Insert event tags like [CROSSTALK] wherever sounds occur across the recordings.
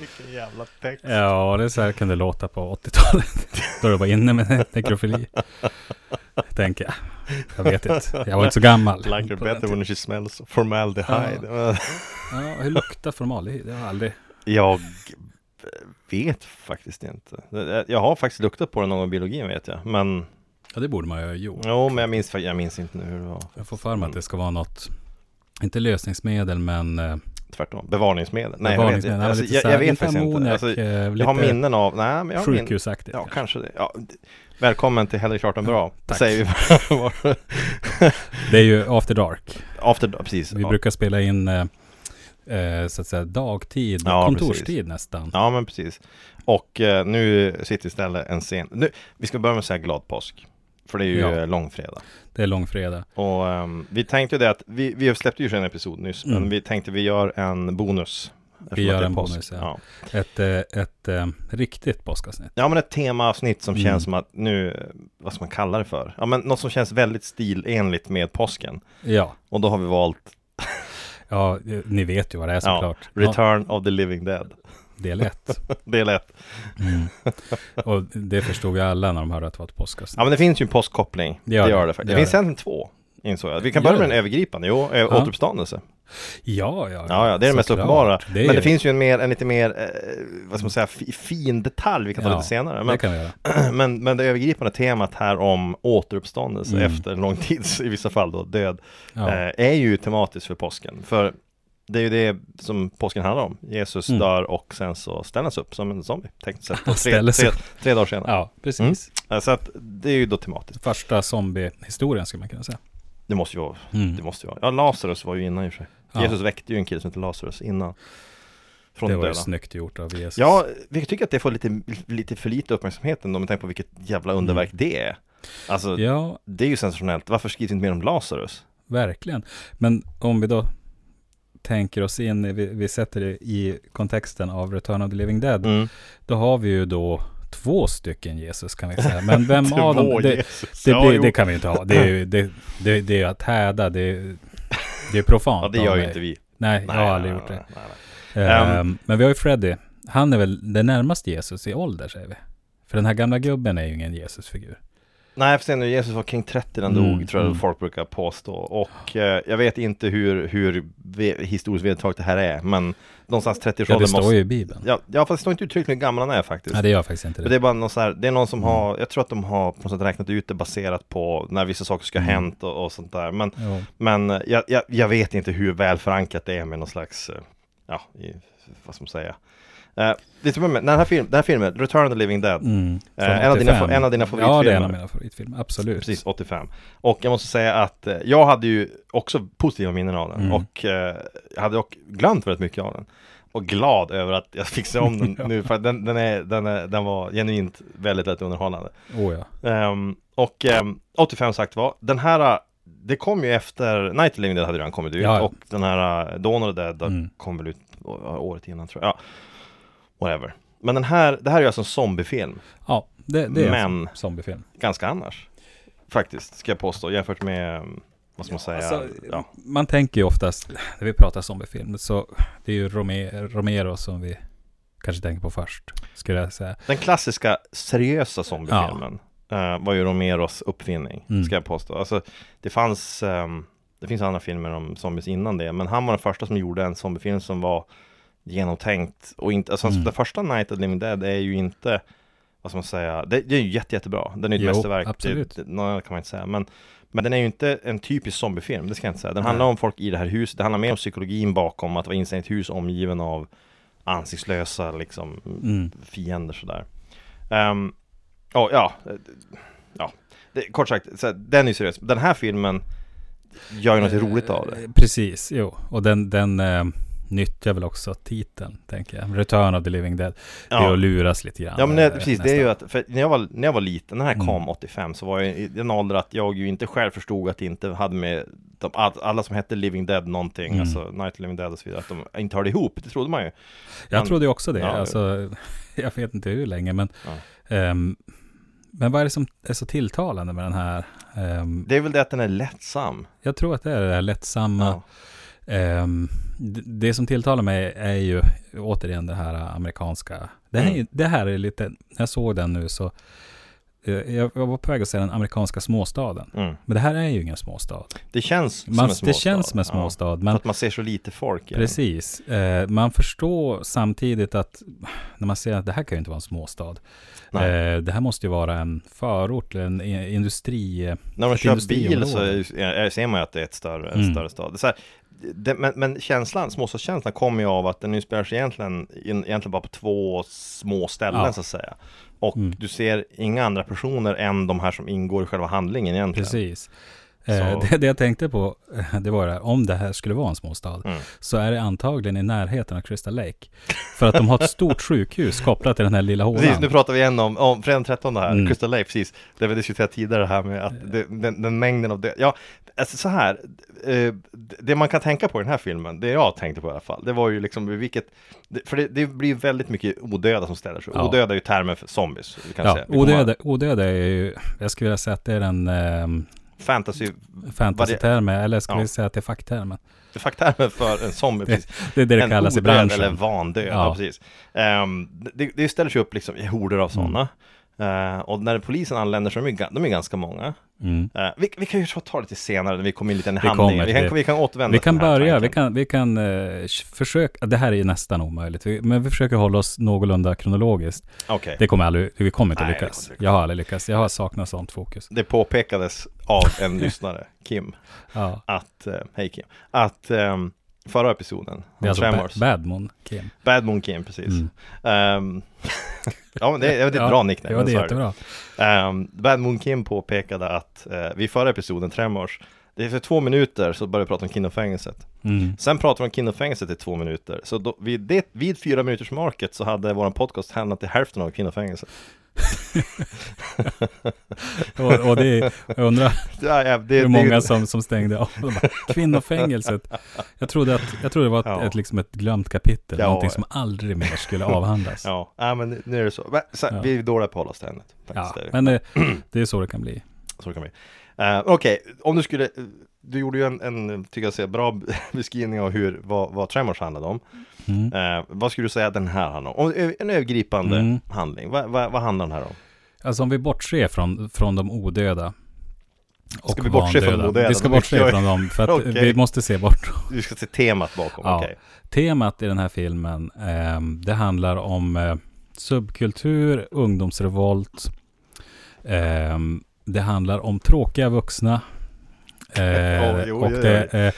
Vilken jävla text. Ja, det är så här kan det låta på 80-talet. [LAUGHS] Då det var inne med nekrofili. Tänker jag. Jag vet inte. Jag var inte så gammal. Like her på den better tiden. when she smells formaldehyde. Ja, hur luktar formaldehydd? Jag har aldrig... jag vet faktiskt inte. Jag har faktiskt luktat på den någon gång i biologin vet jag. Men, Ja, det borde man ju ha gjort. jo, men jag, minns, fa- jag minns inte nu hur det var. Jag får för mig att det ska vara något, inte lösningsmedel, men eh, Tvärtom, bevarningsmedel. Nej, bevaringsmedel. jag vet, Alltså, inte. alltså, jag, jag vet faktiskt inte. ammoniak, Alltså, eh, jag har lite minnen av, nej men jag har minnen. Sjukhusaktigt. Ja, kanske kanske. det. Ja, d- välkommen till Henrik Charton Bra. tack. Säger vi bara. [LAUGHS] Det är ju after dark. After, precis. Vi Ja. brukar spela in eh, eh, så att säga dagtid, Ja, kontorstid precis. nästan. Ja, men precis. Och eh, nu sitter istället en scen. Nu, vi ska börja med att säga glad påsk. För det är ju Ja. eh, långfredag. Det är långfredag. Och ehm, vi tänkte ju det att vi, vi släppte ju en episod nyss. Men Mm. vi tänkte vi gör en bonus. eftersom gör att det är en påsk. bonus, ja. ja. Ett, eh, ett eh, riktigt påskavsnitt. Ja, men ett temaavsnitt som Mm. känns som att nu, eh, vad ska man kalla det för? Ja, men något som känns väldigt stilenligt med påsken. Ja. Och då har vi valt ja, eh, ni vet ju vad det är Ja, såklart. Ja, Return of the Living Dead. [LAUGHS] det är lätt. Del 1. Mm. Och det förstod ju alla när de hörde att det var ett Ja, påskavsnitt. men det finns ju en påskkoppling. Det gör det, faktiskt. Det, gör finns det. en två, insåg jag. Vi kan Gör börja med det? den övergripande. Jo, eh, Ja. återuppståndelse. Ja, ja. Ja, ja, det är det mest såklart. uppenbara. är men det ju- finns ju en, mer, en lite mer, eh, vad ska man säga, fi- fin detalj vi kan ta Ja, lite senare. Det Men, kan vi göra. [CLEARS THROAT] men, men det övergripande temat här om återuppståndelse Mm. efter en lång tids, i vissa fall då, död, Ja. eh, är ju tematiskt för påsken. För det är ju det som påsken handlar om. Jesus Mm. dör och sen så ställs upp som en zombie, tekniskt [LAUGHS] sett. Han tre, ställer sig tre, tre dagar senare. Ja, precis. Eh, Så att det är ju då tematiskt. Första zombiehistorien skulle man kunna säga. Det måste ju vara, det Mm. måste ju vara. Ja, Lazarus var ju innan i och för sig. Ja. Jesus väckte ju en kille som hette Lazarus innan. Från Det de var ju döda. snyggt gjort av Jesus. Ja, vilket tycker att det får lite, lite för lite uppmärksamhet ändå med tanke på vilket jävla underverk det är. Alltså, Mm. ja, det är ju sensationellt. Varför skrivs inte mer om Lazarus? verkligen. Men om vi då tänker oss in, vi, vi sätter det i kontexten av Return of the Living Dead, Mm. då har vi ju då två stycken Jesus kan vi säga. Men vem [LAUGHS] Två av dem? Det, Jesus. det, ja, blir, jo. det kan vi inte ha. Det är [LAUGHS] ju det, det, det är ju att häda, det, är- det är [LAUGHS] profant. ja, det gör av ju mig. inte vi. Nej, jag har aldrig nej, gjort nej, det. nej, nej. Ehm, men vi har ju Freddy. Han är väl den närmaste Jesus i ålder, säger vi. För den här gamla gubben är ju ingen Jesusfigur. Nej, för sen när Jesus var kring 30 när han Mm, dog, tror jag mm. folk brukar påstå. Och eh, jag vet inte hur, hur ve- historiskt vedertaget det här är, men någonstans 30-årsåldern Ja, det står måste... ju i Bibeln. Ja, ja, fast det står inte uttryckligen hur gammal han är faktiskt. Nej, det gör faktiskt inte Men det det. är bara någon så här, det är någon som har, jag tror att de har på något sätt räknat ut det baserat på när vissa saker ska ha Mm. hänt och, och sånt där. Men, Jo. men eh, jag, jag, jag vet inte hur väl förankrat det är med någon slags, eh, ja, i, vad ska man säga. Eh, det är typ, med- den, här film, den här filmen, Return of the Living Dead, Mm, från Eh, en av dina- 85. en av dina Ja, det är favoritfilmer. en av mina favoritfilmer. Absolut. precis 85. Och jag måste säga att eh, jag hade ju också positiva minnen av den Mm. och eh, jag hade också glömt väldigt mycket av den. Och glad över att jag fick se om [LAUGHS] den nu, för att den, den, är, den, är, den var genuint väldigt, väldigt underhållande. Oh, ja. Ehm, och ehm, 85 sagt var, den här, eh, det kom ju efter, Night of the Living Dead hade redan kommit ut Ja, ja. och den här eh, Dawn of the Dead Mm. kom väl ut å- året innan tror jag. Ja. Whatever. Men den här, det här är ju alltså en zombiefilm, ja, det, det är Men- en zombiefilm. ganska annars. Faktiskt, ska jag påstå, jämfört med, eh, vad ska man säga, Alltså, ja. Man tänker ju oftast, när vi pratar zombiefilm, så det är ju Rome- Romero som vi kanske tänker på först, skulle jag säga. Den klassiska seriösa zombiefilmen eh, var ju Romeros uppfinning, Mm. ska jag påstå. Alltså, det fanns, ehm, det finns andra filmer om zombies innan det, men han var den första som gjorde en zombiefilm som var genomtänkt och inte, alltså Mm. den första Night of the Living Dead är ju inte, vad ska man säga, det, det är ju jätte, jättebra, den är ju Jo, ett mästerverk, absolut. Det- det- något annat kan man inte säga, men men den är ju inte en typisk zombiefilm, det ska jag inte säga. Den handlar om folk i det här huset, det handlar mer om psykologin bakom att vara instängd i ett hus omgiven av ansiktslösa liksom Mm. fiender sådär. Um, ja, ja, eh, ja. Det, kort sagt, så här, den är ju seriös. Den här filmen gör ju något roligt av det. Eh, Precis, jo. Och den, den eh, nyttjar väl också titeln, tänker jag. Return of the Living Dead. Det är Ja. att luras lite grann. Ja men det, eh, precis, det är nästan. ju att, för när jag var, när jag var liten, den här Mm. kom 85, så var jag i den ålder att jag ju inte själv förstod att det inte hade med de, all- alla som hette Living Dead någonting, Mm. alltså Night of the Living Dead och så vidare, att de inte hörde ihop, det trodde man ju. Jag man- trodde ju också det. Ja. Alltså, [LAUGHS] jag vet inte hur länge, men... ehm, men vad är det som är så tilltalande med den här? Ehm, Mm. Det är väl det att den är lättsam. jag tror att det är det här lättsamma. Ehm, d- det som tilltalar mig är ju återigen det här amerikanska. Det här, är- Mm. det här är lite, när jag såg den nu så, eh, jag, jag var på väg att säga den amerikanska småstaden. Mm. Men det här är ju ingen småstad. Det känns som Man, en småstad. det känns som en Ja. småstad, För men att man ser så lite folk. i den. precis. Eh, man förstår samtidigt att när man ser att det här kan ju inte vara en småstad. Nej. Eh, det här måste ju vara en förort, eller en i- industri. eh, När de ett kör bil industriområde. så är- ser man ju att det är ett större, en Mm. större stad. Det är så här, det, men, men känslan, småstadskänslan kommer ju av att den utspelar sig egentligen, in- egentligen bara på två små ställen Ja. så att säga. Och Mm. du ser inga andra personer än de här som ingår i själva handlingen egentligen. Precis. Eh, Så- [LAUGHS] det, det jag tänkte på, eh, det var det här, om det här skulle vara en småstad, Mm. så är det antagligen i närheten av Crystal Lake. För att de har ett [LAUGHS] stort sjukhus kopplat till den här lilla Precis, nu hålan. pratar vi igen om, om fredag den 13 här, Mm. Eh. Crystal Lake, precis. Det vi diskuterade tidigare här med att det, den, den mängden av det. Ja, alltså så här, eh, det man kan tänka på i den här filmen, det jag tänkte på i alla fall, det var ju liksom vilket, det- för det, det blir ju väldigt mycket odöda som ställer sig. Ja. Odöda är ju termen för zombies. Vi kan Ja, säga. Vi kommer- odöda, odöda är ju, jag skulle vilja säga att det är en eh, Fantasy, fantasy-term, eller jag skulle Ja. vilja säga att det är facktermen. facktermen för en zombie, precis. Det är det det en kallas i odöd branschen. eller vandöd, ja. Ja. precis. Ehm, det, det ställer sig upp liksom i horder av Mm. sådana. Eh, och när polisen anländer så är de ju, ga- de är ganska många. Mm. Eh, vi, vi kan ju ta det till senare när vi kommer in lite i Vi handlingen. kommer Vi till kan, det. vi kan återvända Vi till kan den här börja, vi tanken. kan, vi kan eh, försöka, det här är ju nästan omöjligt, vi, men vi försöker hålla oss någorlunda kronologiskt. Okej. Det kommer aldrig, vi kommer inte Nej, det kommer lyckas. inte lyckas. Jag har aldrig lyckats. Jag har saknat sånt fokus. Det påpekades av [LAUGHS] en lyssnare, Kim, Ja. att, eh, hej Kim, att ehm, förra episoden, Det är alltså Tremors, ba- Badmon Kim. Bad Moon Kim, precis. Mm. Ehm, [LAUGHS] ja, men det, det är ett bra nickname. Ja, men det så är är det. jättebra. Ehm, Bad Moon Kim påpekade att eh, vid förra episoden, Tremors, det är för två minuter så började vi prata om kvinnofängelset. Mm. Sen pratade vi om kvinnofängelset i två minuter. Så då, vid, det, vid fyra minuters market så hade vår podcast hamnat till hälften av kvinnofängelset. Och, och det är, jag undrar Det är, [LAUGHS] det, hur det, många som, som stängde av. De bara, Kvinnofängelset. Jag trodde, att, jag trodde det var ett, Ja. ett, liksom ett glömt kapitel, Ja. någonting som aldrig mer skulle avhandlas. Ja, [LAUGHS] Ja, nej, men nu är det så. Men, så Ja. Vi är dåliga på att hålla oss till ämnet. faktiskt. Det- men det, det är så det kan bli. Så kan vi. Eh, Okej, om du skulle, eh, du gjorde ju en, en tycker jag, säga, bra [LAUGHS] beskrivning av hur, vad, vad Tremors handlade om. Mm. Eh, vad skulle du säga att den här handlar om? om ö- en övergripande Mm. handling, vad, vad, vad handlar den här om? Alltså om vi bortser från, från de odöda. Och vi bortse från de vandöda. odöda? Vi ska De är kvar. bortse från dem, för [LAUGHS] att Okej. vi måste se bort Du ska se temat bakom, Ja. okej. Temat i den här filmen, ehm, det handlar om eh, subkultur, ungdomsrevolt. Ehm, det handlar om tråkiga vuxna. [LAUGHS] Eh, Ja, jo, och jo, det, eh,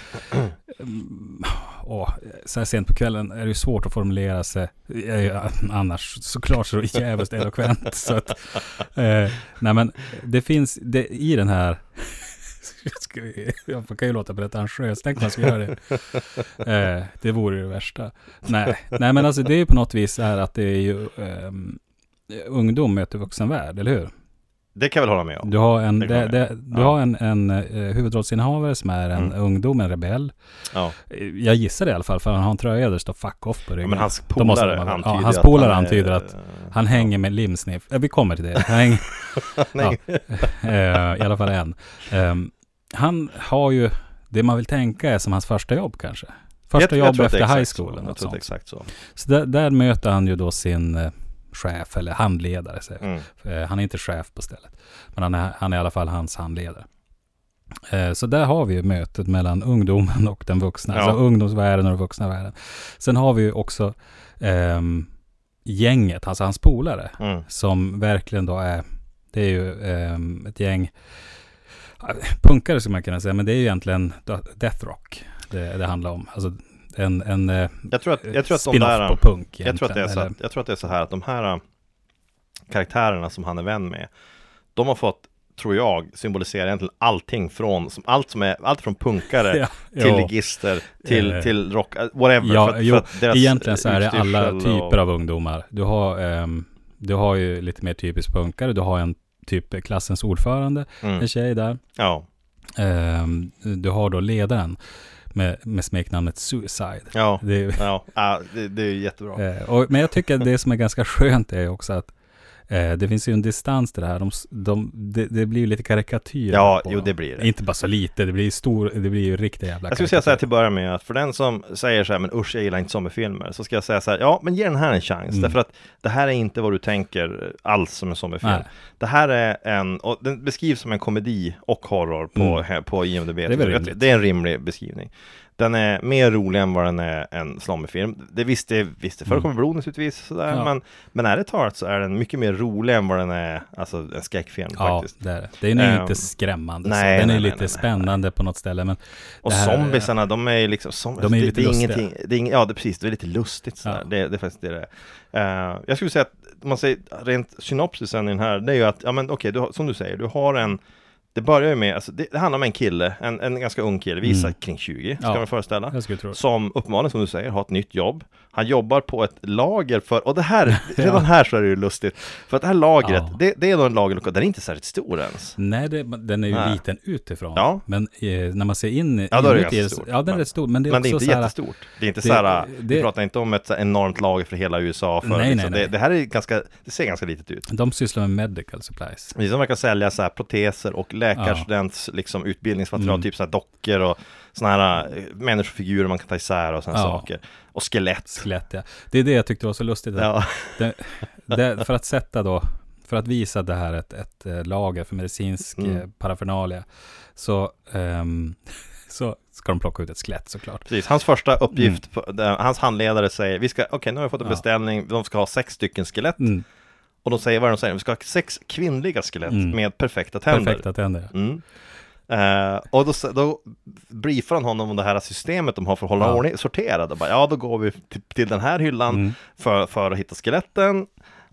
mm, [CLEARS THROAT] åh, så här sent på kvällen är det ju svårt att formulera sig. Jag är ju annars såklart så jävligt eloquent. [LAUGHS] Så att, eh, nej men det finns det, i den här [LAUGHS] jag ska- Jag kan ju låta pretentiös, tänk om man skulle göra det. Eh, det vore ju det värsta. Nej, nej men alltså det är ju på något vis så här att det är ju ehm, ungdom möter vuxenvärld, eller hur? Det kan jag väl hålla med om. Du har en, Det kan det, jag. det, du Ja. har en, en eh, huvudrollsinnehavare som är en Mm. ungdom, en rebell. Ja. Eh, Jag gissar det i alla fall, för han har en tröja där det står 'fuck off' på Ja, ryggen. men hans Då måste polare man- ja, antyder hans att polare han är- antyder att eh, [LAUGHS] Han hänger med limsniff. Eh, Vi kommer till det. Han hänger, Nej, eh, I alla fall en. Ehm, han har ju, det man vill tänka är som hans första jobb kanske. jag- Första jag jobb tror att det är efter high exakt så. school. eller Jag något tror att det är sånt. exakt så. Så där, där möter han ju då sin eh, chef eller handledare. Så. Mm. Eh, han är inte chef på stället, men han är, han är i alla fall hans handledare. Eh, så där har vi ju mötet mellan ungdomen och den vuxna, Ja. alltså ungdomsvärlden och den vuxna världen. Sen har vi ju också ehm, gänget, alltså hans polare, Mm. som verkligen då är, det är ju ehm, ett gäng eh, punkare skulle man kunna säga, men det är ju egentligen då- death rock det, det handlar om. Alltså en, en eh, Jag tror att, jag tror att de spin-off där... på punk Jag tror, att det är så, egentligen, att- jag tror att det är så här att de här äh, karaktärerna som han är vän med, de har fått, tror jag, symbolisera egentligen allting från, som, allt som är, allt från punkare eller- [LAUGHS] Ja, till jo. ligister, till, Eh. till rock, äh, whatever. Ja, jo, deras Egentligen så är det alla utstyrsel typer och- av ungdomar. Du har, ehm, du har ju lite mer typiskt punkare, du har en typ klassens ordförande, Mm, en tjej där. ja, Ehm, du har då ledaren med, med smeknamnet Suicide. ja, Det är, ja, ja det, det är jättebra. eh, och, men jag tycker att det som är ganska skönt är också att Eh, det finns ju en distans till det här. De, s- de, det, det blir ju lite karikatyr. Ja, på jo dem. det blir det. Inte bara så lite, det blir ju stor, det blir ju riktiga jävla Jag skulle säga så här typ till karikatyr. att börja med att för den som säger så här, men usch jag gillar inte zombiefilmer, så ska jag säga så här, ja men ge den här en chans, Mm. därför att det här är inte vad du tänker alls som en zombiefilm. Nej. Det här är en, och den beskrivs som en komedi och horror på, Mm. he- på IMDB. är väl Jag tror- rimligt. det är en rimlig beskrivning. Den är mer rolig än vad den är en zombiefilm. Det visst, det, visst det förekommer blod naturligtvis, sådär, Mm. Ja. men, men är det talat så är den mycket mer rolig än vad den är, alltså en skräckfilm Ja, faktiskt. det är det. Den är ju Ehm, inte skrämmande. så. nej, Den är nej, ju nej, lite nej, nej. spännande på något ställe. Men Och det här- zombisarna, de är ju liksom, som, De är ju det, lite det är lustiga. ingenting, det är ing, ja det, är precis, det är lite lustigt sådär. Ja. Det, det är faktiskt det det är. Eh, jag skulle säga att, om man säger rent synopsisen i den här, det är ju att, ja men okej, du har- som du säger, du har en, det börjar ju med, alltså, det, det handlar om en kille, en, en ganska ung kille, vi gissar Mm. kring 20, ska Ja. man föreställa. jag skulle tro Som uppenbarligen, som du säger, har ett nytt jobb. Han jobbar på ett lager för, och det [LAUGHS] här, redan här så är det ju lustigt. För att det här lagret, Ja. det, det är då en lagerlokal, den är inte särskilt stor ens. Nej, det, den är ju Nej. liten utifrån. Ja. Men eh, när man ser in Ja, då är det inuti ganska stort. Ja, den är Men- rätt stor. Men det är Men det också är inte så här, jättestort. Det är inte det- så här, vi det- pratar inte om ett så här enormt lager för hela USA. För, Nej, nej, liksom. nej. Det, det här är ganska, det ser ganska litet ut. de sysslar med medical supplies. Vi som verkar sälja så här proteser och läkarstudents liksom, utbildningsmaterial, Mm. typ så här dockor och såna här eh, människofigurer man kan ta isär och sådana Ja. saker. Och skelett. Skelett, ja. Det är det jag tyckte var så lustigt. att Ja, [LAUGHS] Det, det, för att sätta då, för att visa det här ett, ett eh, lager för medicinsk Mm. mm. parafernalia, så, ehm, [LAUGHS] så ska de plocka ut ett skelett såklart. precis. Hans första uppgift, på, där hans handledare säger, vi ska, okej nu har vi fått en Mm. Ja. beställning, de ska ha sex stycken skelett. Mm, Och de säger vad är det de säger, vi ska ha sex kvinnliga skelett Mm. med perfekta tänder. perfekta tänder. Mm. Eh, och då, s- då briefar han honom om det här systemet de har för att hålla Ja. ordning, sorterad. Och bara, ja, då går vi till, till den här hyllan Mm. för, för att hitta skeletten.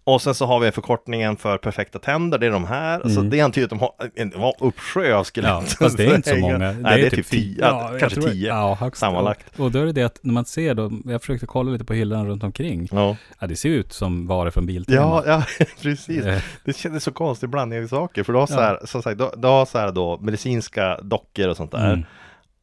Och sen så har vi förkortningen för perfekta tänder, det är de här. Så Mm. det är antydigt att de har en en uppsjö av skelett. Ja, [LAUGHS] fast det är inte så många. Nej, det är, typ tio, ja, jag kanske tror- tio. Ja. ja, högst. sammanlagt. Och, och då är det det att när man ser då, jag försökte kolla lite på hyllan runt omkring, Ja. ja, det ser ut som varor från Biltema. Ja, [LAUGHS] precis. Eh, Det kändes så konstig blandning av saker, för du har så Ja. här, som sagt, du, du har så här då medicinska dockor och sånt där. Mm.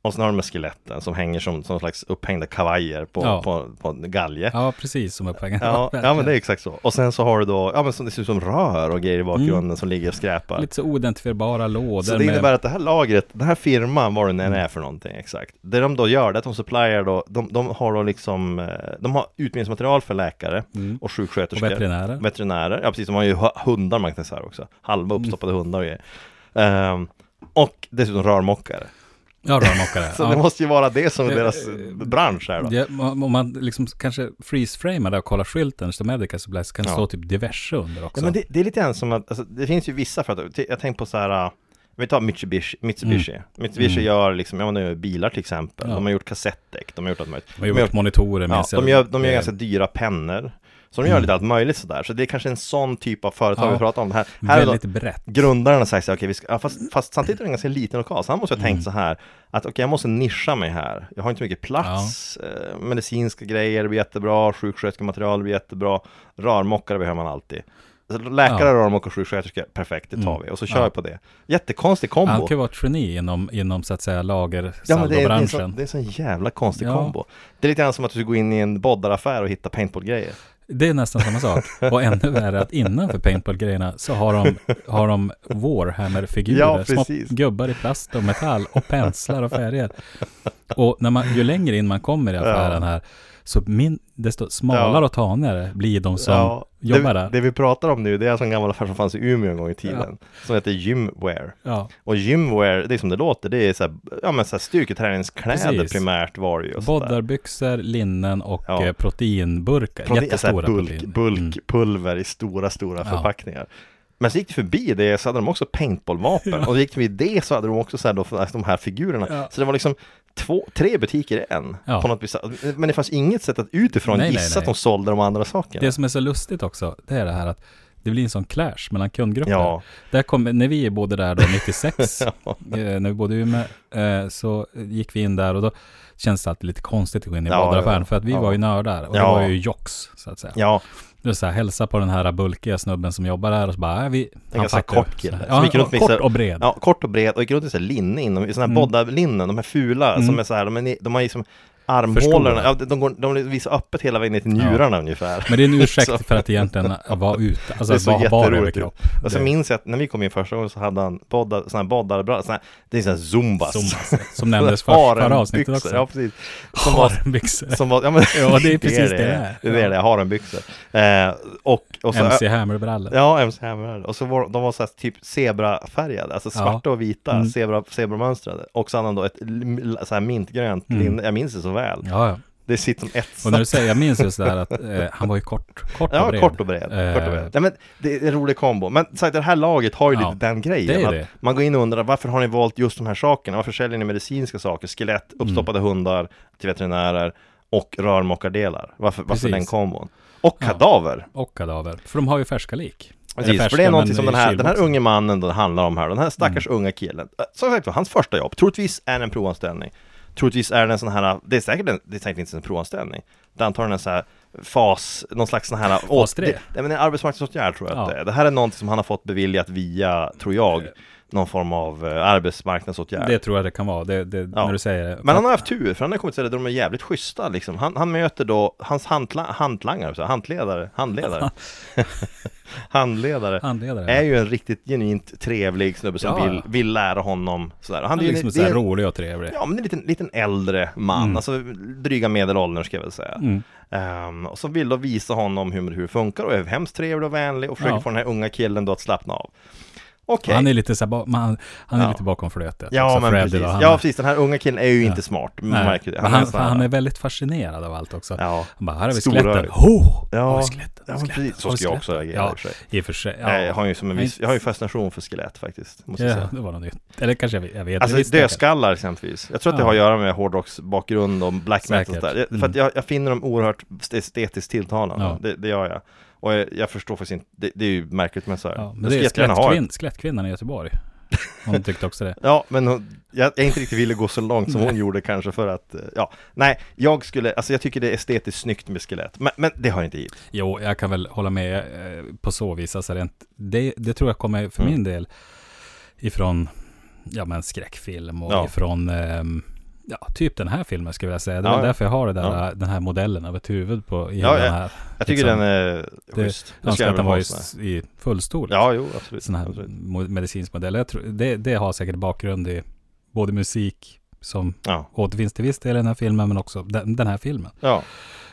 Och sen har de här skeletten som hänger som, som slags upphängda kavajer på, Ja. på, på en galge. Ja, precis som är poängen. [LAUGHS] Ja, ja, verkligen. men det är exakt så. Och sen så har du då, ja men som, det ser ut som rör och grejer i bakgrunden som ligger och skräpar. Mm. Lite så oidentifierbara lådor. så det innebär med, att det här lagret, den här firman, vad det nu än Mm. är för någonting exakt. Det de då gör, det är att de supplier då, de, de har då liksom, eh, de har utbildningsmaterial för läkare mm. och och sjuksköterskor. veterinärer. veterinärer. Ja precis, de har ju hu- hundar man kan säga så här också. Halva Mm. uppstoppade hundar och grejer. Ehm, och dessutom rörmokare. Ja, rörmokare. [LAUGHS] Så det ja. måste ju vara det som är Det- deras eh, bransch här då. Ja, om om man liksom kanske freeze-framar där och kollar skylten, så Medica Supplies kan Ja. stå typ diverse under också. Ja, men det, det är lite grann som att, alltså, det finns ju vissa för att, jag tänker på så här, äh, vi tar Mitsubishi, Mitsubishi, Mitsubishi Mm. gör liksom, ja men de gör bilar till exempel, Ja. de har gjort kassettdäck, de har gjort allt möjligt. de har gjort monitorer, Ja, minns jag. de gör, de gör Det- ganska dyra pennor, så de gör Mm. lite allt möjligt sådär, så det är kanske en sån typ av företag Ja. vi pratar om. Det här, här är de- eh, Väldigt brett. grundaren har sagt så här, okej, vi ska, ja, Mm. fast, fast samtidigt är det en ganska liten lokal, så han måste ha tänkt så här, att okej, jag måste nischa mig här, jag har inte mycket plats, eh, medicinska grejer blir jättebra, sjuksköterskematerial blir jättebra, rörmokare behöver man alltid. Alltså, Läkare, Ja. rörmokare, sjuksköterska, perfekt, det tar Mm. vi. Och så kör Ja. vi på det. Jättekonstig kombo. Han kan ju vara ett geni inom, inom så att säga lager Ja, men det, är, det, är en branschen sån, det är en sån jävla konstig Ja. kombo. Det är lite grann som att du skulle gå in i en boddaraffär och hitta paintball-grejer. Det är nästan samma sak. Och ännu värre att innanför paintball-grejerna så har de, har de Warhammer-figurer. Ja, små precis. gubbar i plast och metall och penslar och färger. Och när man, ju längre in man kommer i affären här, så min, desto smalare Ja. och tanigare blir de som Ja, jobbar det, där. det vi pratar om nu, det är alltså en gammal affär som fanns i Umeå en gång i tiden, som heter Gymware. ja. Och gymwear, det är som det låter, det är så här, ja men så här styrketräningskläder Precis. primärt var det ju. och så där. Boddarbyxor, linnen och Ja. eh, proteinburkar. Protein- så Jättestora här bulk, protein. Mm. Bulkpulver i stora, stora Ja. förpackningar. Men så gick det förbi det, så hade de också [LAUGHS] paintballvapen. Och så gick det förbi det så hade de också så här då, alltså de här figurerna. Ja. Så det var liksom två, tre butiker i en. Ja. På något vis. Men det fanns inget sätt att utifrån Nej, nej, gissa nej. att de sålde de andra sakerna. Det som är så lustigt också, det är det här att det blir en sån clash mellan kundgrupper. Ja, Där kom, när vi bodde där då 96, [LAUGHS] Ja. eh, när vi bodde i Umeå, eh, så gick vi in där och då kändes det alltid lite konstigt att gå in i Ja, badaraffären, ja, för att vi ja. var ju nördar och det Ja. var ju jocks, så att säga. ja, Det var så här, hälsa på den här bulkiga snubben som jobbar där och så bara, äh, vi, en ganska fattar ju. kort Så här, kille. Ja, Som gick runt med kort så- och bred. Ja, kort och bred och gick runt i så här linne inom, i sådana här Mm. boddarlinnen, de här fula Mm. som är så här, de, är, de har liksom armhålorna, ja, de, går, de visar öppet hela vägen ner till njurarna ungefär. Men det är en [LAUGHS] ursäkt för att egentligen vara ute, alltså det är så vara bara över jätteroligt. kropp. Och så Det- minns jag att när vi kom in första gången så hade han boddar, såna här boddarbrallor, såna här- det är [LAUGHS] sån här zumbas. Som, som nämndes för, Harenbyxor, förra avsnittet också. Ja, precis. Som var, Harenbyxor. som var, ja, men, Ja, det är precis det det är. är. [LAUGHS] Det är det, jag har en byxor. Eh, och, och så, MC Hammer-brallor. Ja, MC Hammer. Och så var de var så här, typ zebrafärgade, alltså Ja. svarta och vita, Mm. zebra, zebramönstrade. Och så hade han då ett l- så här mintgrönt Mm. linne, jag minns det så väl. Ja, ja. Det sitter som ett Och när du säger, jag minns just det här att eh, han var ju kort, kort och Ja, bred. kort och bred. Eh, Kort och bred. Nej, men det är en rolig kombo. Men så här, det här laget har ju Ja, lite den grejen. det är att det. Man går in och undrar varför har ni valt just de här sakerna? Varför säljer ni medicinska saker? Skelett, Mm. uppstoppade hundar till veterinärer och rörmokardelar. Varför, varför Precis. den kombon? Och Ja. kadaver. Och kadaver. För de har ju färska lik. Eller Precis, för färska, det är men någonting som i den här, den här kylboxen. Mm. unge mannen då det handlar om här, den här stackars unga killen. Eh, Som sagt var, hans första jobb, troligtvis är det en provanställning. Troligtvis är det en sån här, äh, det är säkert, en, det är säkert inte en provanställning. Det är antagligen en sån här fas, någon slags sån här... äh, Fas tre. det, nej, men en arbetsmarknadsåtgärd tror jag att Ja. Eh. det är. Det här är någonting som han har fått beviljat via, tror jag, någon form av eh, arbetsmarknadsåtgärd. Det tror jag det kan vara, det, det, Ja. när du säger det. Men han har haft tur, för han har kommit till det där de är jävligt schyssta liksom. han, han möter då hans hantla, hantlangare, så här, hantledare, [LAUGHS] handledare Handledare Handledare. är ju en riktigt genuint trevlig snubbe som Ja. vill, vill lära honom sådär. Och han är ju- liksom det är så här en- rolig Mm. och trevlig. Ja, men det är en liten, liten äldre man, alltså dryga medelåldern ska jag väl säga. Mm. Ehm, och som vill då visa honom hur, hur det funkar och är hemskt trevlig och vänlig och försöker Ja. få den här unga killen då att slappna av. Okej. Och Han är lite så här, ba- man, han är Ja. lite bakom flötet. Ja, Så men Freddy precis. då, han- ja, precis. Den här unga killen är ju Ja. inte smart. Man Nej, märker det. men är han, en sån här- han är väldigt fascinerad av allt också. Ja. Han bara, här har vi Stora skeletten. ögon. Oh, Ja. har vi skeletten? Ja, Har vi men skeletten? precis. Så Har vi ska jag också skeletten? reagera, i och för sig. Ja, i och för sig. Eh, Ja. Jag har ju som en viss, jag har ju fascination för skelett faktiskt, måste jag Ja, säga. det var något nytt. Eller kanske jag vet. Jag vet Alltså visst det kanske. dödskallar exempelvis. Jag tror att det Ja. har att göra med hårdrocksbakgrund och black metal och Säkert. sådär. Jag- För Mm. att jag, jag finner dem oerhört estetiskt tilltalande. Ja. Det, det gör jag. Och jag, jag förstår faktiskt inte, det, det är ju märkligt men så här. Ja, men jag det skulle är jättegärna ha ett. skelettkvinn, skelettkvinnan i Göteborg. Hon tyckte också det. Ja, men hon, jag jag är inte riktigt villig att gå så långt som hon gjorde kanske för att, eh, ja, nej, jag skulle, alltså jag tycker det är estetiskt snyggt med skelett, men, men det har inte hit. Jo, jag kan väl hålla med eh, på så vis. Alltså rent, det, det tror jag kommer för Mm. min del ifrån ja, men skräckfilm och Ja. ifrån ehm, ja, typ den här filmen skulle jag säga. Det är Ja, väl ja. därför jag har det där, eh, Ja. den här modellen av ett huvud på i Ja, hela ja. den här. Jag tycker Liksom, den är det- schysst. Jag önskar jag att den väl var ha i, sån här. s- i full storlek. Ja, jo, absolut. Sån här absolut. mo- medicinsk modell. Jag tror, det, det har säkert bakgrund i både musik som Ja. återfinns till viss del i den här filmen, men också den, den här filmen. ja.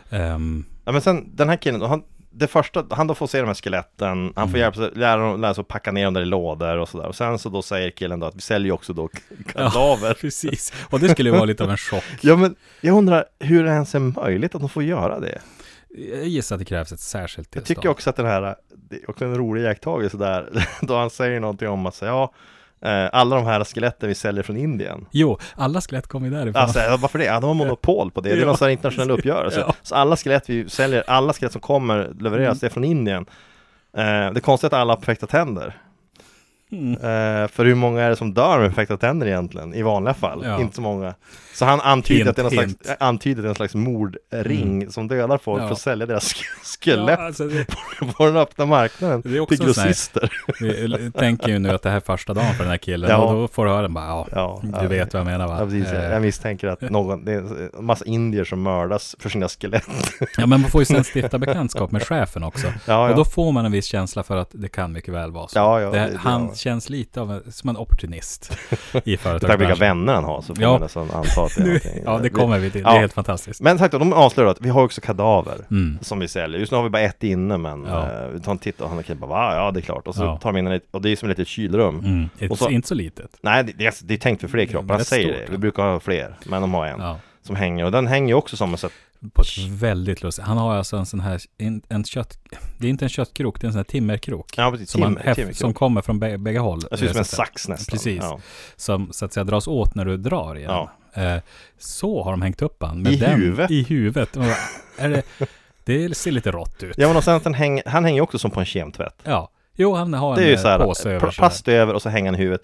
Ehm, Ja men sen den här killen, han, det första, han då får se de här skeletten, han får Mm. hjälpa sig, lära, dem- lära sig att packa ner dem där i lådor och sådär. Och sen så då säger killen då att vi säljer ju också då k- [LAUGHS] kadaver. Ja. precis. Och det skulle ju vara lite av en chock. men jag undrar hur det ens är möjligt att de får göra det. Jag gissar att det krävs ett särskilt Jag tillstånd. tycker också att den här, det är också en rolig iakttagelse där, [LAUGHS] då han säger någonting om att säga ja, eh, alla de här skeletten vi säljer från Indien. Jo, alla skelett kommer ju därifrån. Alltså, ja, varför det? Ja, de har monopol på det. Det är Ja. någon sån här internationell uppgörelse. Ja. Så alla skelett vi säljer, alla skelett som kommer levereras, det är från Indien. Eh, det är konstigt att alla har perfekta tänder. Mm. Eh, för hur många är det som dör med perfekta tänder egentligen? I vanliga fall, Ja. inte så många. Så han antyder Hint, att det är någon slags, hint. eh, antyder att det är någon slags mordring som dödar folk Mm. Ja. för att sälja deras sk- skelett Ja, alltså, det, på den öppna marknaden. det är också Till en sån här, grossister. vi tänker ju nu att det här är första dagen för den här killen. Ja. Och då får du höra den bara, ja, Ja, du ja. vet vad jag menar va? Ja, precis. Eh, Jag misstänker att någon, det är en massa indier som mördas för sina [LAUGHS] skelett. ja, men man får ju sen stifta bekantskap med chefen också. Ja, Och ja. då får man en viss känsla för att det kan mycket väl vara så. Ja, ja, det, det- han ja. känns lite av en, som [LAUGHS] en opportunist i Tack vilka företagsbranschen. vänner han har så får Ja. man nästan anta att det är [LAUGHS] Nu- någonting. Ja, det kommer vi till. Det Ja. är helt fantastiskt. Men sagt då, de avslöjar att vi har också kadaver. Mm. som vi säljer. Just nu har vi bara ett inne men Ja. eh, vi tar en titt och han kan bara va, ja det är klart. Och så Ja. tar de in en, och det är som ett litet kylrum. Mm. Det är Och så- inte så litet. Nej, det, det, är, det är tänkt för fler kroppar. Han Rätt säger stort, det. ja. Vi brukar ha fler, men de har en Ja. som hänger. Och den hänger ju också som en sån På ett väldigt lustigt. Han har alltså en sån här, en, en kött, det är inte en köttkrok, det är en sån här timmerkrok. ja precis, som, man tim, häf- timmerkrok. som kommer från bä- bägge håll. Det ser ut eh, som en så att säga. sax nästan. Precis. Ja. Som så att säga dras åt när du drar i den. Ja. Eh, så har de hängt upp han. med I den, huvudet. I huvudet. Och, är det, det ser lite rått ut. ja, men och sen att den hänger, han hänger ju också som på en kemtvätt. Ja. Jo, han har Det är en ju eh, så här, påse över pl- sig där. plast över och så hänger han i huvudet.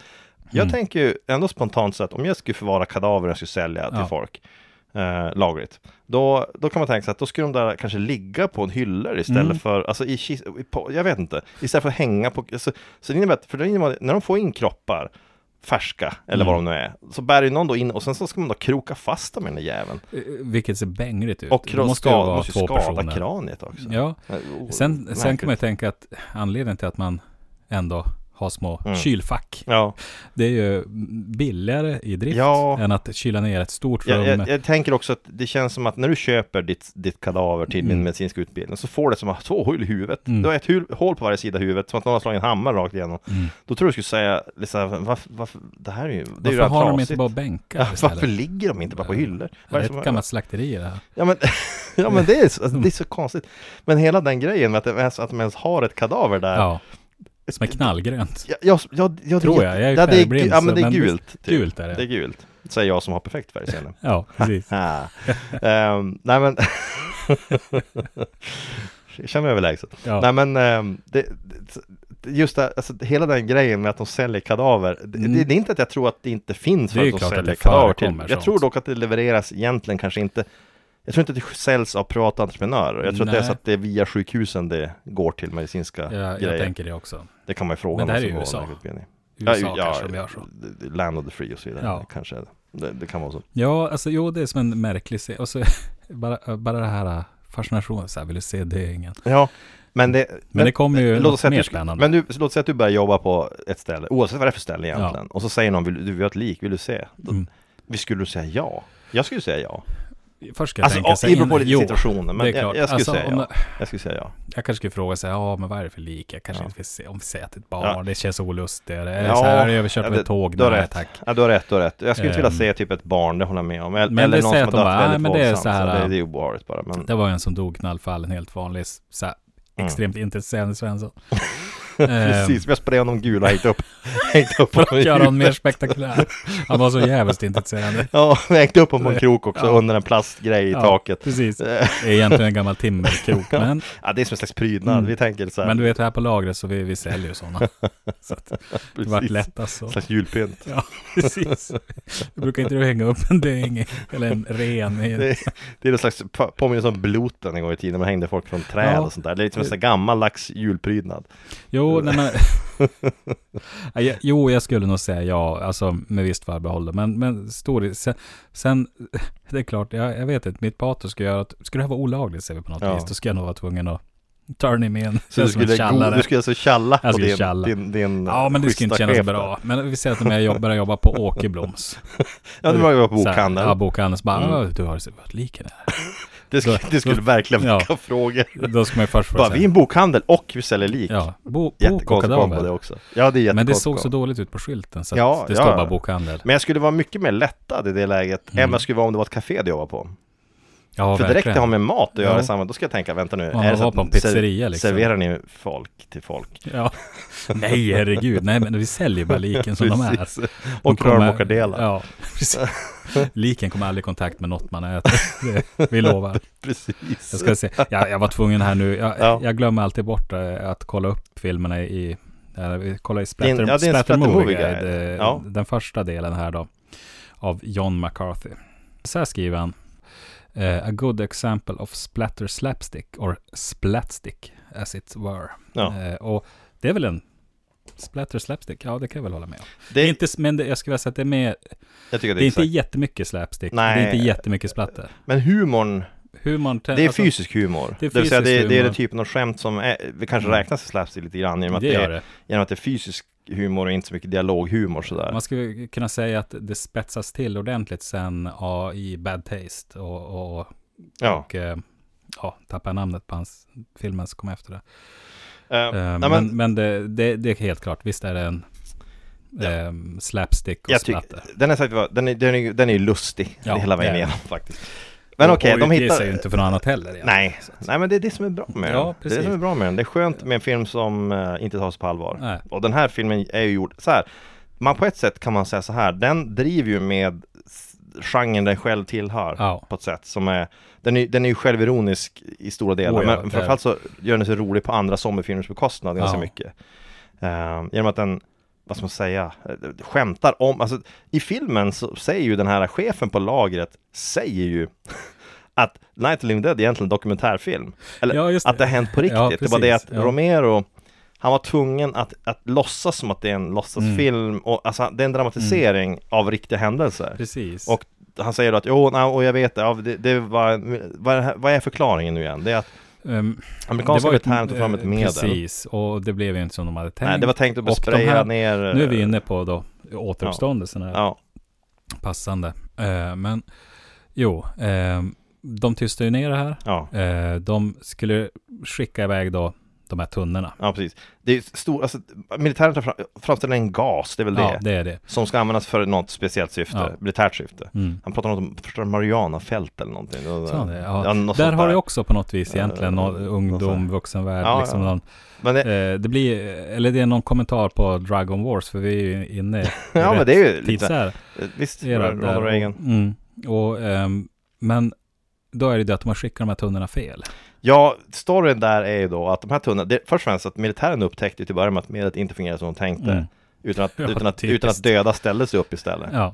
Jag Mm. tänker ju ändå spontant så att om jag skulle förvara kadaver jag skulle sälja till Ja. folk eh, lagligt, då, då kan man tänka sig att då skulle de där kanske ligga på en hyllor istället Mm. för, alltså i, kis- i på, jag vet inte, istället för att hänga på, alltså, så det innebär att, för det innebär att när de får in kroppar, färska, eller Mm. vad de nu är. Så bär ju någon då in, och sen så ska man då kroka fast dem i den där jäveln. Eh, Vilket ser bängligt ut. Och Det måste måste ju skada, vara måste ju två skada personer. kraniet också. Ja, Eh, oh, sen, sen märkligt. kan man ju tänka att anledningen till att man ändå har små Mm. kylfack, Ja, det är ju billigare i drift Ja. än att kyla ner ett stort rum. jag, jag, jag tänker också att det känns som att när du köper ditt, ditt kadaver till din Mm. medicinska utbildning så får det som att ha två hål i huvudet. Mm. Du har ett hul, hål på varje sida av huvudet, som att någon har slagit en hammare rakt igenom. Mm. Då tror jag du skulle säga, liksom, varför, varför, det här är ju, det är ju Varför redan har de trasigt. inte bara bänkar Ja, istället? varför ligger de inte bara på Ja. hyllor? Det Vad är är det som- ett gammalt Mm. slakteri det här. Ja men, [LAUGHS] ja, men det, är så, alltså, det är så konstigt. Men hela den grejen med att, de ens- att de ens har ett kadaver där. Ja, som är knallgrönt. Ja, jag, jag, jag, Tror det- jag, jag är ja, det är, gu- färgblind, ja, men så- det är men gult. typ. Gult är Det är det. gult. Säger jag som har perfekt färgsinne. Ja, [LAUGHS] precis. Ah. Ehm, nej men Jag känner mig överlägsen. Ja. Nej men ehm, det, det, just det, här, alltså, hela den grejen med att de säljer kadaver. Det, Mm. det, det är inte att jag tror att det inte finns Det är för ju att de klart att säljer det kadaver till. förekommer Jag tror sånt. dock att det levereras egentligen kanske inte. Jag tror inte att det säljs av privata entreprenörer. Jag tror att det är så Nej. att det är via sjukhusen det går till medicinska Jag, jag grejer. tänker det också. Det kan man ju fråga Men om det här någon är som ju går USA. läkarutbildning. USA kanske de gör så. Land of the free och så vidare. Ja. Kanske är det. Det, det kan vara så. Ja, alltså jo, det är som en märklig se. Och så [LAUGHS] bara, bara det här äh, fascinationen, så här, vill du se det ingen. Ja, men det, Men det kommer ju låt oss säga något att mer du, sk- spännande. Men du, så låt oss säga att du börjar jobba på ett ställe, oavsett vad det är för ställe egentligen. Och så säger någon, vill, du vill ha ett lik, vill du se? Då, Mm. Vi skulle du säga ja? Jag skulle säga ja. Först ska jag Alltså, tänka ja, sig det beror in. på lite Jo, situationen, men det är jag, klart. jag, skulle Alltså, säga om ja. det- jag skulle säga ja. jag kanske skulle fråga sig, ja, men vad är det för lik? Jag kanske inte vill se, om vi säger att det är ett barn, Ja. det känns olustigt. Eller Ja, Eh, så här, är det överkört ja, av det- ett tåg? du har Nej, rätt. tack. ja. Du har rätt, du har rätt. Jag skulle inte vilja Ehm. se typ ett barn, det håller jag med om. Eller, Men eller det någon säger som att de har bara, dött nej, väldigt men det är våldsamt. så här, det, det är obehagligt bara. Men, Det var en som dog knallfallen, helt vanlig, så här, Mm. extremt intresserad Svensson. [LAUGHS] eh, Ehm, precis, jag sprayade honom gul och hängde [LAUGHS] upp, hängt upp För att göra honom honom mer spektakulär. Han var så jävligt intresserad. [LAUGHS] Ja, jag hängde upp honom på en krok också, Ja. under en plastgrej i Ja, taket. [LAUGHS] Precis. Det är egentligen en gammal timmerkrok, men, Ja, det är som en slags prydnad, Mm. vi tänker så här. men du vet, här på lagret så vi, vi säljer ju sådana. Så att det vart Precis. lättast så. [LAUGHS] slags julpynt. Precis. Du brukar inte du hänga upp en däng eller en ren i Det, det är någon slags på- påminnelse om bloten en gång i tiden, man hängde folk från träd Ja. och sånt där. Det är liksom en sån där gammaldags julprydnad. Jo, [LAUGHS] nej, men, Ja, jag- jo, jag skulle nog säga ja, alltså med visst förbehåll. Men, men stor, sen, sen, [LAUGHS] det är klart, jag, jag vet inte, mitt patos skulle göra att, skulle det här vara olagligt säger vi på något Ja. vis, då skulle jag nog vara tvungen att turn him in. Så du som en skulle, go, tjallare. du skulle alltså tjalla på Jag skulle din, tjalla. din, din Ja, men det skulle inte schyssta kännas chef bra. Men vi säger att om jag jobbar, börjar jobba på [LAUGHS] Åkerbloms. där. Ja, det var ju på Så här, bokhandeln. Ja, bokhandeln. Så bara, Mm. "Åh, du har sett vad liken är. det, skulle, det skulle verkligen Ja. väcka frågor. Då ska man ju först få Bara, vi är en bokhandel och vi säljer lik. Ja, bo, bok och Jättekonstig kombo det kadaver. också. Ja, det är Men det jättekonstig såg så kombo. dåligt ut på skylten så att Ja, det ja. står bara bokhandel. Men jag skulle vara mycket mer lättad i det läget än vad jag skulle vara om det var ett café du jobbade på. Mm. Ja, För direkt det har med mat att göra Ja. i samma, då ska jag tänka, vänta nu, Om man var på en ser- pizzeria, liksom. serverar ni folk till folk? [LAUGHS] Ja. Nej, herregud. Nej, men vi säljer bara liken som de är. Precis. Och kommer- rörmokardelar. Ja, precis. Liken kommer aldrig i kontakt med något man äter. Det, vi lovar. Precis. Jag, ska se. Jag, jag var tvungen här nu. Jag, Ja. jag glömmer alltid bort eh, att kolla upp filmerna i... eh, vi kollar i Det är Splatter, en- ja, det är en Splatter Splatter Movie Movie Guide. Guide. eh, Ja. Den första delen här då. Av John McCarthy. Så här skriver han. eh, a good example of splatter slapstick or splatstick as it were. Ja. Eh, och det är väl en splatter slapstick? Ja, det kan jag väl hålla med om. Det Det är är, inte, s- men det, jag skulle vilja säga att det är mer, jag tycker det är inte exakt. jättemycket slapstick. Nej. Det är inte jättemycket splatter. alltså, Men humorn, Hur man det är fysisk humor. det är det vill säga det, fysisk det är den humor. typen av skämt som är, vi kanske Mm. räknas i slapstick lite grann genom att det det, gör är, det. Mm. genom att det är fysisk humor och inte så mycket dialoghumor sådär. Man skulle kunna säga att det spetsas till ordentligt sen ja, i Bad Taste och, och, och, Ja. eh, ja, tappar jag namnet på hans filmen som kom efter det. Eh, Eh, nej, men men, men, det, det, det är helt klart, visst är det en Ja. ehm, slapstick och jag tycker, splatter. den är, säkert- den är, den är, den är ju lustig Ja, [LAUGHS] hela vägen det är den. igenom faktiskt. Men okej, och de utger sig hittar... ju inte för något annat heller. egentligen. Nej, nej, men det är det som är bra med Ja, den. Det är det som precis. är bra med den. Det är skönt med en film som eh, inte tas på allvar. Nej. Och den här filmen är ju gjord så här. Man på ett sätt kan man säga så här, den driver ju med s- genren den själv tillhör. Ja. På ett sätt som är, den är, den är ju självironisk i stora delar. Oh ja, men det framförallt så gör den sig rolig på andra zombiefilmers bekostnad ganska Ja. mycket. Ehm, genom att den, vad ska man säga, eh, skämtar om, alltså i filmen så säger ju den här chefen på lagret, säger ju [LAUGHS] att Night of the Living Dead är egentligen en dokumentärfilm. Eller Ja, just att det det. har hänt på riktigt. Ja, det var det att precis, ja. Romero han var tvungen att, att låtsas som att det är en låtsasfilm Mm. och alltså det är en dramatisering av riktiga händelser. Precis. Och han säger då att jo, nej, och jag vet det, ja, det, det var, vad, är det här- vad är förklaringen nu igen? Det är att Ehm, amerikanska ett- militären tog fram ett eh, medel. Precis, och det blev ju inte som de hade tänkt. Nej, det var tänkt att bara Och de spraya här- ner. Nu är vi inne på då återuppståndelsen här. Ja, Passande. Eh, men jo, ehm, de tystade ju ner det här. ja, Eh, de skulle skicka iväg då de här tunnorna. ja, precis. Det är stor, alltså, militären tar fram, framställer en gas, det är väl Ja, det, det är det. som ska användas för något speciellt syfte, Ja. militärt syfte. Mm. Han pratar om något om förstår du, Marianafält eller någonting. Så han är, ja. något Där sånt har du också på något vis Eh, egentligen någon något ungdom, sånt. vuxenvärld, Ja, liksom ja. någon, Men det, eh, det blir, eller det är någon kommentar på Dragon Wars, för vi är ju [LAUGHS] inne i ja, men rätt det är ju lite, tidsär. visst, Eh, era där. Ronald Reagan. Mm. Och, ehm, men då är det ju det att de har skickat de här tunnorna fel. Ja, storyn där är ju då att de här tunnorna, det, först och främst att militären upptäckte ju till början med att medlet inte fungerade som de tänkte. Mm. Utan, att, [LAUGHS] Ja, utan, att, typiskt. utan att döda ställde sig upp istället. Ja,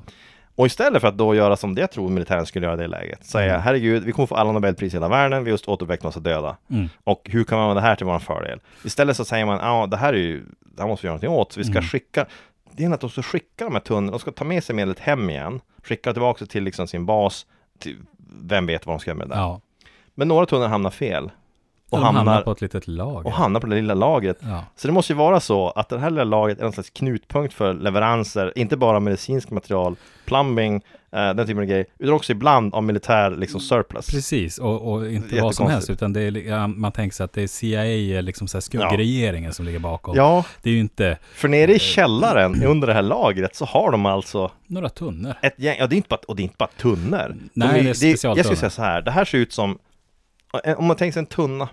Och istället för att då göra som det jag tror militären skulle göra i det läget, säga Mm. herregud, vi kommer få alla nobelpris i hela världen, vi har just återuppväckt massa döda. mm. Och hur kan man använda det här till vår fördel? Istället så säger man, ja det här är ju, det här måste vi göra någonting åt, så vi ska Mm. skicka, det är att de ska skicka de här tunnorna, de ska ta med sig medlet hem igen, skicka tillbaka det till liksom sin bas, till, vem vet vad de ska göra med det där. ja. Men några tunnor hamnar fel. Och Och de hamnar, hamnar, på ett litet lag. och hamnar på det lilla lagret. Ja. Så det måste ju vara så att det här lilla laget är en slags knutpunkt för leveranser, inte bara medicinskt material, plumbing, eh, den typen av grejer, utan också ibland av militär liksom surplus. Precis, och, och inte vad som Jättekonstigt. helst, utan det är, li- ja, man tänker sig att det är CIA, liksom så här skuggregeringen som ligger bakom. Ja, Det är ju inte för Eh, nere i mm. källaren under det här lagret så har de alltså några tunnor. ett gäng, ja det är inte bara, och det är inte bara tunnor. De Nej, är ju- det är Jag specialtunnor. skulle säga så här, det här ser ut som, eh, om man tänker sig en tunna,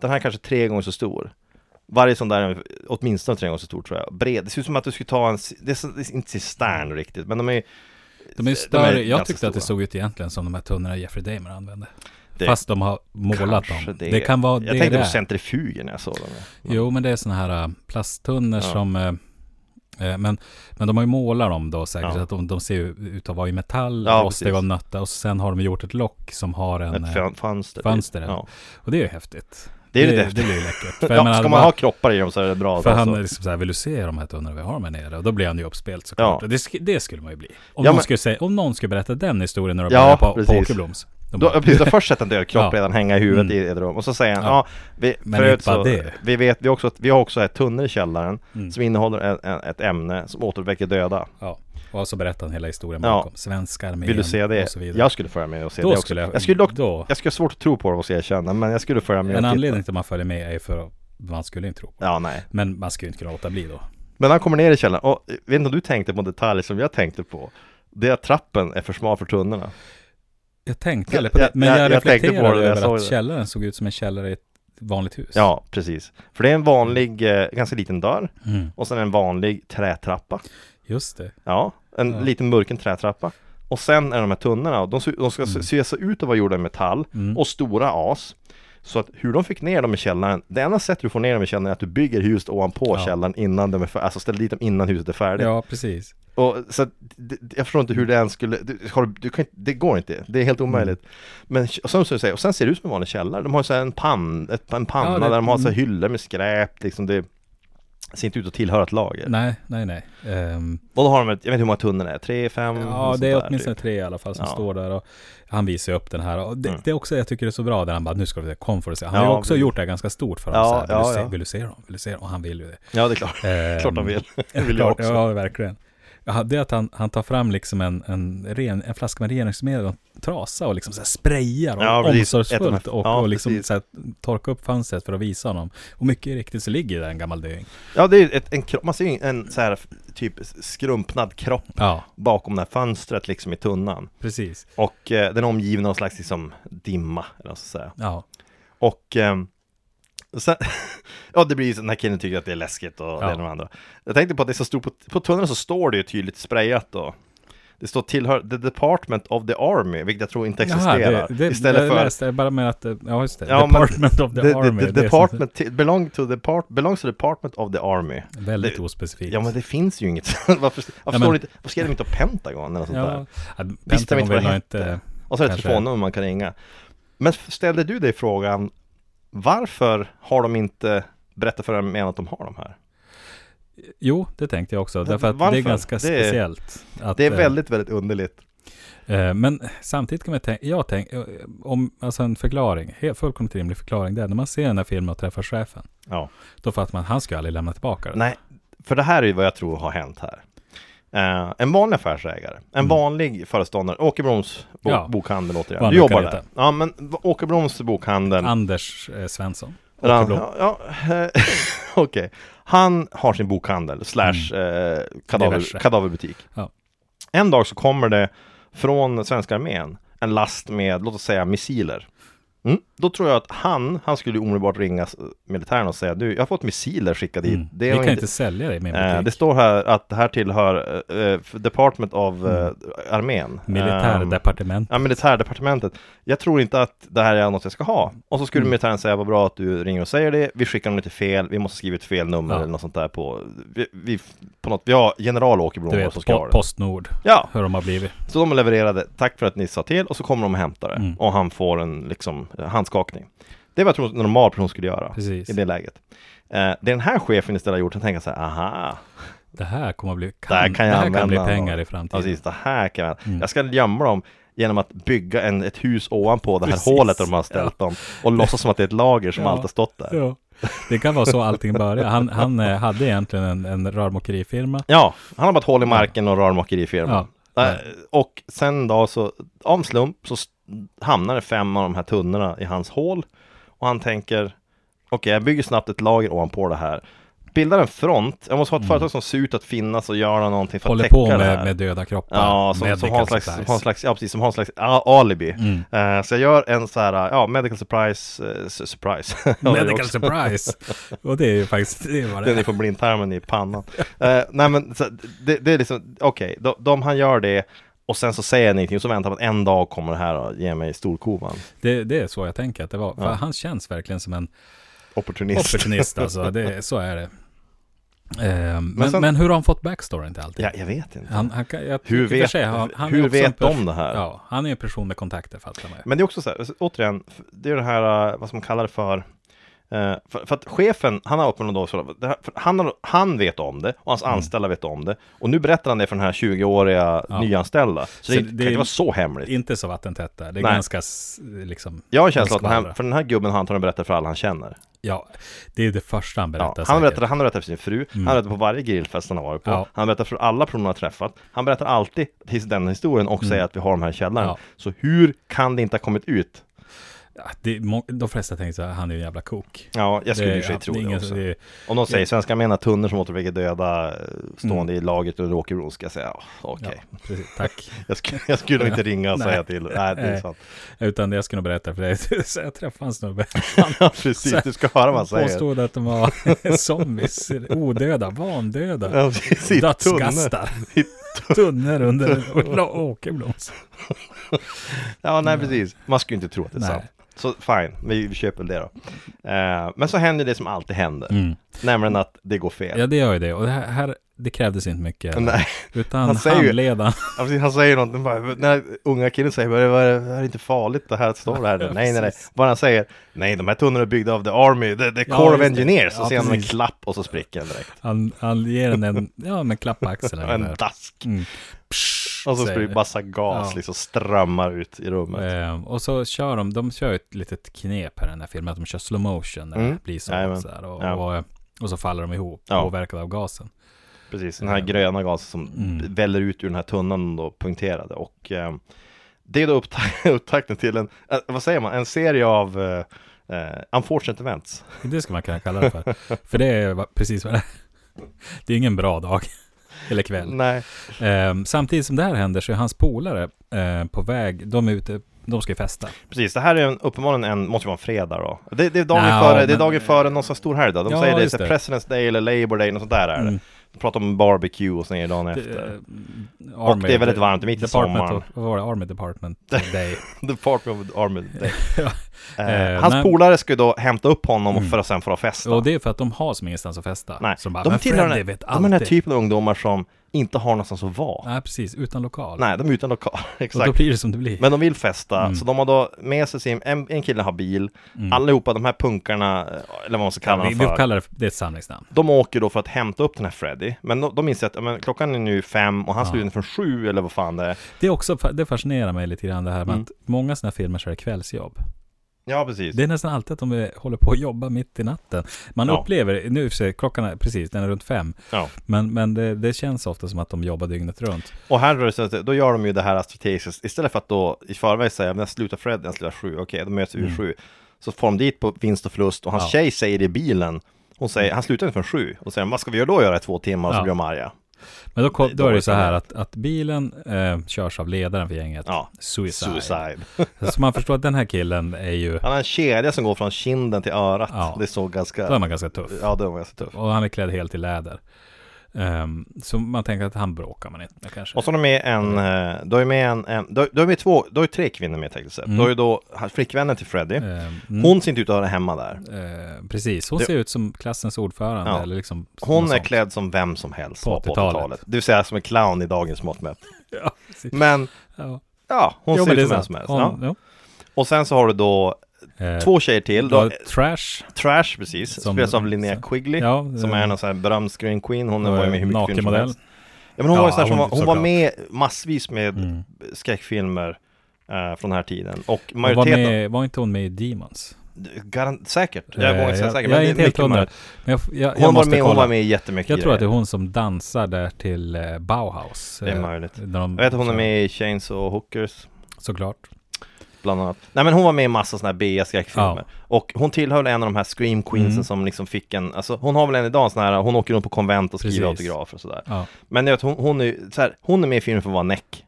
den här är kanske tre gånger så stor. Varje sån där är åtminstone tre gånger så stor tror jag. Bred, det ser ut som att du skulle ta en, c- det är, så- det är inte cistern Mm. riktigt, men de är ju De är ju större. jag ganska tyckte att det stora. såg ut egentligen som de här tunnorna Jeffrey Dahmer använde. Det- Fast de har målat Kanske dem. Det, kan vara Jag det tänkte där. på centrifuger när jag såg dem. Ja. Jo, men det är sådana här äh, plasttunnor Ja. som... äh, äh, Men, men de har ju målat dem då säkert, Ja. så att de, de ser ju ut att vara i metall, Ja, rostiga precis. och nötta. Och sen har de gjort ett lock som har en... Ett äh, fön- fönster. fönster, typ. ja. ja. Och det är ju häftigt. Det är lite Det häftigt. blir [LAUGHS] ju läckert. För jag Ja, menar, ska det man var- ha kroppar i dem så är det bra. För alltså. han är liksom så här, vill du se de här tunnorna vi har med nere? Och då blir han ju uppspelt såklart. Ja. Det, sk- det skulle man ju bli. Om, Ja, någon men- skulle säga, om någon skulle berätta den historien när de Ja, började på, på precis. Åkerbloms. De Då, bara, precis, då först sätter en [LAUGHS] död kropp Ja. redan hänga i huvudet Mm. i ett rum och så säger han Ja. ja, vi, Men förut inte bara så, det. vi vet, vi, också, att- vi har också ett tunnor i källaren Mm. som innehåller ett, ett- ett ämne som återväcker döda. ja. Och så berättar han hela historien Ja. bakom. Svenska armén Vill du se och det? så vidare. Jag skulle följa med och se då det också. skulle jag, jag skulle dock, då, jag skulle ha svårt att tro på det måste jag erkänna, men jag skulle följa med En och titta. anledning till att man följer med är för att man skulle inte tro på det. Ja, nej. Men man skulle ju inte kunna låta bli då. Men han kommer ner i källaren och eh, vet inte om du tänkte på en detalj som jag tänkte på? Det är att trappen är för smal för tunnorna. Jag tänkte eller på Jag- det, men jag, jag- jag tänkte på det när reflekterade jag över såg att det. källaren såg ut som en källare i ett vanligt hus. Ja, precis. För det är en vanlig, eh, ganska liten dörr Mm. och sen en vanlig trätrappa. Just det. Ja, en Ja. liten murken trätrappa. Och sen är de här tunnorna, och de, ser- de ska Mm. se se så ut att vara gjorda i metall Mm. och stora as. Så att hur de fick ner dem i källaren, det enda sättet du får ner dem i källaren är att du bygger huset ovanpå Ja. källaren innan de är färdiga, alltså ställer dit dem innan huset är färdigt. Ja, precis. Och så att, det- det- jag förstår inte hur det ens skulle, du, har, du kan, inte- det går inte, det är Mm. helt omöjligt. Men och sen, så säger, och sen ser det ut som en vanlig källare, de har så här en, pann, ett, en panna Ja, det- där de har så här mm. hyllor med skräp, liksom det ser inte ut att tillhöra ett lager. Nej, nej, nej. Ehm, Och då har de, ett, jag vet inte hur många tunnor det är, tre, fem? Ja, något det sånt är där, åtminstone typ. tre i alla fall som Ja. står där och han visar ju upp den här. Och det, Mm. det är också, jag tycker det är så bra där han bara, nu ska vi se, kom för att se. Han har ju Ja, också precis. gjort det här ganska stort för Ja, oss. här. Vill, ja, du se, ja. vill du se dem? Vill du se dem? Och han vill ju det. Ja, det är [LAUGHS] klart. [LAUGHS] Ehm, Klart han vill. Det [LAUGHS] vill jag [LAUGHS] klart, också. Ja, verkligen. Ja, Det är att han, han tar fram liksom en, en, ren, en flaska med rengöringsmedel och en trasa och liksom så här sprayar och Ja, precis. omsorgsfullt Ett- och, ja, och liksom precis. så här torkar upp fönstret för att visa honom. Och mycket riktigt så ligger där en gammal döing. Ja, det är ju ett, en kropp, man ser ju en så här typ skrumpnad kropp Ja, bakom det här fönstret liksom i tunnan. precis. Och eh, den är omgiven av någon slags liksom dimma, eller vad jag ska säga. Ja, Och ehm, sen, [LAUGHS] ja det blir ju så, den här killen tycker att det är läskigt och det ena Ja. och det andra. Jag tänkte på att det är så stort, på, på tunnorna så står det ju tydligt sprayat då. Det står tillhör The Department of the Army, vilket jag tror inte existerar. Jaha, det, det, Istället jag för läste, jag bara med att, eh, ja just det, Ja, men- Department of the, The, Army. the, det är department, ti- belong to the part, belongs to the Department of the Army. sånt- väldigt det- ospecifikt. Ja men det finns ju inget. [LAUGHS] varför varför, men- står det inte, varför skrev de inte Pentagon eller något sånt där? Visste de de inte vad vill det nog hette? inte... Och så är det ett kanske. telefonnummer man kan ringa. Men ställde du dig frågan, varför har de inte berätta för dem att de har de här. Jo, det tänkte jag också. Men Därför att det varför? är ganska Det är- speciellt. Att, Det är eh, väldigt, väldigt underligt. Eh, Men samtidigt kan man tänka, jag tänk, eh, om, alltså en förklaring, helt fullkomligt rimlig förklaring, det är när man ser den här filmen och träffar chefen, Ja. då fattar man att han ska aldrig lämna tillbaka den. Nej, för det här är ju vad jag tror har hänt här. Eh, en vanlig affärsägare, en vanlig föreståndare, Åke Broms bo- Mm. Ja. bokhandel återigen. Du Vanlig jobbar kareta. där. Ja, men v- Åke Broms bokhandel. Anders eh, Svensson. Eller han- Åkerblom. ja, ja, [LAUGHS] Okej. Han har sin bokhandel slash eh, kadaver, Mm. Diverse. kadaverbutik. Ja. En dag så kommer det från svenska armén en last med, låt oss säga, missiler. Mm. Då tror jag att han, han skulle ju omedelbart ringa s- militären och säga du, jag har fått missiler skickade hit. Mm. Det Vi har kan inte sälja det i min Eh, butik. det står här att det här tillhör eh, eh, Department of Mm. eh, Armén. Ehm, Militärdepartement. Ja, militärdepartementet. Jag tror inte att det här är något jag ska ha. Och så skulle Mm. militären säga, vad bra att du ringer och säger det. Vi skickar dem lite fel, vi måste skriva ett fel nummer Ja. eller något sånt där på... Vi, vi, på något, vi har general Åke du Blomberg vet, som ska ha po- det. Postnord, Ja, hur de har blivit. så de levererade, tack för att ni sa till, och så kommer de och hämtar det. Mm. Och han får en liksom, eh, handskakning. Det är vad jag tror en normal person skulle göra Precis. i det läget. Eh, det den här chefen istället har gjort, han tänker så här, aha, Det här kommer att bli, Det kan, här kan jag använda bli dem. pengar i Ja, framtiden. precis, Alltså, det här kan jag. Mm. Jag ska gömma dem genom att bygga en, ett hus ovanpå det här Precis, hålet där de har ställt dem och låtsas som att det är ett lager som Ja. alltid har stått där. Ja. Det kan vara så allting börjar. Han, han eh, hade egentligen en, en rörmokerifirma. Ja, han har bara ett hål i marken och rörmokerifirma. Ja. Ja. Och sen då så, av en slump, så s- hamnar det fem av de här tunnorna i hans hål. Och han tänker, okej, jag bygger snabbt ett lager ovanpå det här. Bildar en front, jag måste ha ett företag som ser ut att finnas och göra någonting för Mm. Håller att täcka på det här. med, med döda kroppar. Ja, som, som, medical har en slags, supplies. har en slags, ja, precis, som har en slags a- alibi. Mm. Eh, så jag gör en så här, ja, medical surprise, eh, su- surprise. [LAUGHS] Ja, det är Medical också- surprise. Och det är ju faktiskt det är vad det Den är är. från blindtarmen i [LAUGHS] pannan. Eh, nej men, så, det, det är liksom, okej, de, de han gör det och sen så säger han ingenting och så väntar man att en dag kommer det här och ge mig storkovan. Det, det är så jag tänker att det var. För Ja. han känns verkligen som en Opportunist. opportunist alltså. Det, är- så är det. Ehm, men, men, sen- hur har han fått backstoryn till allting? Ja, jag vet inte. Han, han, kan- jag, hur i och för vet, sig, han, han är hur också en vet pers- de det här? Ja, han är en person med kontakter fattar man ju. Men det är också så här, alltså, återigen, f- det är det här, eh, vad som man kallar det för, eh, för, för att chefen, han har uppenbarligen då, så- det här- för han, har- han vet om det och Mm. hans anställda vet om det. Och nu berättar han det för den här 20-åriga Ja. nyanställda. Så, Så det, det kan är- inte vara så hemligt. Inte så vattentätt där. Det är Nej. ganska s- liksom... Jag har en känsla att den här, skvallra. för den här gubben har antagligen berättat för alla han känner. Ja, det är det första han Ja, berättar. han, säkert. Mm. berättar, han berättar för sin fru, han berättar på varje grillfest han har varit på, Ja. han berättar för alla personer han har träffat, han berättar alltid his- den historien och säger att vi har de här i källaren. Mm. Ja. Så hur kan det inte ha kommit ut? Ja, det är må- de flesta tänker så här, han är ju en jävla kok. Ja, jag skulle Det- i och för sig ja, tro det är det ingen- också. det är- Om de säger svenska menar tunnor som återväcker döda eh, stående i laget under Åkerbron ska jag säga "Ja, okej. Mm. Ja, precis, [LAUGHS] tack. Jag, skulle, jag skulle inte ringa och [LAUGHS] Nej. säga till. Nej, det är Nej. sant. Utan det jag ska nog berätta för dig. [LAUGHS] Så jag träffade en snubbe. Ja, precis. Du ska höra vad han Han säger. påstod att de var [LAUGHS] zombies, odöda, vandöda. Ja, precis. Tunnor. Dödsgastar. I [LAUGHS] Tunnor under åkerbloms. Ja, nej, precis. Man skulle ju inte tro att det är Nej. sant. Så fine, vi, vi köper det då. Eh, men så händer det som alltid händer, Mm. nämligen att det går fel. Ja, det gör ju det. Och det här, här det krävdes inte mycket. Nej, Utan Han säger ju- handledaren. ja, precis, han säger någonting, bara, när unga killen säger, "Vad är det vad är det- det här är inte farligt, det här står det här. Ja, nej, nej, nej. precis. Bara han säger, nej, de här tunnorna är byggda av the army, the, the Ja, core of just det. engineers. Så Ja, ser han en precis. klapp och så spricker han direkt. Han, han ger en, en, ja, men klapp på axeln. eller En där. dask. Mm. Och så säger spricker det. massa gas, Ja. liksom strömmar ut i rummet. Ehm, och så kör de, de kör ju ett litet knep här i den här filmen, att de kör slow motion när Mm. det blir så, Jajamän. så här, och, Ja. och, och så faller de ihop, Ja. påverkade av gasen. Precis, den här Eh, gröna gasen som mm. väller ut ur den här tunnan då punkterade och eh, det är då uppta- [LAUGHS] upptakten till en, eh, vad säger man, en serie av eh, eh, unfortunate events. Det ska man kunna kalla det för. [LAUGHS] för det är va- precis vad det är. Det är ingen bra dag. [LAUGHS] Eller kväll. Nej, Ehm, samtidigt som det här händer så är hans polare eh, på väg, de är ute, de ska ju festa. precis, det här är en, uppenbarligen en, måste ju vara en fredag då. Det, det är dagen, Nja, före, det är men- dagen före någon sån stor helgdag, de Ja, säger det, just så här, det. President's Day eller Labour Day, något sånt där är det. Mm. De pratar om barbecue och sen är det dagen Det, efter. eh, Och det är väldigt varmt mitt i [LAUGHS] Department sommaren. [LAUGHS] of- Vad var det? Army Department Day. Department of Army Day. [LAUGHS] Ja. Eh, hans nej. polare ska ju då hämta upp honom Mm. för att sen få festa. Och det är för att de har som ingenstans att festa. Nej, Som bara, de men tillhör Freddy den- vet De är den här alltid. typen av ungdomar som inte har någonstans att vara. Nej, precis. Utan lokal. Nej, de är utan lokal. [LAUGHS] Och då Exakt. blir det som det blir. Men de vill festa, Mm. så de har då med sig sin, en, en kille har bil, Mm. allihopa de här punkarna, eh, eller vad man ska kalla vi, dem vi för, kallar det, det är ett samlingsnamn. de åker då för att hämta upp den här Freddy, men de, de inser att ja, men, klockan är nu fem och han Ja. skulle in från sju eller vad fan det är. Det, är också, fa- det fascinerar mig lite grann det här med Mm. att många sådana här filmer så är det kvällsjobb. Ja, precis. Det är nästan alltid att de är- håller på att jobba mitt i natten. Man Ja. upplever, nu i och för sig, klockan är precis, den är runt fem. Ja. Men, men det, det känns ofta som att de jobbar dygnet runt. Och här rör det sig, då gör de ju det här strategiskt, istället för att då i förväg säga, men jag slutar Freddy, jag slutar sju, okej, då möts vi vid Mm. sju. Så får de dit på vinst och förlust och hans Ja. tjej säger i bilen, hon säger, han slutar inte förrän sju, och säger, vad ska vi göra då, göra i två timmar, och så Ja. blir de arga. Men då, kom, Det är då är det dåligt så här att, att bilen eh, körs av ledaren för gänget. Ja. Suicide. Suicide. Så man förstår att den här killen är ju, Han har en kedja som går från kinden till örat. Ja. Det såg ganska... då är man ganska tuff. Ja, det var ganska tufft. Och han är klädd helt i läder. Ehm, så man tänker att han bråkar man inte med kanske. Och så har de med en, eh, då är med en, en då, då är med två, då är tre kvinnor med tekniskt sett. Mm. Då är då ha- flickvännen till Freddy. Ehm, mm, Hon ser inte ut att höra hemma där. eh, precis, hon Det- ser ut som klassens ordförande. Ja. Eller liksom, Hon något är sånt. klädd som vem som helst På var på 80-talet. 80-talet. Det vill säga som en clown i dagens mått mätt. [LAUGHS] Ja, precis. Men Ja. ja, Mm. hon Jo, ser men det ut är som vem sant. som helst. Ja. Hon- Och sen så har du då ja. Eh, två tjejer till. då, Då, Trash. Trash precis, Som- spelas av Linnea Quigley. Ja, eh, Som är någon sån här berömd screen queen. Hon var ju med i hur mycket film som nakenmodell. helst. Ja, men hon Ja, var ju sån här som hon- var, hon var såklart. med massvis med Mm. skräckfilmer eh, från den här tiden. Och Hon Var, majoriteten, med, var inte hon med i Demons? garan- säkert, jag Eh, vågar inte säga säkert, men jag det är är inte helt mycket hundra. möjligt. Men jag, f- jag, jag Hon var måste med, hon kolla. var med i jättemycket Jag tror att det är grejer. hon som dansar där till eh, Bauhaus. Det är eh, möjligt. när de- Jag vet att hon är med i Chains och Hookers, Såklart. bland annat. Nej men hon var med i massa sådana här B-skräckfilmer. Ja. Och hon tillhörde en av de här Scream Queensen Mm. som liksom fick en, alltså hon har väl än idag en sån här, hon åker runt på konvent och skriver Precis. autografer och sådär. Ja. Men jag vet, hon, hon, är, så här, hon är med i filmen för att vara näck.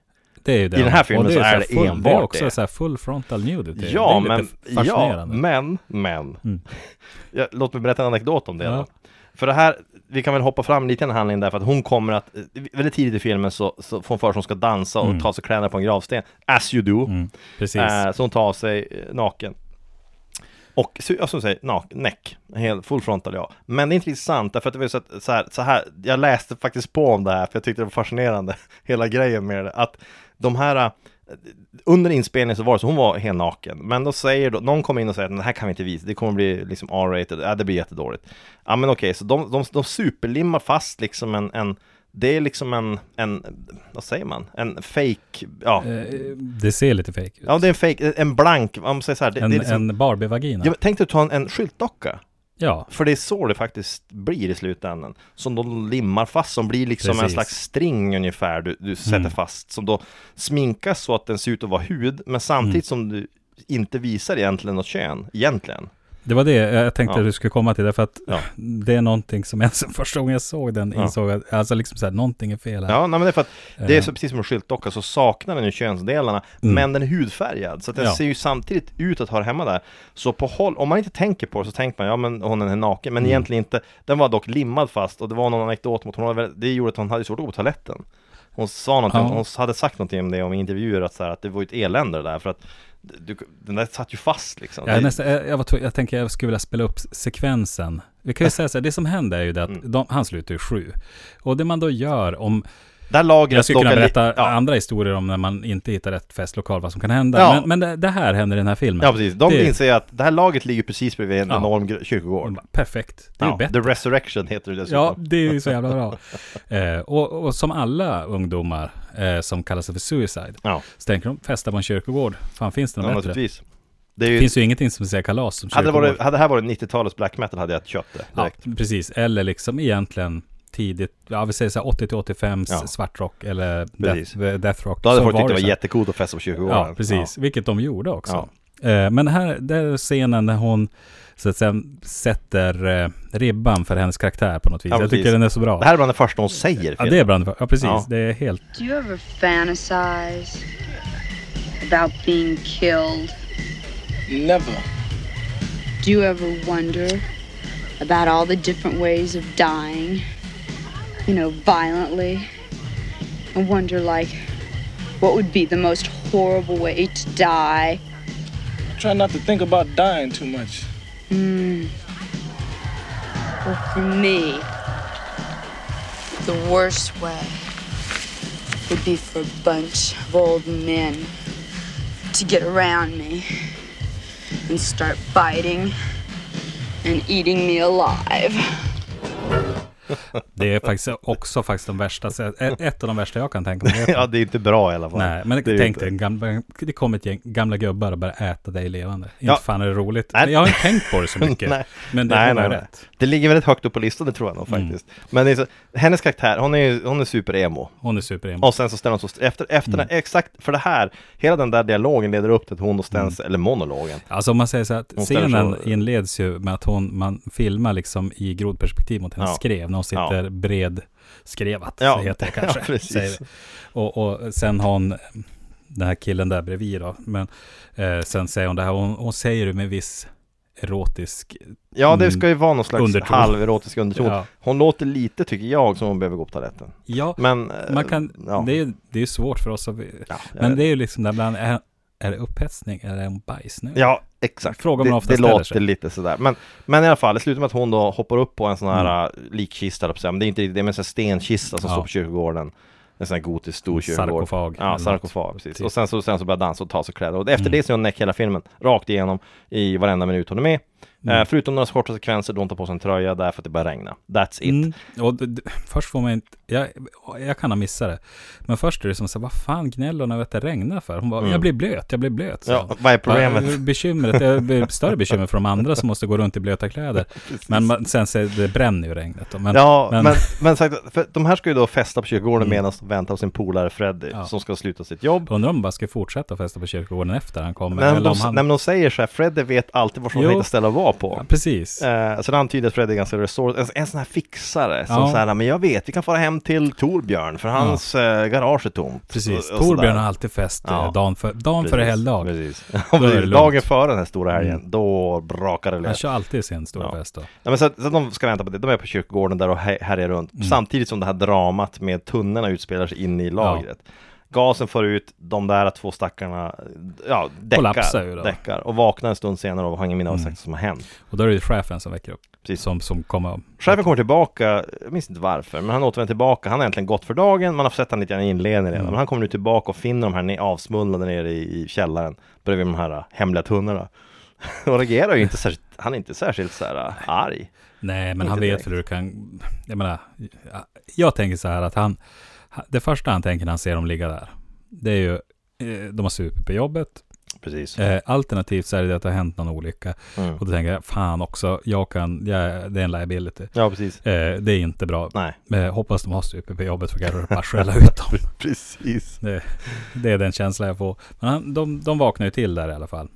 Det är ju det. den här filmen Och så är ju här det full, Det är enbart också det. så här full frontal nudity. Ja, det är men, lite ja, fascinerande. men, men. Mm. [LAUGHS] Ja, låt mig berätta en anekdot om det Ja. då. För det här, vi kan väl hoppa fram lite i den handlingen därför att hon kommer att, eh, väldigt tidigt i filmen så, så får hon för sig att hon ska dansa och Mm. ta av sig kläderna på en gravsten, as you do. Mm, precis. Eh, så hon tar av sig eh, naken. Och, så- ja, som du säger, nak, näck, helt fullfrontad ja. Men det är inte riktigt sant, därför att det var ju så att, så här, så här, jag läste faktiskt på om det här, för jag tyckte det var fascinerande, [LAUGHS] hela grejen med det, att de här, eh, under inspelningen så var det så, hon var helt naken, men då säger då, någon kommer in och säger att det här kan vi inte visa, det kommer bli liksom R-rated, ja det blir jättedåligt. Ja men okej, så de, de, de superlimmar fast liksom en, en det är liksom en, en, vad säger man, en fake, ja, Eh, det ser lite fake ut. Ja, det är en fake, en blank, om man säger så här, det, en det är liksom, en Barbie-vagina. ja, men tänk dig att ta en, en skyltdocka, ja. för det är så det faktiskt blir i slutändan, som de limmar fast, som blir liksom en Precis. slags string ungefär du, du sätter Mm. fast, som då sminkas så att den ser ut att vara hud, men samtidigt som Mm. du inte visar egentligen något kön, egentligen. Det var det jag tänkte Ja. att du skulle komma till, därför att Ja. det är någonting som jag, [LAUGHS] som första gången jag såg den Ja. insåg att, alltså liksom såhär, någonting är fel här. Ja, nej, men det är för att Eh, det är så precis som en skyltdocka, så saknar den ju könsdelarna, Mm. men den är hudfärgad, så att den Ja. ser ju samtidigt ut att höra hemma där. Så på håll, om man inte tänker på det så tänker man, ja men hon är naken, men Mm. egentligen inte. Den var dock limmad fast, och det var någon anekdot mot honom, det gjorde att hon hade svårt att gå på toaletten. Hon sa någonting, Ja. hon hade sagt någonting om det om intervjuer, att, så här, att det var ju ett elände det där, för att du, den där satt ju fast liksom. Jag, Det- är nästan, jag, jag, var tv- jag tänker jag skulle vilja spela upp sekvensen. Vi kan ju säga så här, det som händer är ju det att Mm. de, han slutar ju sju. Och det man då gör om, där lagret Jag skulle kunna dock är li- berätta ja, andra historier om när man inte hittar rätt festlokal, vad som kan hända. Ja. Men, men det, det här händer i den här filmen. ja precis, de Mm. Det- inser att det här laget ligger precis bredvid en Ja. enorm gr- kyrkogård. Perfekt, det är ju Ja, bättre. The Resurrection heter det dessutom. Ja, det är ju så jävla bra. [LAUGHS] eh, och, och som alla ungdomar eh, som kallar sig för suicide, Ja. så tänker de festa på en kyrkogård. Fan, finns det något Ja, bättre? naturligtvis. Det är ju, finns ju ingenting som säger kalas som hade, det kyrkogård. varit, hade det här varit 90-talets black metal hade jag köpt det ja, direkt. precis, eller liksom egentligen tidigt, ja vi säger så här 80-85 Ja. svartrock eller Precis. death, deathrock. Då hade Så folk tyckt det var så här. jättecoolt att festa på kyrkogården. Ja, precis. Vilket de gjorde också. Ja. Eh, Men här, där är scenen när hon så att säga, sätter eh, ribban för hennes karaktär på något vis. Ja, jag precis. tycker den är så bra. Det här är bland det första hon säger. i ja, det filmen. är brand. Ja, precis. Ja. Det är helt... Do you ever fantasize about being killed? Never. Do you ever wonder about all the different ways of dying? You know, violently? And wonder, like, what would be the most horrible way to die? try not to think about dying too much. Well, for me, the worst way would be for a bunch of old men to get around me and start biting and eating me alive. Det är faktiskt också faktiskt de värsta, sä- ett- ett av de värsta jag kan tänka mig. [LAUGHS] ja, det är inte bra i alla fall. Nej, men Det är ju tänk inte- dig, en gamla- det kommer ett gäng gamla gubbar och börjar äta dig levande. Ja. Inte fan är det roligt. Nej. Men jag har inte tänkt på [LAUGHS] det så mycket. Nej. Men det nej, var nej, nej. rätt. Mm. Det ligger väldigt högt upp på listan, det tror jag nog faktiskt. Men det är så, hennes karaktär, hon är ju, hon är super-emo. Hon är superim. Och sen så ställer hon så, efter, efter Mm. den, exakt för det här, hela den där dialogen leder upp till att hon och Stens, Mm. eller monologen. Alltså om man säger så här att Hon ställer scenen så- inleds ju med att hon, man filmar liksom i grodperspektiv mot hennes Ja. skrev när hon sitter Ja. bredskrevat, Ja. så [LAUGHS] heter det Ja, kanske. precis. säger vi. och, och sen har hon den här killen där bredvid då, men eh, sen säger hon det här, hon, hon säger det med viss erotisk, Ja, det Mm. ska ju vara någon slags Underton. halverotisk underton. Ja. Hon låter lite, tycker jag, som hon behöver gå på toaletten. ja, Men... eh, man kan, ja. det, är, det är svårt för oss att, ja, eh, jag men vet. det är ju liksom där bland, är, är det upphetsning eller är hon bajs nu? Ja, exakt. Fråga om det, man ofta det ställer låter sig. lite sådär. Men, men i alla fall, det slutar med att hon då hoppar upp på en sån här mm. likkista, höll jag på att säga. men det är inte riktigt det, men en sån här stenkista som Ja. står på kyrkogården. En sån här gotisk stor kyrkogård. Sarkofag. Eller Ja, något. sarkofag, precis. Typ. Mm. Och sen så, sen så börjar dansa och ta sig kläder. Och efter det så är hon näck hela filmen, rakt igenom, i varenda minut hon är med. Mm. Eh, förutom några korta sekvenser då hon tar på sig en tröja därför att det börjar regna. That's it. Mm. Och d- d- först får man inte, jag, jag kan ha missat det, men först är det som så här, vad fan gnäller hon över att det regnar för? Hon bara, jag blir blöt, jag blir blöt. sa Mm. Ja, hon. vad är problemet? Bara, Bekymret, det blir större bekymmer för de andra som måste gå runt i [LAUGHS] blöta kläder. Men man, sen säger det bränner ju regnet då. Men, Ja, men, men- Mm. men, sagt, för de här ska ju då festa på kyrkogården medan de väntar på sin polare Freddy Ja. som ska sluta sitt jobb. Undrar om man bara ska fortsätta festa på kyrkogården efter han kommer. Men eller de, om han, nej, men de säger så här, Freddy vet alltid var som Jo. hittar ställe att vara på. ja, precis. Eh, så det antyder att Freddy är ganska resurs, en, en sån här fixare som Ja. så här, men jag vet, vi kan fara hem till Torbjörn för hans eh, garage är tomt. Precis, Och- och sådär. Torbjörn har alltid fest eh, Ja. dagen, för, dagen före Precis, helgdag. Precis. [LAUGHS] Då är det lugnt. Mm. Dagen före den här stora helgen, då brakar det Han lös. kör alltid sin stora Ja. fest då. Nej, men så, att- så att de ska vänta på det, de är på kyrkogården där och hä- härjar runt, Mm. samtidigt som det här dramat med tunnorna utspelar sig inne i lagret. Gasen får ut, de där två stackarna, ja, Kollapsar ju däckar, då. Mm. däckar och vaknar en stund senare och har ingen minne av exakt vad som har hänt. Och då är det ju chefen som väcker upp. Precis. Som, som kommer. Chefen kommer tillbaka, jag minns inte varför, men han återvänder tillbaka. Han har egentligen gått för dagen, man har sett han lite grann i inledningen Mm. redan. Men han kommer nu tillbaka och finner de här ne- avsmullnade nere i, i källaren bredvid de här äh, hemliga tunnorna. [LAUGHS] Och reagerar ju inte särskilt, han är inte särskilt så här äh, arg. Nej, men Inte han vet direkt. väl hur du kan... Jag menar, jag, jag tänker så här att han... han- Det första han tänker när han ser dem ligga där, det är ju... eh, De har supit på jobbet. Precis. Eh, Alternativt så är det det att det har hänt någon olycka. Mm. Och då tänker jag, fan också, jag kan... Jag, det är en liability. Ja, precis. Eh, Det är inte bra. Nej, Eh, Hoppas de har supit på jobbet för att bara skälla [LAUGHS] ut dem. precis. Det, det är den känslan jag får. Men han, de, de vaknar ju till där i alla fall.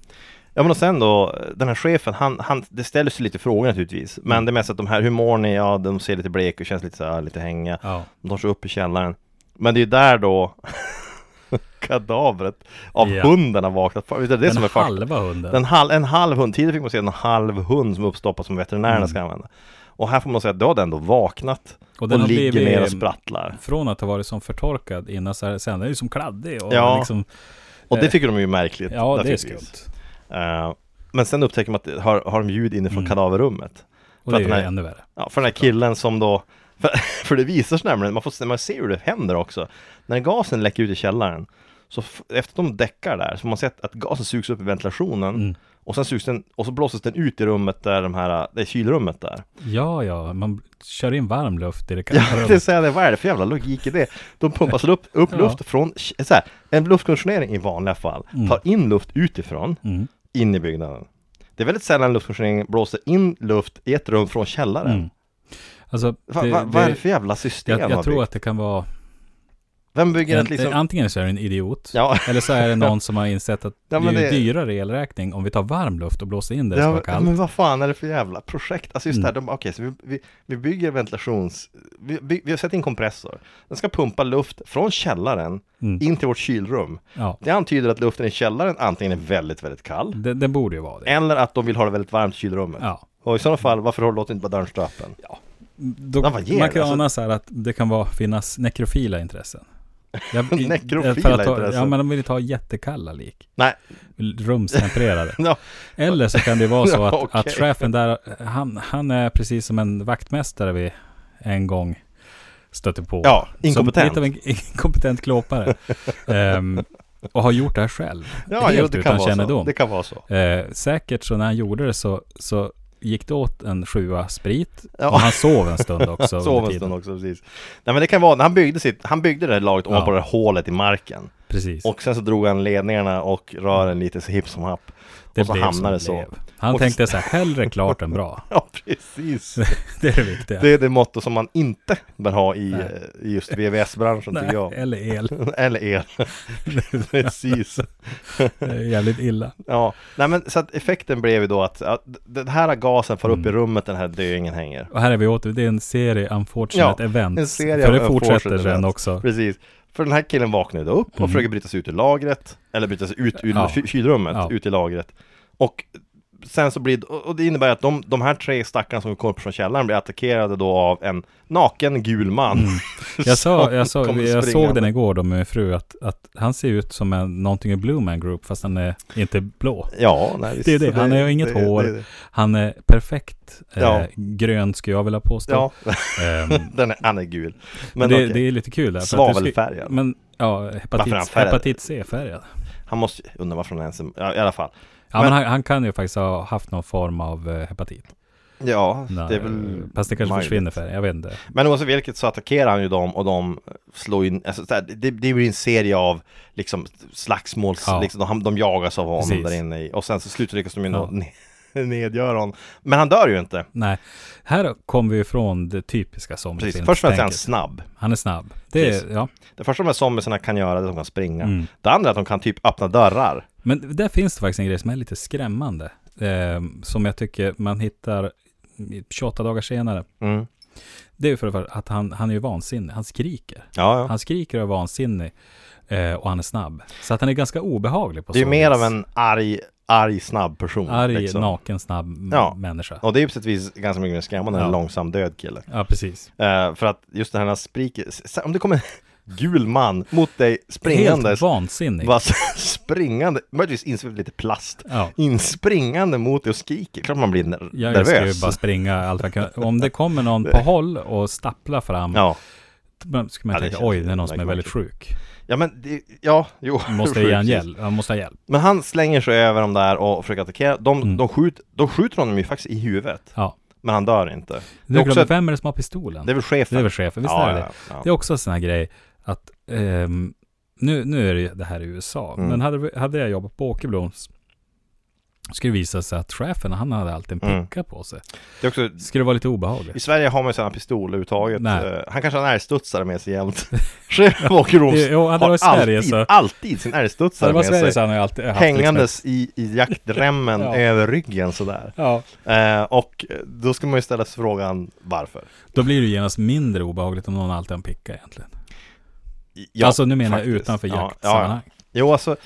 Ja men och sen då, den här chefen, han, han, det ställer sig lite frågor naturligtvis. Mm. Men det är mest att de här, hur mår ni? Ja, de ser lite blek och känns lite så här, lite hänga. Ja. De tar sig upp i källaren. Men det är ju där då [LAUGHS] kadavret av Ja. hunden har vaknat. För- Det är det Den som är fakta. halva hunden. Den halv, en halv hund. Tidigare fick man se en halv hund som uppstoppas som veterinärerna Mm. ska använda. Och här får man säga att då har den då vaknat och, Och den har ligger blivit- ner och sprattlar. Från att ha varit som förtorkad innan så här, sen är det ju som kladdig och Ja. liksom Och det tycker de är ju märkligt. Ja, det är naturligtvis. skumt. Eh, men sen upptäcker man att det har, har de ljud inifrån Mm. kadaverrummet. Och För det att är ju den här- ännu värre. Ja, för den här killen som då för, [LAUGHS] för det visar sig nämligen, man får se- man ser hur det händer också När gasen läcker ut i källaren Så f- efter de däckar där så har man sett att gasen sugs upp i ventilationen Mm. Och sen sugs den, och så blåses den ut i rummet där de här, det är kylrummet [LAUGHS] där Ja, ja, man kör in varm luft i det Ja, kalla det är rummet. så här, vad är det för jävla logik i det? De pumpar så upp, upp Ja. luft från, så här, en luftkonditionering i vanliga fall Mm. tar in luft utifrån, in i byggnaden Det är väldigt sällan luftkonditionering blåser in luft i ett rum från källaren Mm. Alltså, Va, det- va, vad är det det- för jävla system jag, man jag tror byggt? att det kan vara, Vem bygger en, ett liksom... antingen så är det en idiot, Ja, eller så är det någon som har insett att Ja, det är men ju det- dyrare elräkning om vi tar varm luft och blåser in det som ja var men- kallt. Mm. men vad fan är det för jävla projekt? Alltså just det här, de, bara, okej, så vi, vi, vi bygger ventilations... Vi, vi, vi har satt in kompressor. Den ska pumpa luft från källaren in till vårt kylrum. Mm. Ja, Det antyder att luften i källaren antingen är väldigt, väldigt kall, det, det borde ju vara det. eller att de vill ha det väldigt varmt i kylrummet. Ja. Och i sådana fall, varför har- låter inte bara dörren stå öppen? Då, Ja, vad ger man det? kan Alltså- ana så här att det kan vara, finnas nekrofila intressen. [LAUGHS] Jag, Nekrofila för att ta- intressen. Ja, men de vill ju ta jättekalla lik. Nej, Rumstempererade. [LAUGHS] ja, Eller så kan det vara [LAUGHS] så Ja, att, okej. att chefen där, han, han är precis som en vaktmästare vi en gång stötte på. ja Som inkompetent. lite av en [LAUGHS] inkompetent klåpare. Ehm, och har gjort det här själv. ja, jo, helt det kan utan vara så. kännedom. Det kan vara så. Eh, säkert så när han gjorde det så, så gick det åt en sjua sprit. Ja. Och han sov en stund [LAUGHS] också. under Sov en tiden. stund också, precis. Nej men det kan vara, när han byggde sitt, han byggde det här laget Ja. ovanpå det här hålet i marken. Precis. Och sen så drog han ledningarna och rören lite så hipp som happ. det och så blev hamnade det som så. det blev. Han Och- tänkte så här, hellre klart än bra. Ja, precis. [LAUGHS] Det är det viktiga. [LAUGHS] Det är det motto som man inte bör ha i, Nej. eh, i just VVS-branschen [LAUGHS] Nej, tycker jag. Eller el. [LAUGHS] Eller el. precis. Det är jävligt illa. Ja, nej men så att effekten blev ju då att, att den här gasen far upp i Mm. rummet, den här döingen hänger. Och här är vi åter, det är en serie unfortunate Ja, events. en serie för det av fortsätter unfortunate sen events. också. Precis. För den här killen vaknar ju då upp och Mm. försöker bryta sig ut ur lagret, eller bryta sig ut ur Ja. ky- kylrummet, Ja. ut i lagret. Och sen så blir, och det innebär att de, de här tre stackarna som kom upp från källaren blir attackerade då av en naken gul man. Mm. Jag, [LAUGHS] sa, Som jag, sa, kommer jag såg springande. den igår då med min fru, att, att han ser ut som en, någonting i Blue Man Group, fast han är inte blå. Ja, nej, visst. Det är det. Så Han har ju inget det- hår. det är det. Han är perfekt eh, Ja. grön, skulle jag vilja påstå. Ja, [LAUGHS] Ehm, den är, han är gul. Men Men det, okej, det är lite kul där. för att det skulle- svavelfärgad. Men ja, Varför är han hepatit, färgad? hepatit C-färgad. Han måste, undra varför han ens är, ja, i alla fall. Ja, men, Men- han, han kan ju faktiskt ha haft någon form av eh, hepatit. Ja, Nej, Alltså, det är väl... Fast det kanske möjligt. försvinner färgen, jag vet inte. Men oavsett vilket så attackerar han ju dem och de slår in, alltså, så här, det, det blir en serie av liksom slagsmåls, Ja. liksom, de, de jagas av honom Precis. där inne i, och sen så slutar lyckas de ju Ja. nå- ne- [LAUGHS] nedgöra honom. Men han dör ju inte. Nej, här kommer vi ifrån det typiska Precis. zombiefilmstänket. Först och främst är han snabb. Han är snabb. Det är, Precis. ja. Det första de här zombiesarna kan göra det är att de kan springa. Mm. Det andra är att de kan typ öppna dörrar. Men där finns det faktiskt en grej som är lite skrämmande. Eh, som jag tycker man hittar 28 dagar senare. Mm. Det är ju för för att han, han är ju vansinnig. Han skriker. Ja, ja. Han skriker och är vansinnig. Eh, och han är snabb. Så att han är ganska obehaglig på Det är ju så mer vis. av en arg, arg snabb person. Arg, liksom. naken, snabb m- Ja. människa. Och det är ju på sätt och vis ganska mycket mer skrämmande än en Ja. långsam död kille. Ja, precis. Eh, för att just den här spriker, s- om det kommer en [LAUGHS] gul man mot dig springandes Helt vansinnig. Bara så- [LAUGHS] springande, möjligtvis insvept lite plast. Ja. Inspringande mot dig och skriker. Klart man blir ner- Jag ska ju nervös. bara springa allt jag kan. Om det kommer [LAUGHS] någon på håll och stapplar fram, Ja. då ska man Ja, det tänka känns oj, ju det är någon som är väldigt sjuk. ja, men det, ja, jo. Måste jag ge en hjälp? Jag måste ha hjälp. Men han slänger sig över dem där och försöker attackera. De, Mm. de, skjut, de skjuter honom ju faktiskt i huvudet. Ja. Men han dör inte. Nu också glömmer ett- vem är det som har pistolen? Det är väl chefen? Det är väl chefen, visst ja, är det ja, ja. Det är också en sån här grej att ehm, nu, nu är det, ju- det här i USA, Mm. men hade, vi- hade jag jobbat på Åkerbloms skulle det visa sig att chefen, han hade alltid en Mm. picka på sig. Det är också, Skulle det vara lite I obehagligt. Sverige har man ju sällan pistol överhuvudtaget. Nej. Eh, Han kanske har en älgstudsare med sig [LAUGHS] jämt. Chef åker runt Jo, hade det har varit Sverige alltid, så... alltid sin Hade älgstudsare det med varit Sverige sig. så hade jag alltid haft liksom. hängandes i, i jaktremmen [LAUGHS] Ja. över ryggen sådär. Liksom, ja. Eh, och då ska man ju ställa sig frågan varför. Då blir det ju genast mindre obehagligt om någon alltid har en picka egentligen. I- ja, alltså nu menar jag faktiskt. utanför Ja, jaktsammanhang. Ja, ja. Jo, alltså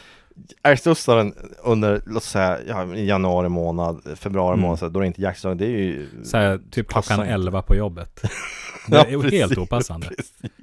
älgstudsaren under, låt säga, ja, i januari månad, februari Mm. månad, så här, då är det inte jaktsäsong, det är ju... Så här, typ Passar klockan inte. 11 på [LAUGHS] jobbet. Det Ja, är ju helt precis, opassande.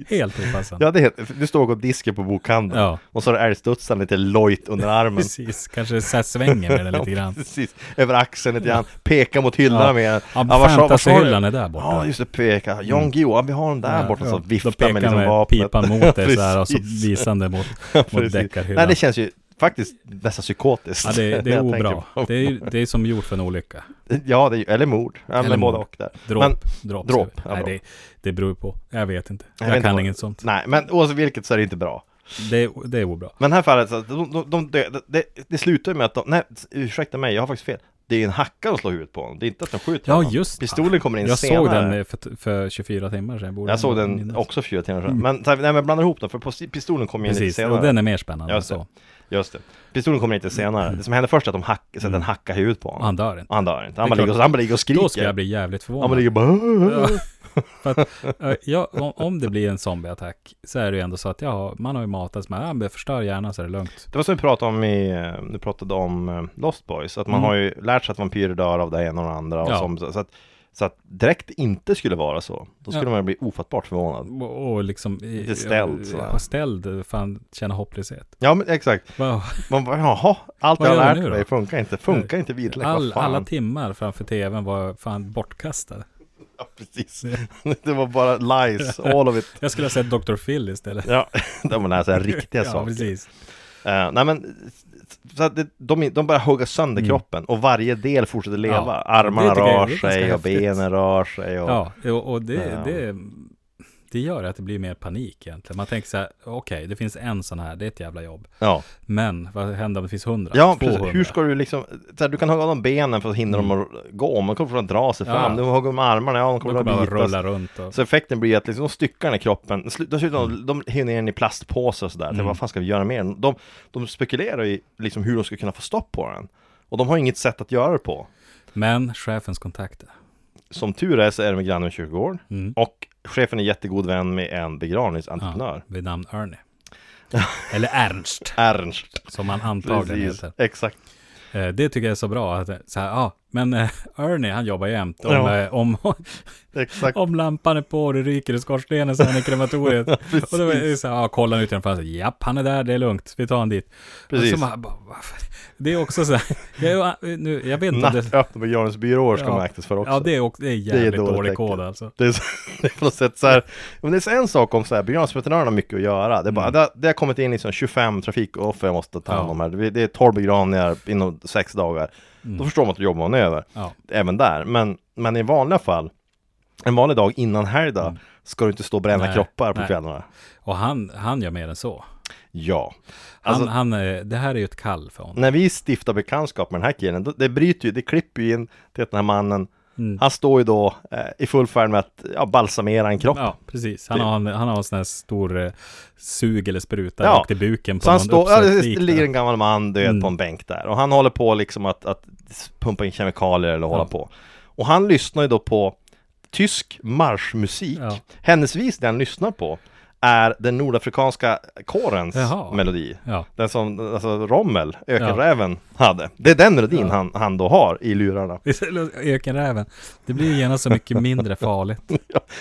Helt opassande. Ja, det är helt, du står och går disken på bokhandeln, ja, och så har du älgstudsaren lite lojt under armen. [LAUGHS] precis. Kanske så här svänger [LAUGHS] med den lite grann. Precis, över axeln lite grann, pekar mot hyllorna Ja. med Ja, vad sa- vad sa du? fantasyhyllan är där borta. Mm. Ja, just det, peka. John Guillou, ja, vi har den där Ja, borta, så ja. Då viftar pekar med liksom med vapnet. [LAUGHS] pipan mot dig så här och så Precis. visande mot, mot Precis. Nej, deckarhyllan. det känns ju faktiskt nästan psykotiskt. [LAUGHS] Ja, det, det när är jag obra. tänker på- Det är, det är som gjort för en olycka. Ja, det är, ju- eller mord. Ja, Eller men både mord. och där. Dråp. Men- dråp, dråp, ska ja, vi- Nej, bra. det, det beror på. Jag vet inte. Jag Jag, vet inte kan vad- inget sånt. Nej, men oavsett vilket så är det inte bra. Det, är- det är obra. Men i det här fallet, så att de, de, de, det, det, det slutar ju med att de, nej, ursäkta mig, jag har faktiskt fel. Det är ju en hacka de slår huvudet på honom, det är inte att de skjuter Ja, honom. just det. Pistolen kommer in Jag Mm. senare. såg den eh, för, för 24 timmar sedan. borde Jag såg den minnas. också fyra timmar sedan. Men, så här, nej, men blanda ihop dem, för pos- pistolen kommer in lite Precis, senare. och den är mer spännande än Just det. så. Just det. Pistolen kommer lite senare. Det som händer först är att de hack, så att den hackar huvudet på Och honom. Mm. han dör inte. Och han dör inte. Han Det bara är ligger och, han bara ligger och skriker. Då ska jag bli jävligt Han bara förvånad. ligger bara... [LAUGHS] För att, eh, ja, om, om det blir en zombieattack så är det ju ändå så att ja, man har ju matats med, ja, men förstör hjärnan så är det lugnt. Det var som vi pratade om i, eh, du pratade om eh, Lost Boys, att man Mm. har ju lärt sig att vampyrer dör av det ena och det andra och Ja. som, så att Så att direkt inte skulle vara så, då skulle man bli ofattbart förvånad. Och, och liksom... i- Lite ställd ja, sådär. ja, Ställd, fan känna hopplöshet. Ja, men exakt. Wow. Man bara, jaha, allt jag Vad gör har jag lärt nu då? mig funkar inte, funkar inte vitlök, All, vad fan. alla timmar framför tvn var fan bortkastade. ja, precis. [LAUGHS] det var bara lies, all of it. Jag skulle ha sett Dr. Phil istället. Ja, [LAUGHS] de var så här riktiga [LAUGHS] ja, saker. precis. Eh, nej men, så att det, de, de börjar hugga sönder kroppen och varje del fortsätter leva. Mm. Ja, Armarna det tycker jag är rör ganska sig och häftigt. benen rör sig. Och, Ja, och, och det, Ja. det, det gör att det blir mer panik egentligen. Man tänker så här, okej, det finns en sån här, det är ett jävla jobb. ja. Men vad händer om det finns hundra? Ja, precis. Hur ska du liksom, så här, du kan hugga av dem benen för att hindra dem att gå, men de kommer fortfarande dra sig Mm. Ja. fram. Du hugger med armarna, ja de de kommer kommer bara att bitas. rulla runt och... Så effekten blir att liksom, de styckar den i kroppen, Slu- Mm. dessutom de hänger ner den i plastpåsar och sådär. Mm. Vad fan ska vi göra med den? De, de spekulerar i liksom, hur de ska kunna få stopp på den. Och de har inget sätt att göra det på. Men chefens kontakter. Som tur är så är det med grannen med kyrkogård. Mm. Och chefen är jättegod vän med en begravningsentreprenör. Vid namn Ernie. Eller Ernst, Ernst. som han antagligen Precis, heter. exakt. Eh, Det tycker jag är så bra. Att, eh, så här, ja, men eh, Ernie, han jobbar jämt. Om, Ja. eh, om, Exakt. om lampan är på och det ryker i skorstenen så är han [LAUGHS] i krematoriet. och då är det så här, ja, kollar han ut genom fönstret. Japp, han är där, det är lugnt. Vi tar han dit. Precis. Och så bara, bara, varför? det är också så här, [LAUGHS] jag, är ju- nu, jag vet inte om det... Nattöppna begravningsbyråer ska Ja. man aktas för också. Ja, det är, också, det är jävligt dåligt dålig tecken. kod alltså. Det är, så, [LAUGHS] det är på något sätt så här, men det är så en sak om så här, begravningsveterinärerna har mycket att göra. Det, är bara, Mm. det, har- det har kommit in liksom 25 trafikoffer jag måste ta hand om här. Det- Det är 12 begravningar inom sex dagar. Mm. Då förstår man att jobbar man över, Ja. även där. Men, men i vanliga fall, en vanlig dag innan helgdag, ska du inte stå och bränna Mm. Nej, kroppar på nej. kvällarna. Och han, han gör mer än så. Ja. Han, Alltså- han, eh, det här är ju ett kall för honom. när vi stiftar bekantskap med den här killen, då, det bryter ju, det klipper ju in till att den här mannen, Mm. han står ju då eh, i full färd med att ja, balsamera en kropp. Ja, precis. Han har en, han har en sån här stor eh, sug eller spruta Ja. rakt i buken på Så han någon står, ja, det uppsatt lik där. ligger en gammal man död Mm. på en bänk där och han håller på liksom att, att pumpa in kemikalier eller hålla på. Och han lyssnar ju då på tysk marschmusik. Ja. Händelsevis det han lyssnar på är den nordafrikanska kårens Jaha. melodi. Ja. [LAUGHS] Den som, alltså Rommel, ökenräven, hade. Det är den melodin han, han då har i lurarna. Ökenräven. Det blir ju genast så mycket mindre farligt. [LAUGHS]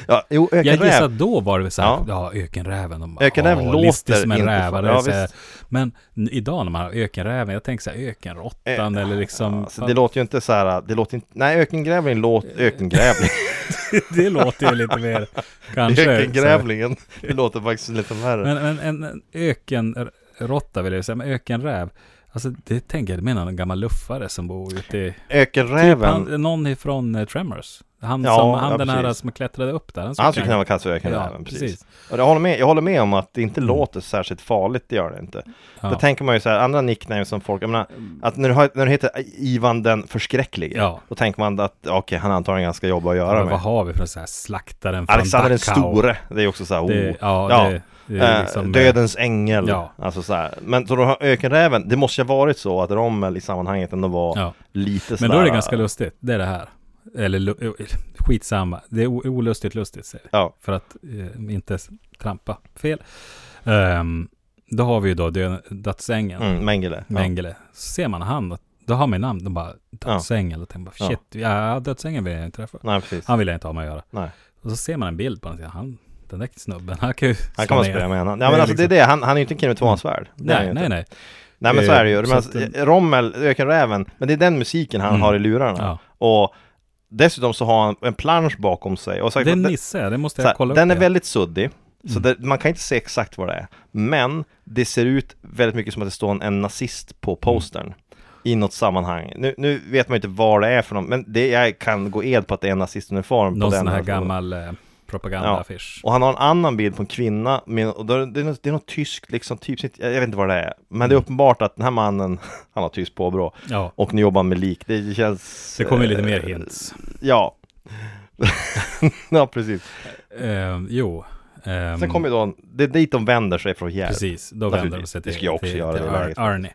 Ja, jo, Jag gissar ökenräv. att då var det väl så här, Ja. ja, ökenräven. De, Ökenräven ja, låter listig som en inte räv. fan. det är Ja, så här. visst. Men n- idag när man har ökenräven, jag tänker så här ökenråttan eller liksom... Alltså, det låter ju inte så här, det låter inte, nej ökengrävling låter, Eh, ökengrävling, [LAUGHS] det låter ju lite [LAUGHS] mer [LAUGHS] kanske. så här. ökengrävlingen, det låter faktiskt lite värre. Men, men en, en ökenråtta vill jag säga, men ökenräv. Alltså det tänker jag, det menar en gammal luffare som bor ute i... Ökenräven, typ Han, någon ifrån eh, Tremors. Han, Ja, som, han ja, den här precis. som klättrade upp där. Han skulle kunna vara kallas för ökenräven, Ja, precis. precis. Mm. Och jag håller, med, jag håller med om att det inte låter särskilt farligt, det gör det inte. Ja. Då tänker man ju så här, andra nicknames som folk, jag menar, att när du, har, när du heter Ivan den förskräcklige, Ja. då tänker man att okej, han har antagligen ganska jobb att göra Men med. vad har vi för så här slaktaren från Alexander den Dachau? store, det är också så här, oh. Det, ja, Det, det är eh, liksom, Dödens ängel, ja. alltså så här. Men så då har ökenräven, det måste ju ha varit så att Rommel i sammanhanget ändå var Ja. lite sådär eh, Men då är det ganska lustigt. Det är det här. Eller lu- eh, skitsamma. Det är o- olustigt lustigt säger vi. Ja. För att eh, inte s- trampa fel. Ehm, då har vi ju då dö- dödsängeln. Mm, Mengele. Ja. Mengele. Så ser man han. Då har man ju namn. De bara dödsängeln. Och tänker bara shit. Ja, dödsängeln vill jag inte träffa. Nej, precis. Han vill jag inte ha med att göra. Nej. Och så ser man en bild på honom. och tänker, Han, den där snubben. Han kan ju Han slå kan man ner. spela med honom. Det Ja är men alltså det är liksom- det, han, han är ju inte en kille med tvåhandsvärd. Det är han ju Nej, inte. nej, nej. Nej men så är det ju, Eh, men så alltså, att Rommel, Ökenräven, men det är den musiken han Mm. har i lurarna. Ja. Och dessutom så har han en plansch bakom sig. Och sagt, Det är att den- Nisse, det Mm. måste så jag här, kolla upp. den är igen. väldigt suddig, så det, man kan inte se exakt vad det är. Men det ser ut väldigt mycket som att det står en, en nazist Mm. på postern. I något sammanhang. Nu, nu vet man inte vad det är för någon, men det, jag kan gå ed på att det är en nazistuniform på Någon den sån här versionen. gammal eh, propagandaaffisch. Och han har en annan bild på en kvinna, med, och då, är det- det, är något, det är något tyskt liksom, typsnitt, jag jag vet inte vad det är. Men det är Mm. uppenbart att den här mannen, [LAUGHS] han har tyst påbrå. Ja. Och nu jobbar han med lik, det känns... Det kommer ju lite eh, mer hints. Ja. [LAUGHS] ja, precis. Eh, jo. ehm, Sen kommer ju då, det är dit de vänder sig från Hjärv. Precis, då Naturligtvis. vänder de sig till, Det ska jag också till, göra till i det Ar- läget. Arnie.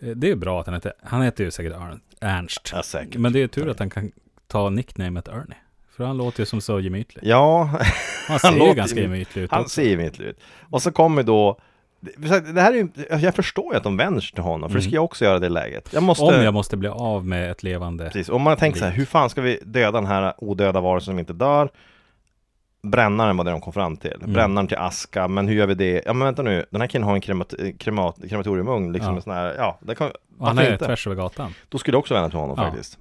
Eh, Det är ju bra att han heter, han heter ju säkert Arn, Ernst. Ja, säkert. Men det är ju tur att han kan ta nicknamet Ernie. För han låter ju som så gemytlig. Ja, [LAUGHS] Han ser ju låter ganska ju- gemytlig ut han också. ser ju mitt ut. Och så kommer då det- så att det här är, ju- jag förstår ju att de vänder sig till honom, för det ska jag också göra i det läget. Jag måste, Mm. Om jag måste bli av med ett levande... Precis, om man tänker så här, hur fan ska vi döda den här odöda varelsen som inte dör? Brännaren var det de kom fram till, Mm. brännaren till aska, men hur gör vi det? Ja men vänta nu, den här killen har en kremat, eh, kremat, krematoriumugn, liksom Ja. en sån här, ja, det kan, Och han varför är inte? tvärs över gatan. Då skulle jag också vända till honom Ja. faktiskt.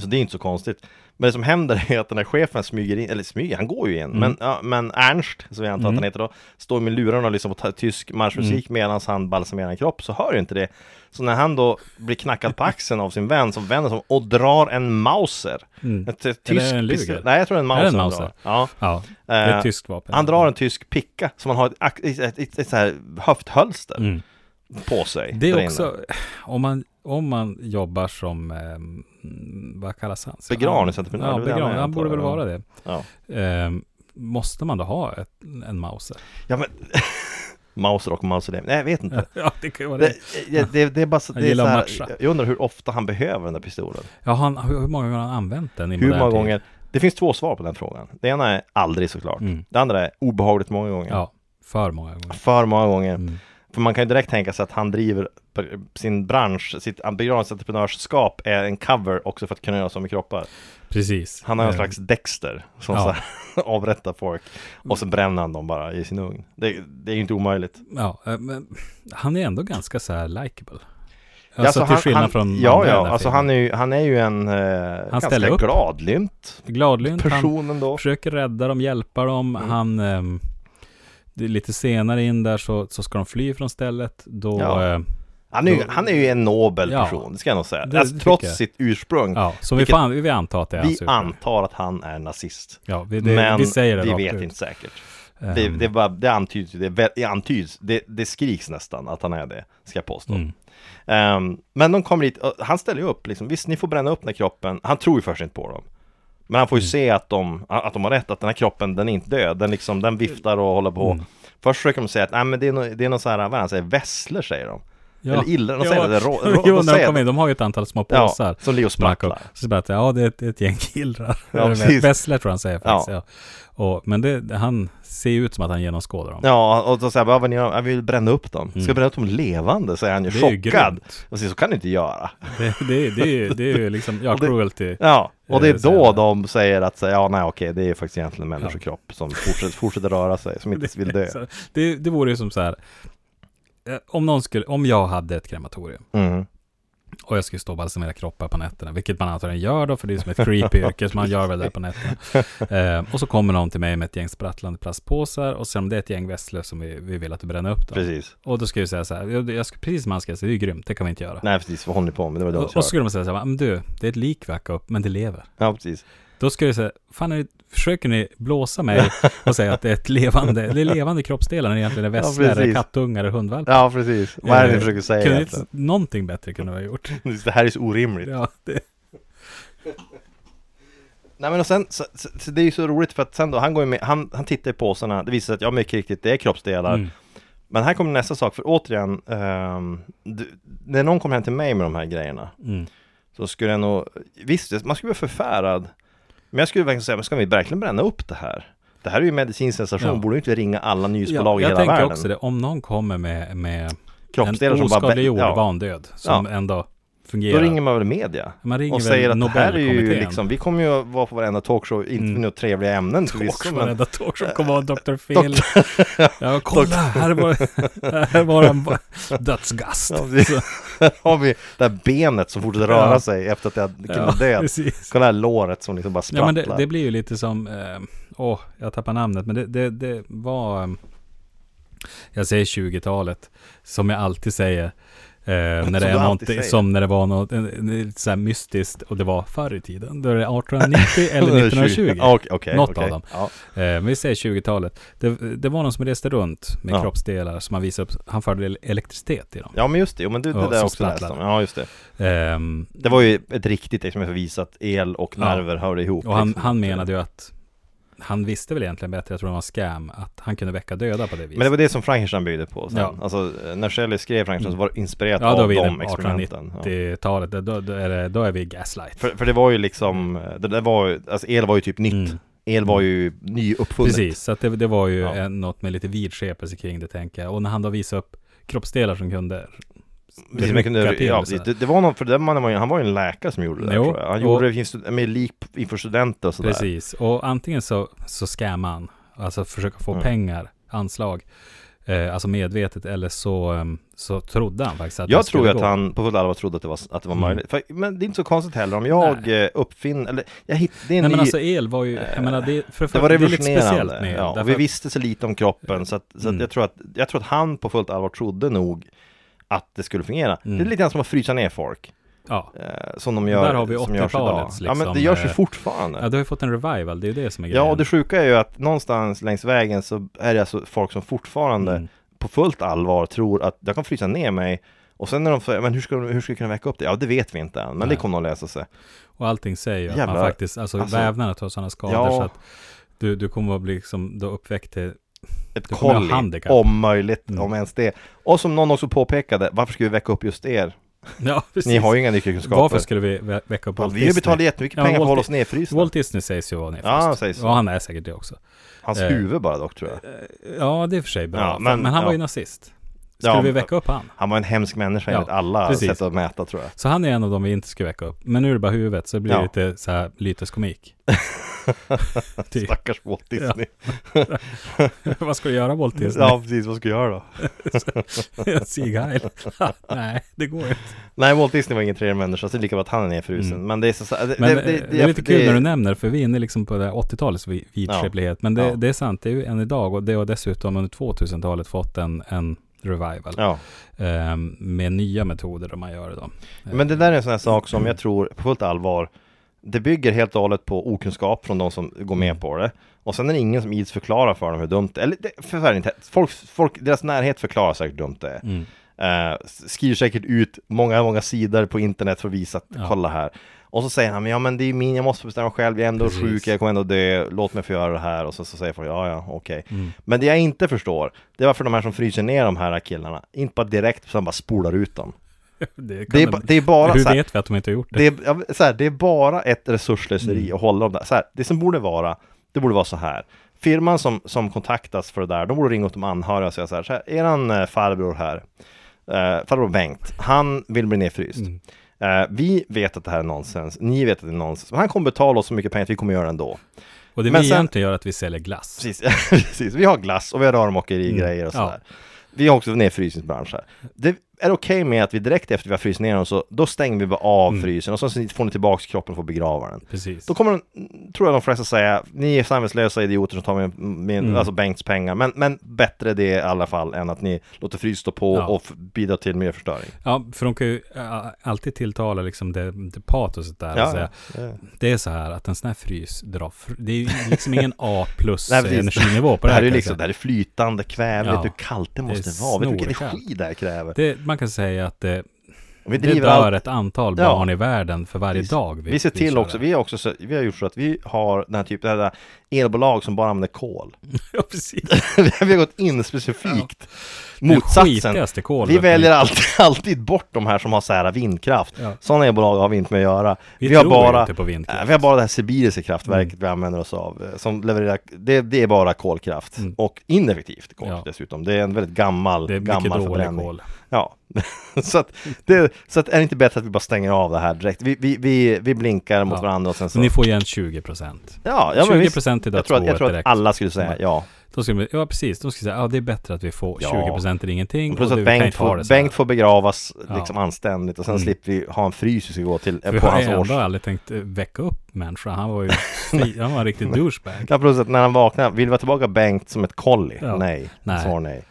Så det är inte så konstigt. Men det som händer är att den här chefen smyger in, eller smyger, han går ju in. Mm. Men, ja, men Ernst, som jag antar att han heter då, står med lurarna och lyssnar på ta- tysk marschmusik Mm. medan han balsamerar en kropp, så hör ju inte det. Så när han då blir knackad på axeln av sin vän, som vänder sig om och drar en Mauser. Ett, ett Eller tysk en Luger? pistol- Nej, jag tror det är en Är Mauser. det en han Mauser? drar. Ja. Mm. Ja, det är Eh, ett tyskt vapen. Han drar en tysk picka, som han har ett, ax- ett, ett, ett, ett så här höfthölster Mm. på sig. Det där är inne. också, om man, om man jobbar som, ehm, vad kallas han? Så- Begravningsentreprenör, Ja, det är det han begravning. är, Han borde antar väl jag. vara det. Ja. Ehm, måste man då ha ett, en Mauser? Ja men [LAUGHS] Mauser och Mauser Nej jag vet inte [LAUGHS] Ja, det kan ju vara Det, det. det, det, det är bara så, Han det är så gillar här, att matcha. Jag undrar hur ofta han behöver den där pistolen Ja, han, hur hur många gånger har han använt den i Hur modern många tid? gånger Det finns två svar på den frågan Det ena är aldrig såklart Mm. Det andra är obehagligt många gånger Ja, för många gånger. För många gånger Mm. För man kan ju direkt tänka sig att han driver per- sin bransch Sitt begravningsentreprenörskap är en cover också för att kunna göra så med kroppar Precis. Han har en Ehm, slags Dexter Som ja. så här, [LAUGHS] avrättar folk Och så bränner han dem bara i sin ugn Det, det är ju inte omöjligt Ja, eh, men han är ändå ganska så här likeable. Ja, Alltså, till han- skillnad han, från Ja, andra i den ja, här alltså filmen. han är ju, han är ju en eh, ganska ställer upp. gladlynt Gladlynt, han person ändå. försöker rädda dem, hjälpa dem. Mm. Han, ehm, det är lite senare in där så, så ska de fly från stället. Då, Ja. eh, Han är ju, han är ju en nobel Ja. person, det ska jag nog säga. Det alltså, tycker trots jag. sitt ursprung. ja, som Vilket- vi, fan, vi antar att det är Vi hans ursprung. antar att han är nazist. Ja, vi, det, men vi säger det vi rakt vet ut. inte säkert. Ehm, Det, det, är bara, det antyds, ju, det, är vä- det, antyds det, det skriks nästan att han är det, ska jag påstå. Mm. Ehm, men de kommer dit, och han ställer ju upp liksom, visst ni får bränna upp den här kroppen, han tror ju först inte på dem. Men han får ju Mm. se att de, att de har rätt, att den här kroppen den är inte död, den liksom, den viftar och håller på. Mm. Först försöker de säga att, nej men det är någon, det är någon så här, vad är det han säger, vässler säger de. ja. Eller illa, de säger det, [LAUGHS] rå, rå, jo, de när de säger kom det. in, de har ju ett antal små Ja, påsar. som ligger och sprattlar. Marco. Så bara att, ja, det är ett, ett gäng killrar. [LAUGHS] Ja, precis. Bessler tror jag han säger faktiskt. Ja. Ja. Och, men det, han ser ju ut som att han genomskådar dem. Ja, och så säger han, vad ni gör? Jag vill bränna upp dem. Ska jag bränna upp dem levande? Säger han ju Mm. Det är ju chockad. grymt. Och säger, så kan du inte göra. Det, det, det, är ju- det är ju liksom, ja, Och det- cruelty. Ja, och Eh, det är då säger jag. de säger att så, ja, nej okej, det är faktiskt egentligen en människokropp som fortsätter, fortsätter röra sig, [LAUGHS] som inte vill dö. Så Det, det vore ju som så här, eh, om, någon skulle, om jag hade ett krematorium Mm. och jag skulle stå och balsamera kroppar på nätterna, vilket man antagligen gör då, för det är som ett creepy [LAUGHS] yrke som man gör väl där på nätterna. Eh, och så kommer någon till mig med ett gäng sprattlande plastpåsar och sen om det är ett gäng vesslor som vi, vi vill att du bränner upp dem. Precis. Och då ska jag säga så här, jag, jag ska, precis som han ska säga, det är ju grymt, det kan vi inte göra. Nej, precis, vad håller ni på med? Det var dumt och, och att så göra. skulle man säga så här, men du, det är ett lik vi hackar upp, men det lever. Ja, precis. Då ska jag säga, fan är det, försöker ni blåsa mig och säga att det är ett levande, det är levande kroppsdelar när det egentligen är [LAUGHS] vässlor, Ja, precis. eller kattungar eller hundvalpar. Ja, precis. Vad är det ni försöker säga kunde inte, egentligen? Någonting bättre kunde vi ha gjort. Eh, [LAUGHS] Det här är så orimligt. Ja, det, Nej men och sen, så, så, så det är ju så roligt för att sen då, han går ju med, han, han tittar i påsarna, det visar sig att ja mycket riktigt, det är kroppsdelar. Mm. Men här kommer nästa sak, för återigen, ehm, du, när någon kommer hem till mig med de här grejerna, mm. så skulle jag nog, visst, man skulle bli förfärad. Men jag skulle verkligen säga, men ska vi verkligen bränna upp det här? Det här är ju medicinsk sensation, Ja. borde ju inte ringa alla nyhetsbolag jag, i jag hela tänker världen? också det, om någon kommer med, med Kroppsdelar en som bara... oskadliggjord ja, vandöd som ändå Då fungerar. ringer man väl media? man ringer och säger att det här är ju Nobelkommittén. liksom, vi kommer ju att vara på varenda talkshow, inte med några trevliga ämnen förvisso, Också men varenda talkshow kommer [LAUGHS] vara Dr. Phil. [LAUGHS] Ja, kolla, här var, här var en dödsgast. Ja, precis. Så- Där har vi det här benet som fortsätter röra Ja. sig efter att jag kunde ja, vara död. precis. Kolla det här låret som liksom bara Ja, sprattlar. men det, det blir ju lite som, eh, åh, jag tappar namnet, men det, det, det var, eh, jag säger 20-talet, som jag alltid säger, eh, när du det är alltid någonting, säger. som när det var något eh, eh, så här mystiskt, och det var förr i tiden, då är det 1890 [LAUGHS] eller 1920. Ja, Okej, okej. Något okej. av dem. Ja. Eh, men vi säger 20-talet. Det, det var någon som reste runt med Ja. kroppsdelar som han visade upp, han förde el- elektricitet i dem. ja, men just det. Jo, men du, det Ja, där som också läste sprattlar. om. Ja, just det. Ehm, Det var ju ett riktigt exempel som visar att el och Ja. nerver hörde ihop. och han, liksom. han menade ju att han visste väl egentligen bättre, jag tror det var en scam, att han kunde väcka döda på det viset. Men det var det som Frankenstein byggde på sen. Ja. Alltså, när Shelley skrev Frankenstein så var det inspirerat Ja, då är av vi inne de på experimenten. Ja. 1890-talet, då, då, är det- då är vi gaslight. För, för det var ju liksom, det där var ju, alltså el var ju typ nytt. Mm. El var ju nyuppfunnet. Precis, så att det, det var ju Ja. en, något med lite vidskepelse kring det tänker jag. Och när han då visade upp kroppsdelar som kunde liksom Precis, man kunde, rycka till ja, och så här. det, det var någon, för den mannen var ju, han var ju en läkare som gjorde det där, Jo, tror jag. Han och- gjorde det inför stud- med lik inför studenter och sådär. Precis, och antingen så, så scammar han, alltså försöka få Mm. pengar, anslag, eh, alltså medvetet, eller så, ehm, så trodde han faktiskt att Jag det skulle tror ju att gå. han på fullt allvar trodde att det var, att det var Mm. möjligt. För, men det är inte så konstigt heller om jag eh, uppfinner, eller jag hittade, det är en Nej men ny, alltså el var ju, jag menar det, för, Eh, det för, var det är lite speciellt revolutionerande. med el, ja, därför och vi att- visste så lite om kroppen, så, att, så att Mm. jag, tror att, jag tror att han på fullt allvar trodde nog att det skulle fungera. Mm. Det är lite grann som att frysa ner folk, ja. eh, som de gör, Där har vi som görs idag. 80-talets ja men liksom, det görs ju eh, fortfarande. ja, du har ju fått en revival, det är ju det som är grejen. Ja, och det sjuka är ju att någonstans längs vägen så är det alltså folk som fortfarande Mm. på fullt allvar tror att jag kan frysa ner mig och sen när de säger, men hur ska, hur ska vi kunna väcka upp det? Ja, det vet vi inte än, men Nej. det kommer nog lösa sig. Och allting säger ju att Jävlar. man faktiskt, alltså, Alltså- vävnaderna tar sådana skador Ja. så att du, du kommer att bli liksom, då uppväckt till, [LAUGHS] Ett Du kommer ha kolli, handikapp. om möjligt, Mm. om ens det. Och som någon också påpekade, varför ska vi väcka upp just er? ja precis. Ni har ju inga Varför nyckelkunskaper. skulle vi vä- väcka upp Ja, Walt Vi betalar jättemycket Ja, pengar för att Walt hålla oss Disney- nedfrysta. Walt Disney sägs ju vara nedfryst. Ja, han sägs så. Ja, han är säkert det också. Hans eh, huvud bara dock tror jag. Ja, det är för sig bra. Ja, Fan, men- men, han var ju ja. nazist. Skulle Ja, vi men- väcka upp han? Han var en hemsk människa Ja, enligt alla precis. sätt att mäta tror jag. Så han är en av dem vi inte skulle väcka upp. Men nu är det bara huvudet, så det blir Ja. lite så här lyteskomik. [LAUGHS] typ. Stackars Walt Disney. Vad ska du göra Walt Disney? [LAUGHS] Ja, precis. Vad ska jag göra då? Sieg Heil? [LAUGHS] Nej, det går inte. Nej, Walt Disney var ingen trevlig människa, så det är lika bra att han är nedfrusen. Mm. Men det är så, så det, Men eh, det, det, är lite kul när du nämner, för vi är inne liksom på det här 80-talets vi- vidskeplighet. Men det, Ja. det är sant, det är ju än idag och det har dessutom under 2000-talet fått en, en revival Ja, ehm, med nya metoder om man gör det då. men det där är en sån här sak som jag tror på fullt allvar, det bygger helt och hållet på okunskap från de som går med på det. Och sen är det ingen som ids förklara för dem hur dumt det är. Eller det, för, för, inte, folk, folk, deras närhet förklarar säkert hur dumt det är. Mm. Eh, skriver säkert ut många, många sidor på internet för att visa att Ja. kolla här. Och så säger han, men ja men det är min, jag måste bestämma själv, jag är ändå Precis. sjuk, jag kommer ändå dö, låt mig få göra det här. Och så, så säger folk, ja ja, okej. Mm. Men det jag inte förstår, det är varför de här som fryser ner de här killarna, inte bara direkt, utan bara spolar ut dem. [LAUGHS] Det, kan Det är, de- ba, det är bara Hur så här, vet vi att de inte har gjort det? det är, ja, men så här, det är bara ett resursslöseri Mm. att hålla dem där. Så här, det som borde vara, det borde vara så här. Firman som, som kontaktas för det där, de borde ringa åt de anhöriga och säga så här, så här eran eh, farbror här, eh, farbror Bengt, han vill bli nedfryst. Mm. Eh, vi vet att det här är nonsens, ni vet att det är nonsens, men han kommer betala oss så mycket pengar att vi kommer göra det ändå. Och det Men vi sen- egentligen gör att vi säljer glass. Precis, [LAUGHS] precis. Vi har glass och vi har rörmokerigrejer och Mm, sådär. Vi har också nedfrysningsbransch här. Det är okej med att vi direkt efter vi har fryst ner dem så då stänger vi bara av Mm. frysen och så får ni tillbaks kroppen och får begrava den. Precis. Då kommer, de, tror jag de flesta säga, ni är samvetslösa idioter som tar min, min, Mm. alltså Bengts pengar. Men, men bättre det i alla fall än att ni låter frys stå på Ja. och f- bidra till miljöförstöring. Ja, för de kan ju äh, alltid tilltala liksom det, det patoset där. och säga, ja. Det är så här att en sån här frys drar, fr- det är ju liksom ingen A [LAUGHS] plus Nej, precis. energinivå på Det det här är här. ju kan jag liksom, det säga. här är flytande kväve, vet Ja. du hur kallt det är måste vara, vet du vilken snorkallt. energi det här kräver. det, man kan säga att det, vi det driver dör allt- ett antal Ja. barn i världen för varje Precis. dag. Vi ser till kör också, det. vi, har också så, vi har gjort så att vi har den här typen, det här elbolag som bara använder kol. [LAUGHS] [LAUGHS] ja, precis. vi har gått in specifikt Den motsatsen. skitigaste kolvet. Vi väljer alltid, [LAUGHS] alltid bort de här som har så här vindkraft. Ja. Sådana elbolag har vi inte med att göra. Vi har tror bara, inte på vindkraft. Nej, Mm. Vi har bara det här sibiriska kraftverket vi använder oss av. eh, Som levererar, det, det är bara kolkraft. Mm. Och ineffektivt kol Ja. dessutom. Det är en väldigt gammal, Det är mycket gammal dålig förbränning. kol. Ja, [LAUGHS] så, att det, så att är det inte bättre att vi bara stänger av det här direkt? Vi, vi, vi, vi blinkar mot Ja. varandra och sen så... Så ni får igen 20 procent. ja, ja, men 20 visst. procent i Jag tror att, jag dödsboet tror att direkt. alla skulle säga ja. Då skulle vi, ja, precis. De skulle säga, ja, det är bättre att vi får Ja. 20 procent eller ingenting. Plus och att du, vi kan Bengt inte ha det får, så här. Bengt får begravas Ja. liksom anständigt och sen Mm. slipper vi ha en frys vi ska gå till eh, För vi på har hans ändå års... aldrig tänkt eh, väcka upp människan. Han var ju [LAUGHS] fri, han var en riktig douchebag. Ja, plus att när han vaknar, vill vi ha tillbaka Bengt som ett kolli? Ja. Nej. Nej. Svar nej.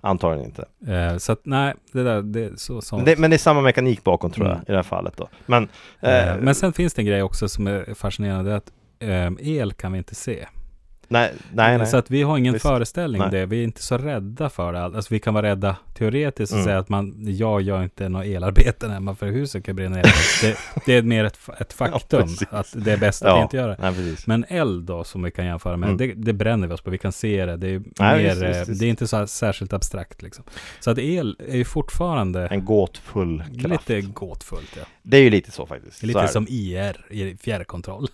Antagligen inte. Eh, så att nej, det där, det är så sånt. Det, men det är samma mekanik bakom tror jag Mm. i det här fallet då. Men, eh, Eh, men sen finns det en grej också som är fascinerande. det är Att ehm, el kan vi inte se. nej, nej, nej. Så att vi har ingen Visst. föreställning Nej. om det. Vi är inte så rädda för det. Alltså vi kan vara rädda teoretiskt och Mm. säga att man, jag gör inte något elarbete hemma för huset kan brinna ner. det, det är mer ett, fa- [LAUGHS] ett faktum precis. att det är bäst att ja, inte göra det. nej, precis. Men eld då, som vi kan jämföra med, Mm. det, det bränner vi oss på, vi kan se det, det är, Nej, mer, visst, visst, eh, visst. Det är inte så här särskilt abstrakt liksom. Så att el är ju fortfarande En gåtfull kraft. lite gåtfullt. Ja. Det är ju lite så faktiskt. Det är Så är Lite det. som IR, i fjärrkontroll.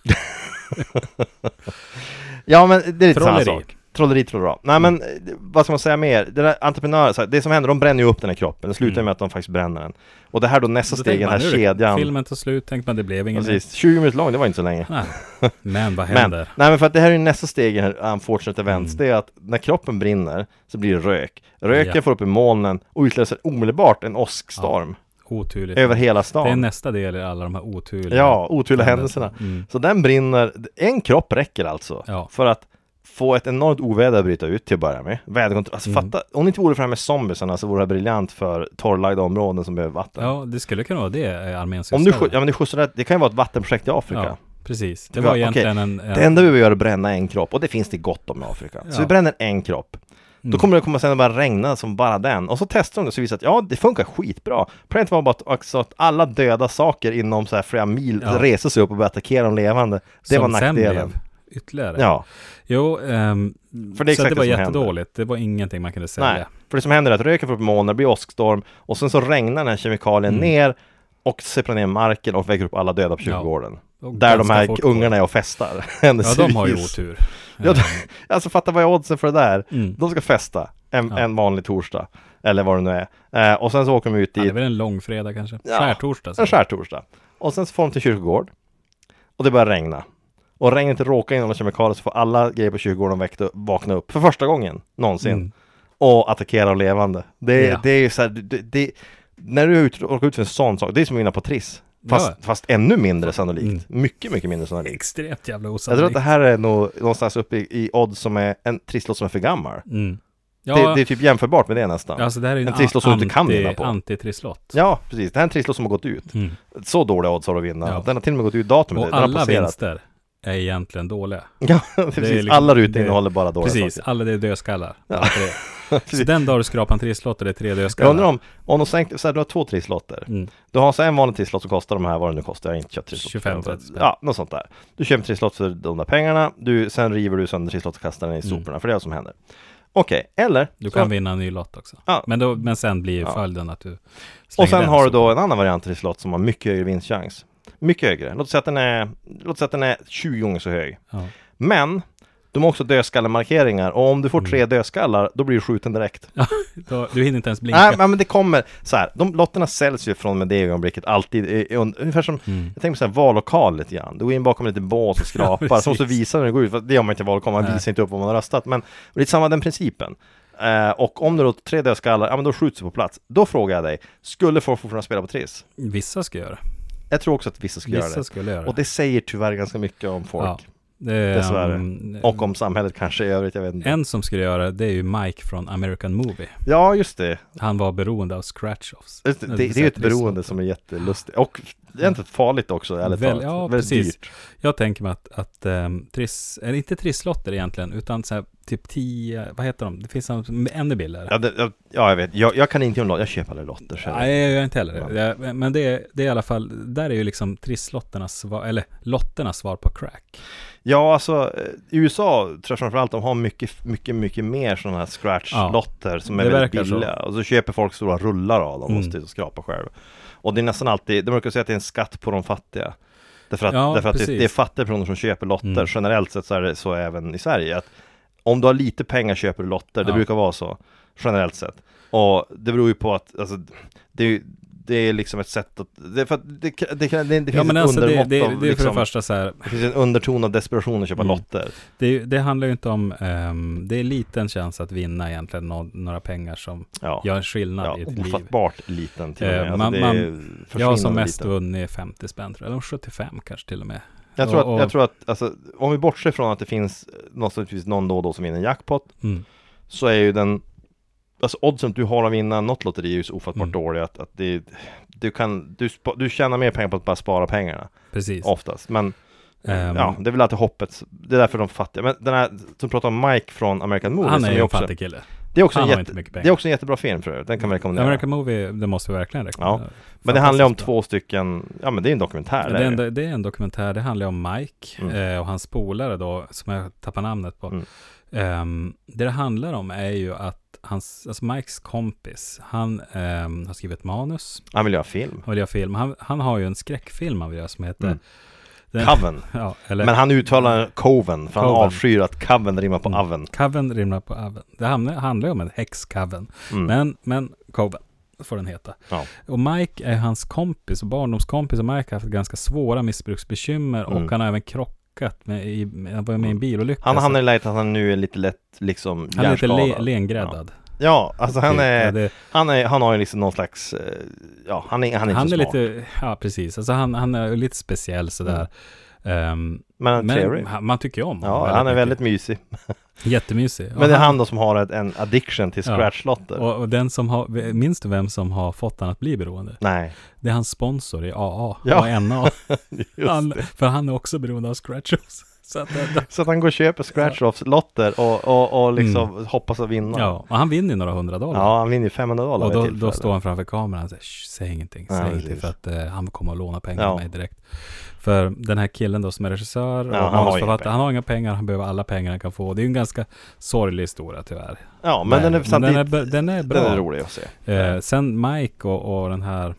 Ja men det är lite samma Trolleri. sak. Trolleri, trolleri. Nej men eh, vad ska man säga mer? Den här entreprenören, så här, det som händer, de bränner ju upp den här kroppen. Det slutar Mm. med att de faktiskt bränner den. Och det här då nästa Då steg, tänker den här man, nu är det- kedjan. Filmen tar slut, tänkte man det blev ingen. Precis, 20 minuter lång, det var inte så länge. [LAUGHS] Nej. Men vad Men, händer? nej men för att det här är ju nästa steg i den här unfortunate events, Mm. det är att när kroppen brinner så blir det rök. Röken Ja. får upp i molnen och utlöser omedelbart en åskstorm Oturligt. över hela Det är stan. nästa del i alla de här oturliga Ja, oturliga händelserna. Mm. Så den brinner, en kropp räcker alltså Ja. för att få ett enormt oväder att bryta ut till att börja med. Väderkontroll, alltså Mm. fatta, om det inte vore för det här med zombiesarna så vore det briljant för torrlagda områden som behöver vatten. Ja, det skulle kunna vara det eh, armén om du, sysslade skj- med. ja, men du skjutsar, det- det kan ju vara ett vattenprojekt i Afrika. Ja, precis. Det Det var- var egentligen en... en Det enda vi behöver göra är att bränna en kropp och det finns det gott om i Afrika. Ja. Mm. Så vi bränner en kropp. Då kommer det komma sen att bara regna som bara den. Och så testar de det så visar det att ja, det funkar skitbra. Problemet var bara att, också att alla döda saker inom så här flera mil Ja. reser sig upp och börjar attackera de levande. Det som var sen nackdelen. blev Ytterligare. Ja, Jo, ehm, För det är så exakt det var det som jättedåligt. Det var ingenting man kunde sälja. nej. För det som händer är att röken får upp molnen, det blir åskstorm och sen så regnar den här kemikalien ner och sipprar ner marken och väcker upp alla döda på Mm. Ja. kyrkogården. Och Där de ganska här fort- ungarna är och festar. [LAUGHS] Ja, de har ju Händelsevis. otur. [LAUGHS] Ja, de- Alltså fatta vad är oddsen för det där? Mm. De ska festa en, Ja. en vanlig torsdag, eller vad det nu är. Eh, och sen så åker de ut Ja, det är dit, väl en lång fredag kanske. Ja, Skärtorsdag. en säger skärtorsdag. Och sen så får de till kyrkogård. Och det börjar regna. Och regnet inte råkar in i några kemikalier så får alla grejer på kyrkogården väckt upp, vakna upp för första gången någonsin. jag. Mm. Och attackera de levande. Det, Ja. det är ju så här, det, det, när du är ute- råkar ut för en sån sak, det är som att vinna på Triss. Fast, fast ännu mindre Mm. sannolikt. Mycket, mycket mindre sannolikt. Extremt jävla Jag tror att osannolikt. det här är nog någonstans uppe i, i odds som är en trisslott som är för gammal. Mm. Ja, Det, det är typ jämförbart med det nästan. alltså det här är ju en trisslott som du inte kan anti- vinna på. Antitrisslott. Ja, precis. Det här är en trisslott som har gått ut. Mm. Så dåliga odds har du att vinna. Ja. Den har till och med gått ut datumet. Och den har alla passerat. vinster är egentligen dåliga. Ja, [LAUGHS] precis. liksom- alla rutor det- innehåller bara dåliga Precis, saker. alla det är dödskallar. Ja. [LAUGHS] Alla tre. Så Precis. den dag du skrapar en trisslott och det är tre dödskallar. Jag undrar om, om de sänkte, så här, du har två trisslotter. Mm. Du har så en vanlig trisslott som kostar de här, vad det nu kostar, jag har inte köpt trisslott. 25-30 spänn. Ja, något sånt där. Du köper en trisslott för de där pengarna, du, sen river du sönder trisslott och kastar den i soporna, för det är vad som händer. Okej, eller? Mm. Du så- kan vinna en ny lott också. Ja. Men, då, men sen blir ju Ja. följden att du slänger Och sen den har du så- då en annan variant till slott som har mycket högre vinstchans. Mycket högre. Låt säga att den är, låt säga att den är 20 gånger så hög. Ja. Men de har också dödskallemarkeringar och om du får Mm. tre dödskallar då blir du skjuten direkt. Då, du hinner inte ens blinka. Nej, men det kommer så här. De lotterna säljs ju från och med det ögonblicket alltid. i- i- Ungefär som, jag tänker på så här vallokal lite grann. Du går in bakom en liten bås och skrapar, precis. så måste du visa när du går ut. För det gör man inte i vallokal, man Nej. visar inte upp vad man har röstat. Men det är samma den principen. Eh, och om du då har tre dödskallar, ja men då skjuts du på plats. Då frågar jag dig, skulle folk fortfarande spela på Triss? Mm. Vissa ska göra det. Jag tror också att vissa skulle Vissa göra skulle göra det. det. Och det säger tyvärr ganska mycket om folk. Ja. Det är, dessvärre. um, Och om samhället kanske i övrigt, jag vet inte. En som skulle göra det, det är ju Mike från American Movie. Ja, just det. Han var beroende av scratch-offs. Just det, det, det är ju ett beroende som är jättelustigt. Och egentligen farligt också, ärligt Väl- talat. ja, Väldigt precis. dyrt. Jag tänker mig att, att ehm, triss, eller inte trisslotter egentligen, utan så här, typ 10, vad heter de? Det finns en som är ännu billigare. Ja, det, ja, ja, jag vet. Jag, jag kan inte om lotter. Jag köper aldrig lotter själv. Nej, jag gör inte heller Ja. det. Jag- Men det är, det är i alla fall, där är ju liksom trisslotternas svar, eller lotternas svar på crack. Ja, alltså eh, i USA tror jag framförallt de har mycket, mycket, mycket mer sådana här scratch-lotter som är det väldigt verkar så. billiga. Och så köper folk stora rullar av dem Mm. och sitter och skrapar själv. Och det är nästan alltid, de brukar säga att det är en skatt på de fattiga. Därför att, Ja, därför att det, precis. det är fattiga personer som köper lotter. Mm. Generellt sett så är det så även i Sverige. Att om du har lite pengar köper du lotter, det Ja. brukar vara så. Generellt sett. Och det beror ju på att, alltså, det är ju det är liksom ett sätt att, det, är för att det, det, det, det, det finns Ja, men ett alltså det, det, undermått det är av för det liksom, första så här, det finns en underton av desperation att köpa Mm. lotter. det, det handlar ju inte om, ehm, det är liten chans att vinna egentligen nå- några pengar som Ja, gör en skillnad ja i ett liv. ofattbart liten till och Eh, med. Alltså, man- det man- är Jag har som försvinnande mest liten. vunnit 50 spänn tror jag, eller 75 kanske till och med. Jag tror att, och- jag tror att alltså, om vi bortser från att det finns eh, någonstans någon då och då som vinner jackpot, Mm. så är ju den Alltså oddsen du har att vinna något lotteri är ju så ofattbart Mm. dåliga att, att det, du kan, du, spa, du tjänar mer pengar på att bara spara pengarna Precis. oftast. Men Ehm, ja, det är väl alltid hoppet, det är därför de fattiga. Men den här som pratar om Mike från American Movie, han som är ju en också, fattig kille. det Det är också, Han en, har jätte, inte det mycket pengar. Mm. är också en jättebra film för övrigt. Den kan vi rekommendera. American Movie, det måste vi verkligen rekommendera. Men det handlar om Fantastiskt bra. två stycken, ja men det är en dokumentär. Ja, det är Det är, det ju. en, det är en dokumentär, det handlar om Mike Mm. eh, och hans polare då, som jag tappar namnet på. Mm. Ehm, det det handlar om är ju att hans, alltså Mikes kompis, han ehm, har skrivit ett manus, Han vill göra film. han vill göra film, han, han har ju en skräckfilm han vill göra som heter... Mm. Den- Coven. ja, eller, Men han uttalar coven, för han Mm. Coven. avskyr att coven rimmar på Mm. oven. Coven rimlar på Aven. Det hamnar- handlar ju om en häxcoven. Mm. Men, men Coven får den heta. Ja. Och Mike är hans kompis och barndomskompis och Mike har haft ganska svåra missbruksbekymmer Mm. och han har även krockat med, i, med, han var ju med i en bilolycka. Han så- hamnar i läget att han nu är lite lätt liksom Alltså- han är lite hjärnskadad. le, lengräddad. Ja, alltså han Ja, är, det, han är, han har ju liksom någon slags, eh, ja han är, han är, han inte är så smart. lite, ja precis, alltså han, han är lite speciell sådär. Ehm, Men han är Mm. trevlig. men han- man tycker ju om honom Ja, han är mycket. väldigt mysig. Jättemysig. Och Men det är han då som har ett, en addiction till Ja. scratchlotter. och, och den som har, minns du vem som har fått han att bli beroende? [LAUGHS] Nej, Det är hans sponsor i AA Ja. [LAUGHS] och NA. just han, det. för han är också beroende av scratchos. [LAUGHS] Så att, det- Så att han går och köper scratch-offs-lotter och, och, och liksom hoppas att vinna. Mm. ja, och han vinner ju några hundra dollar. Ja, han vinner ju 500 dollar och vid ett då, då tillfälle. står han framför kameran och säger, "Shh, säg ingenting, säg Ja, ingenting, precis. för att eh, han kommer att låna pengar Ja. av mig direkt. För den här killen då som är regissör och Ja, han har han, inga har pengar. han har inga pengar, han behöver alla pengar han kan få. Det är ju en ganska sorglig historia tyvärr. Ja, men den är den, samtidigt, är, b- den är bra. den är rolig att se. Eh, sen Mike och, och den här,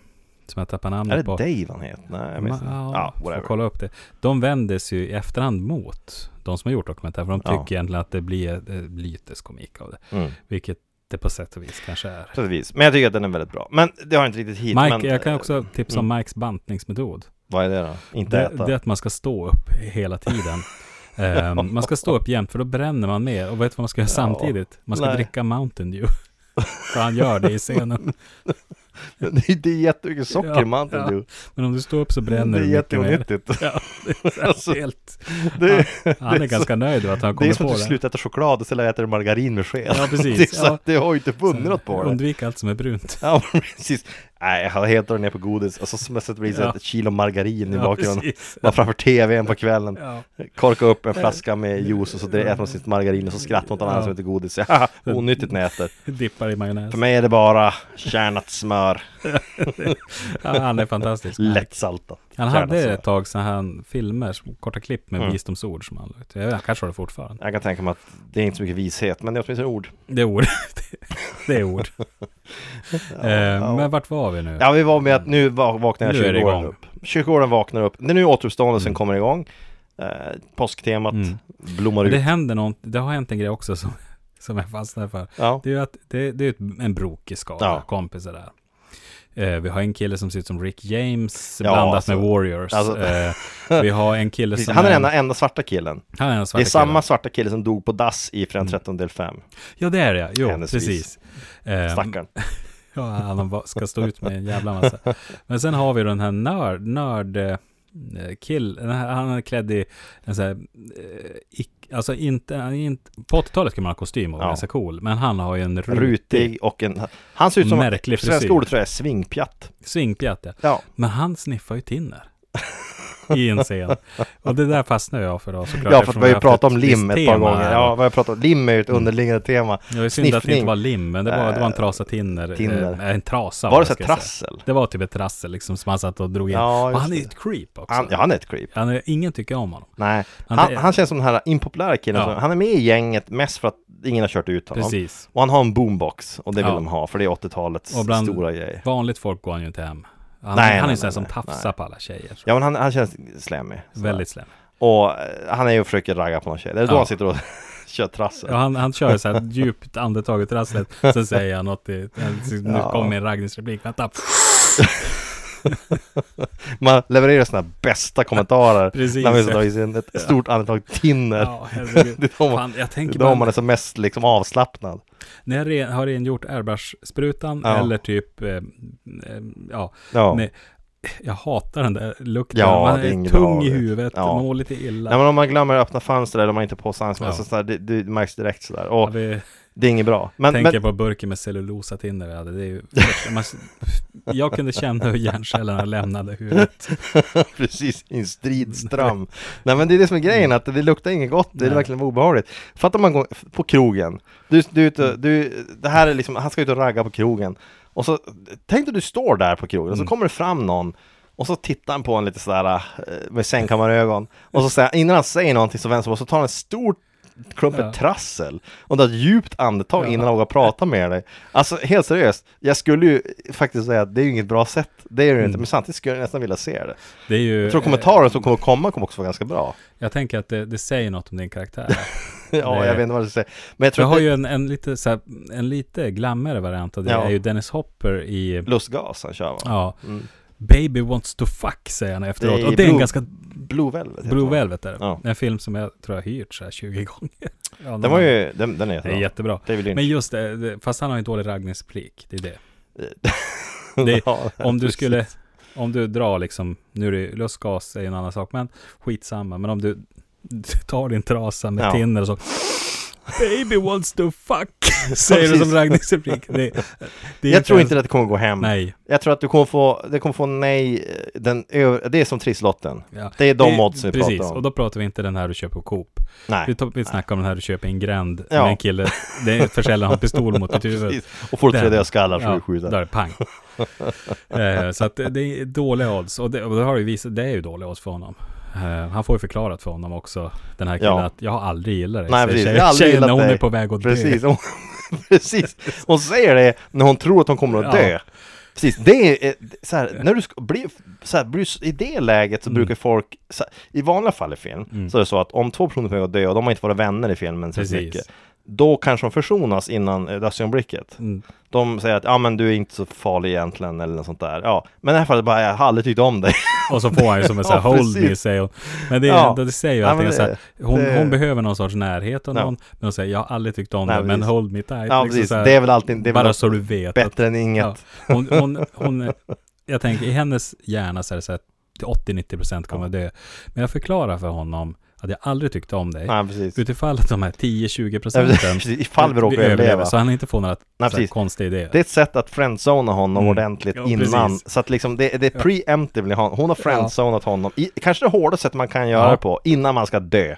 som jag tappar namnet Är det på. Dave han heter? Nej, jag minns inte. Ma- Ja, får whatever. kolla upp det. De vänder sig ju i efterhand mot de som har gjort dokumentären, för de Ja. tycker egentligen att det blir eh, lyteskomik av det, Mm, vilket det på sätt och vis kanske är. på sätt och vis. Men jag tycker att den är väldigt bra. Men det har inte riktigt hit. Mike, men, jag kan eh, också tipsa om Mikes bantningsmetod. Vad är det då? Inte Det, äta? det är att man ska stå upp hela tiden. [LAUGHS] Ehm, man ska stå upp jämt, för då bränner man mer. Och vet du vad man ska göra Ja. samtidigt? Man ska Nej. dricka Mountain Dew. [LAUGHS] för han gör det i scenen. [LAUGHS] Det är- det är jättemycket socker Ja, i Mountain ja. Dew. Men om du står upp så bränner Det är du mycket mer. [LAUGHS] jätteonyttigt. Ja, det är Alltså, så helt. Det, är- Han är, det är så- ganska nöjd över att han det är kommer som på att det. du slutar äta choklad och istället äter du margarin med sked. [LAUGHS] Ja, precis. Det, är så Ja. att det har ju inte vunnit något på det. Undvik allt som är brunt. Ja, [LAUGHS] precis. Nej, jag hade helt dragit ner på godis och så smällde det blir så Ja. ett kilo margarin i [LAUGHS] Ja, bakgrunden. precis. Man framför tvn på kvällen. Ja. Korka upp en flaska med juice och så dri- äter man sitt margarin och så skrattar man åt alla andra Eh, Ja. som äter godis. Haha, Onyttigt när jag äter. Dippar i majonnäs. För mig är det bara kärnat smör, Ja, han är fantastisk. [LAUGHS] lättsaltat. Han Kärnat hade smör. ett tag sådana här filmer, som- korta klipp med Mm. visdomsord som han la ut. Jag vet, han kanske har det fortfarande. Jag kan tänka mig att det är inte så mycket vishet, men det är åtminstone ord. Det är ord. [LAUGHS] det är ord. [LAUGHS] eh, ja. Men vart var vi nu? Ja, vi var med att nu va- vaknar Nu är det 20-åren igång. upp. 20-åren vaknar upp. Det är nu återuppståndelsen Mm. kommer igång. Eh, påsktemat Mm. blommar Men ut. det händer något, det har hänt en grej också som, som jag fastnar för. Ja. Det är ju att det, det är ett, en brokig skara, Ja. kompisar där. Eh, vi har en kille som ser ut som Rick James Ja, blandat alltså. med Warriors. Alltså. Eh, vi har [LAUGHS] en kille som Han är den en, enda, enda svarta killen. han är den Det är svarta killen. Mm. samma svarta kille som dog på dass i Fredag 13 del 5. Ja, det är det. Jo, Händelsevis. precis. Eh, Stackarn. ja, han va- ska stå ut med en jävla [LAUGHS] massa. Men sen har vi den här nörd, nörd eh, kill, den här- han är klädd i en sån här, eh, ick, alltså inte, han är inte, på 80-talet kan man ha kostym och vara Ja. ganska cool, men han har ju en rutig, Rutig och en... Han ser ut som... Märklig frisyr. Svenska ordet tror jag är svingpjatt. svingpjatt ja. Ja. Men han sniffar ju tinner. I en scen. Och det där fastnar jag för då såklart. Ja, för att eftersom vi har ju haft pratat om visst lim ett tema par gånger. här. Mm. Ja, vi har pratat om lim är ju ett underliggande tema. det var ju synd att det sniffning. inte var lim, men det var, det var en Eh, trasa tinner. eh, tinner. En trasa. Var det vad så ska här jag säga. trassel? Det var typ ett trassel liksom som han satt och drog in. Ja, och just han är det. ju ett creep också. Han, ja, han är ett creep. Han är, ingen tycker om honom. Nej, Han- han, han, känns som den här impopulära killen. Ja. som- Han är med i gänget mest för att ingen har kört ut honom. Precis. Och han har en boombox och det vill Ja. de ha för det är 80-talets Och bland- stora grej. Vanligt folk går han ju inte hem. Han, Nej, han är nej, ju sån här nej, som nej, tafsar på alla tjejer. Ja men han, han känns slemmig. sådär. Väldigt slem. Och eh, han är ju och försöker ragga på någon tjej. Det är då Ja. han sitter och [LAUGHS] kör trassel. Ja, han, han kör så här djupt andetag i trasslet. [LAUGHS] Sen säger han något i, nu Ja. kommer en raggningsreplik, vänta. Man levererar sina bästa [LAUGHS] kommentarer. Precis. När man tar i sin ett stort andetag tinner. Ja, herregud. [LAUGHS] Det är då man- Fan, jag Det tänker är då bara, man är som mest liksom avslappnad. när jag re, har rengjort airbrush-sprutan Ja. eller typ, eh, eh, ja, Ja. Nej, jag hatar den där lukten. Ja, man det är är, inget tung bra. i huvudet, Ja. mår lite illa. Nej men om man glömmer att öppna fönster eller om man inte är på alltså sig Ja. ja. det, det märks direkt sådär. Ja, Och vi, Det är inget bra. Men, Tänker men på burken med cellulosatinder vi hade. Det [LAUGHS] är ju, man, jag kunde känna hur hjärncellerna lämnade huvudet. [LAUGHS] precis, i en stridström. Nej men det är det som är grejen, att det luktar inget gott, det är Nej. verkligen obehagligt. Fattar man går på krogen, du, du, är ute- Mm. du, det här är liksom, han ska ut och ragga på krogen. Och så, tänk dig du står där på krogen, och Mm. så kommer det fram någon och så tittar han på en lite sådär eh, med sängkammarögon. Och så säger, innan han säger någonting så vänder han sig om och så tar han en stor klump med Ja. trassel och tar ett djupt andetag innan han vågar prata med dig. Alltså helt seriöst, jag skulle ju faktiskt säga att det är ju inget bra sätt. Det är det ju Mm. inte, men samtidigt skulle jag nästan vilja se det. Det är ju, Jag tror kommentaren som kommer komma kommer också vara ganska bra. jag tänker att det, det säger något om din karaktär. [LAUGHS] Ja, jag vet inte vad jag ska säga. Men jag Jag tror har att det ju en, en lite, så här, en lite glammigare variant av det. Ja. är ju Dennis Hopper i, är lustgas han kör va? Mm. ja, Baby Wants To Fuck säger han efteråt. Det är och det är en Blue- ganska, Blue Velvet heter Blue den. Velvet är det. Ja. En film som jag tror jag har hyrt så här 20 gånger. Ja, Den var ju, den, den är Det är jättebra. jättebra. David Lynch. Men just det, det, fast han har ju en dålig raggningsreplik. Det är det. det- [LAUGHS] Ja, Om du precis. [LAUGHS] skulle, om du drar liksom, nu är det lustgas är ju en annan sak, men skitsamma. Men om du tar din trasa med Ja. Tinder och så Baby wants [LAUGHS] to fuck, säger du som Precis. raggningsreplik. Det, [LAUGHS] det är Jag tror ens- inte att det kommer gå hem. Nej. Jag tror att du kommer få, det kommer få nej, eh, den, ö- det är som trisslotten. Ja. Det är de oddsen vi precis, pratar om. och då pratar vi inte den här du köper på Coop. Vi, Nej. tar, vi snackar om den här du köper i en gränd Ja. med en kille, det är försäljaren har en pistol mot ditt [LAUGHS] huvud. Precis. Och folk tror Den. att jag skallar så Ja, vi skjuter. där är [LAUGHS] det pang. eh, så att det- det är dåliga odds. Och det, och det har ju visat, det är ju dåliga odds för honom. Eh, han får ju förklarat för honom också, den här killen, Ja. att jag har aldrig gillat dig. Nej, säger precis. tjejen- Jag har aldrig tjejen gillat när hon dig. är på väg att Precis. dö. Hon, [LAUGHS] precis. Hon säger det när hon tror att hon kommer att dö. Precis, det är eh, så här, när du ska bli, så här, blir du- i det läget så Mm. brukar folk, så här, i vanliga fall i film, så är det så att om två personer är på väg att dö och de har inte varit vänner i filmen så Precis. mycket, då kanske de försonas innan eh, dödsögonblicket. Mm. De säger att ja men du är inte så farlig egentligen eller något sånt där. Ja, men i det här fallet bara jag har aldrig tyckt om dig. Och så får han ju som en sån här [LAUGHS] Ja, hold me, precis. säger hon. Men det, är, Ja. det säger ju Ja, allting. men så här, hon, det- hon behöver någon sorts närhet och Ja. någon. Men hon säger, jag har aldrig tyckt om Nej, det, men precis. hold me tight. Ja liksom precis, så här, det är väl alltid, det är bara väl så du vet. att- bättre än inget. Ja. Hon, hon, hon, jag tänker, i hennes hjärna så är det så att till 80-90% kommer dö. Men jag förklarar för honom att jag aldrig tyckte om dig. Nej precis. Utifall att de här 10-20 Nej, procenten precis. [LAUGHS] Ifall vi råkar överleva. Så han inte får några så här precis. konstiga idéer. Det är ett sätt att friendzona honom Mm. ordentligt Ja, innan. precis. Så att liksom det, det är preemptively hon, hon har friendzonat honom. I, kanske det hårdaste sätt man kan göra Ja. på innan man ska dö.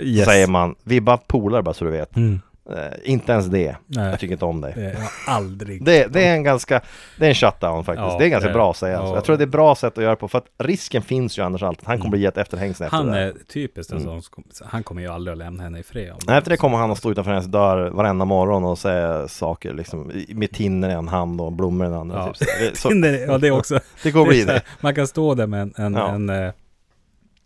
Yes. Säger man, vi är bara polare bara så du vet. Mm. Eh, inte ens det. Nej. Jag tycker inte om dig. Det har jag aldrig. Det, det är en ganska, det är en shutdown faktiskt. Ja, det är ganska det- bra att säga. ja. Alltså. Jag tror att det är bra sätt att göra på för att risken finns ju annars alltid. att Han kommer bli ett efterhängsen efter han det. där. är typiskt en sån, som- han kommer ju aldrig att lämna henne i fred. om- Nej, Efter det kommer han att stå utanför hennes dörr varenda morgon och säga saker liksom, i- med tinner i en hand och blommor i den andra. Ja. Typ. Så, [LAUGHS] det- så, Tinder, ja det är också. det kommer det bli är så här, det. [LAUGHS] Man kan stå där med en, en, Ja. en eh,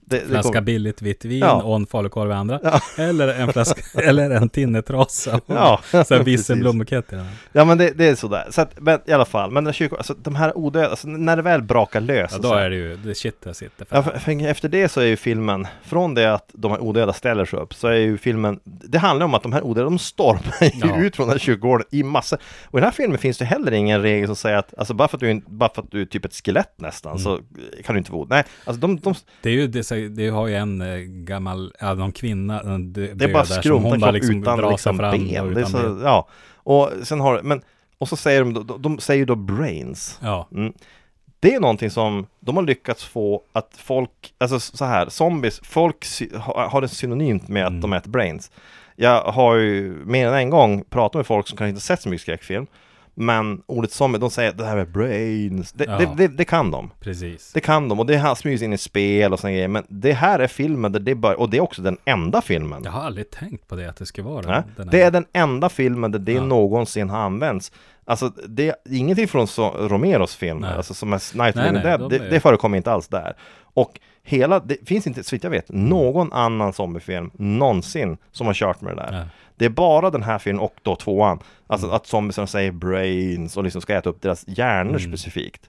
det, det flaska kommer- billigt vitt vin Ja. och en falukorv i andra. Ja. Eller [LAUGHS] en flaska, eller en tinnetrasa. Ja, [LAUGHS] Så här precis. visselblombukett i den. Ja men det, det är sådär, så att, men i alla fall, men den kyrkor, alltså, de här odöda, alltså, när det väl brakar lös Ja, och då så här- är det ju det shit jag sitter för. Ja, för, för efter det så är ju filmen, från det att de här odöda ställer sig upp, så är ju filmen, det handlar om att de här odöda, de stormar ju Ja. ut från den här kyrkogården i massor. Och i den här filmen finns det heller ingen regel som säger att, alltså bara för att du är, en- bara för att du är typ ett skelett nästan, Mm. så kan du inte vara od. Nej, alltså de, de Det är ju, det, så- det har ju en eh, gammal, ja, någon kvinna, en dö- det är död bara där som skrumtar hon kropp bara liksom utan drar liksom sig fram. och ben. Det är utan så, ben. ja, och sen har men, och så säger de, de, de säger ju då brains. Ja, Mm. Det är någonting som de har lyckats få att folk, alltså så här, zombies, folk sy- ha- har det synonymt med att de äter brains. Jag har ju mer än en gång pratat med folk som kanske inte sett så mycket skräckfilm, men ordet zombie, de säger det här med brains, det, Ja. det, det, det kan de. precis. Det kan de och det här smygs in i spel och såna grejer, men det här är filmen där det bara, och det är också den enda filmen. Jag har aldrig tänkt på det, att det ska vara den, Nej, den här. det är den enda filmen där det Ja. någonsin har använts. Alltså det är ingenting från så, Romeros film, Nej. alltså som är Night of the Nej, Living nej, Dead, de det, är- det förekommer inte alls där. Och hela, det finns inte, så vitt jag Mm. vet, någon annan zombiefilm någonsin som har kört med det där. Nej. Mm. Det är bara den här filmen och då tvåan, alltså att zombiesen säger brains och liksom ska äta upp deras hjärnor Mm. specifikt.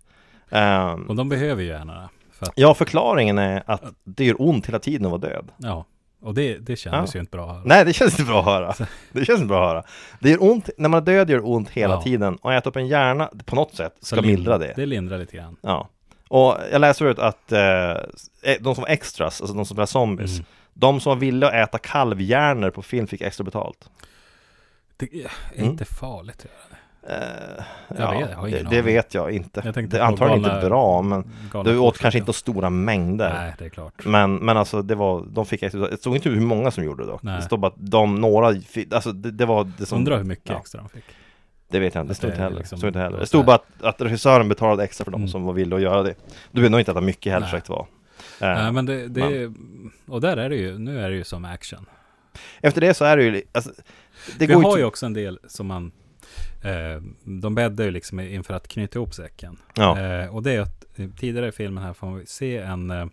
Ehm, Och de behöver ju gärna det. För att, ja, förklaringen är att det gör ont hela tiden att vara död. ja, och det, det kändes ju inte bra. här. Alltså. Nej, det känns inte bra att höra. Det känns inte bra att höra. Det gör ont, när man är död gör det ont hela Ja. tiden. Och äta upp en hjärna på något sätt Så ska mildra det. Det lindrar lite grann. Ja. Och jag läser ut att eh, de som var extras, alltså de som var Mm. zombies, de som var villiga att äta kalvhjärnor på film fick extra betalt. Det är Mm. inte farligt. tror jag. Eh, Jag vet, jag har ingen det, det aning. vet jag inte. Jag tänkte det är på antagligen galna- inte bra, men Galna du åt korsryggen. kanske inte stora mängder. Nej, det är klart. Men, men alltså det var, de fick extra, det stod inte hur många som gjorde det dock. Nej. Det stod bara att de, några, fi- alltså det, det var det som Undrar hur mycket ja. extra de fick. Det vet jag inte, det att stod det inte heller. liksom stod inte heller. var Det stod så bara att, att regissören betalade extra för de Mm. som var villiga att göra det. Du vet nog inte att det mycket heller Nej. sagt var. Eh, Nej, men det, det är, och där är det ju, nu är det ju som action. Efter det så är det ju, li- alltså, det Vi går har inte- ju också en del som man, eh, de bäddar ju liksom inför att knyta ihop säcken. Ja, Eh, och det är att eh, tidigare i filmen här får vi se en, eh,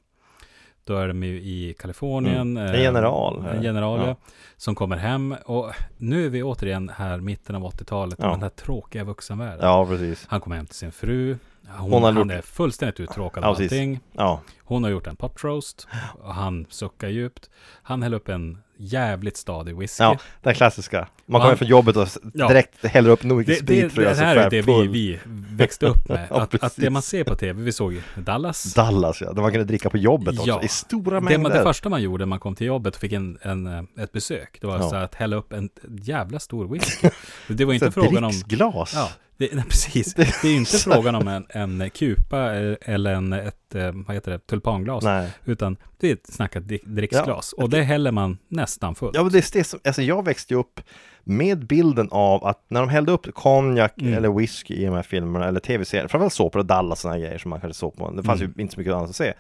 då är de ju i Kalifornien. Mm. En eh, general. En general, ja. Ja. Som kommer hem och nu är vi återigen här mitten av 80-talet, Ja. den här tråkiga vuxenvärlden. ja precis. Han kommer hem till sin fru, hon, Hon har han gjort- är fullständigt uttråkad Ja, av precis. allting. Ja, Hon har gjort en pot roast och han suckar djupt. Han häller upp en jävligt stadig whisky. ja den klassiska. Man kommer han- från jobbet och s- Ja. direkt häller upp nog Det, mycket det, sprit för att det göra sig här är det själv vi, full. vi växte upp med. [LAUGHS] Ja, att, att det precis. man ser på tv, vi såg ju Dallas. Dallas ja, där man kunde dricka på jobbet också Ja. i stora Det, mängder. man, det första man gjorde när man kom till jobbet och fick en, en, eh, ett besök, det var Ja. så här att hälla upp en jävla stor whisky. Det var inte Så frågan om... dricksglas. Ja, det, nej, [LAUGHS] precis. Det är inte frågan om en, en kupa eh, eller en, ett, eh, vad heter det, tulpanglas. Nej. Utan det är ett snackat drick- dricksglas. Och det häller man nästan fullt. Ja, men det är det som, alltså jag växte ju upp med bilden av att när de hällde upp konjak Mm. eller whisky i de här filmerna eller tv-serierna, framförallt såpor och Dallas sådana grejer som man kanske såg på, det fanns Mm. ju inte så mycket annat att se.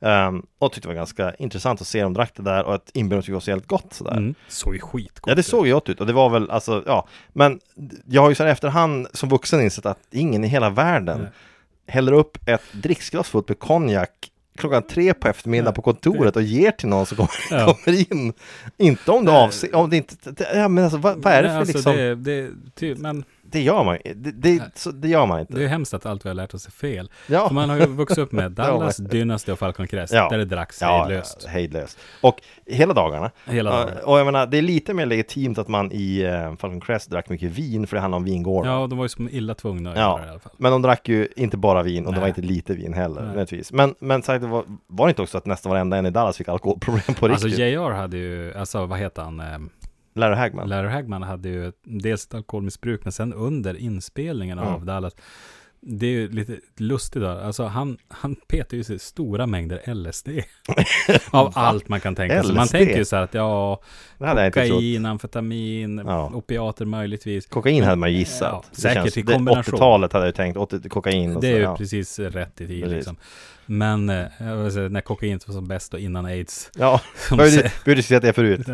Ehm, och tyckte det var ganska intressant att se dem drack det där och att inbjudan tyckte det var så jävligt gott sådär. Mm. Såg ju skitgott Ja, det ut. såg ju gott ut och det var väl alltså, ja. Men jag har ju sen efterhand som vuxen insett att ingen i hela världen Nej. häller upp ett dricksglas fullt med konjak klockan tre på eftermiddagen Nej, på kontoret och ger till någon som kommer, Ja. kommer in. Inte om det avser, om det inte, det, ja men alltså vad, vad är det för Nej, alltså, liksom, det, Det, det, ty, men gör man ju- det, det, Nej. så, det gör man inte. det är hemskt att allt vi har lärt oss är fel. ja. För man har ju vuxit [LAUGHS] upp med Dallas, Dynasty och Falcon Crest, Ja. där det drack sig Ja, löst hejdlöst. Och hela dagarna. hela dagen. Ja, Och jag menar, det är lite mer legitimt att man i eh, Falcon Crest drack mycket vin, för det handlar om vingårdar. Ja, och de var ju som illa tvungna att Ja. göra det i alla fall. Men de drack ju inte bara vin och det Nej. var inte lite vin heller Nej. nödvändigtvis. Men, men sagt, det var, var det inte också att nästan varenda en i Dallas fick alkoholproblem på Alltså riktigt? JR hade ju, alltså vad heter han, eh, Larry Hagman? Larry Hagman hade ju dels ett alkoholmissbruk, men sen under inspelningen av Mm. Dallas, det är ju lite lustigt där. Alltså han, han petar ju sig stora mängder LSD. [LAUGHS] av allt man kan tänka sig. Man LSD? tänker ju så här att ja, det hade jag inte trott. kokain, amfetamin, Ja. opiater möjligtvis. Kokain hade man ju gissat. Ja, Det säkert känns- i det- kombination. 80-talet hade jag ju tänkt, 80, kokain och Det är ju så, ja. precis rätt i tid Precis. liksom. Men eh, jag vill säga, när kokainet var som bäst och innan aids. Ja, vi Som har ju se- vi har ju diskuterat det förut. [LAUGHS]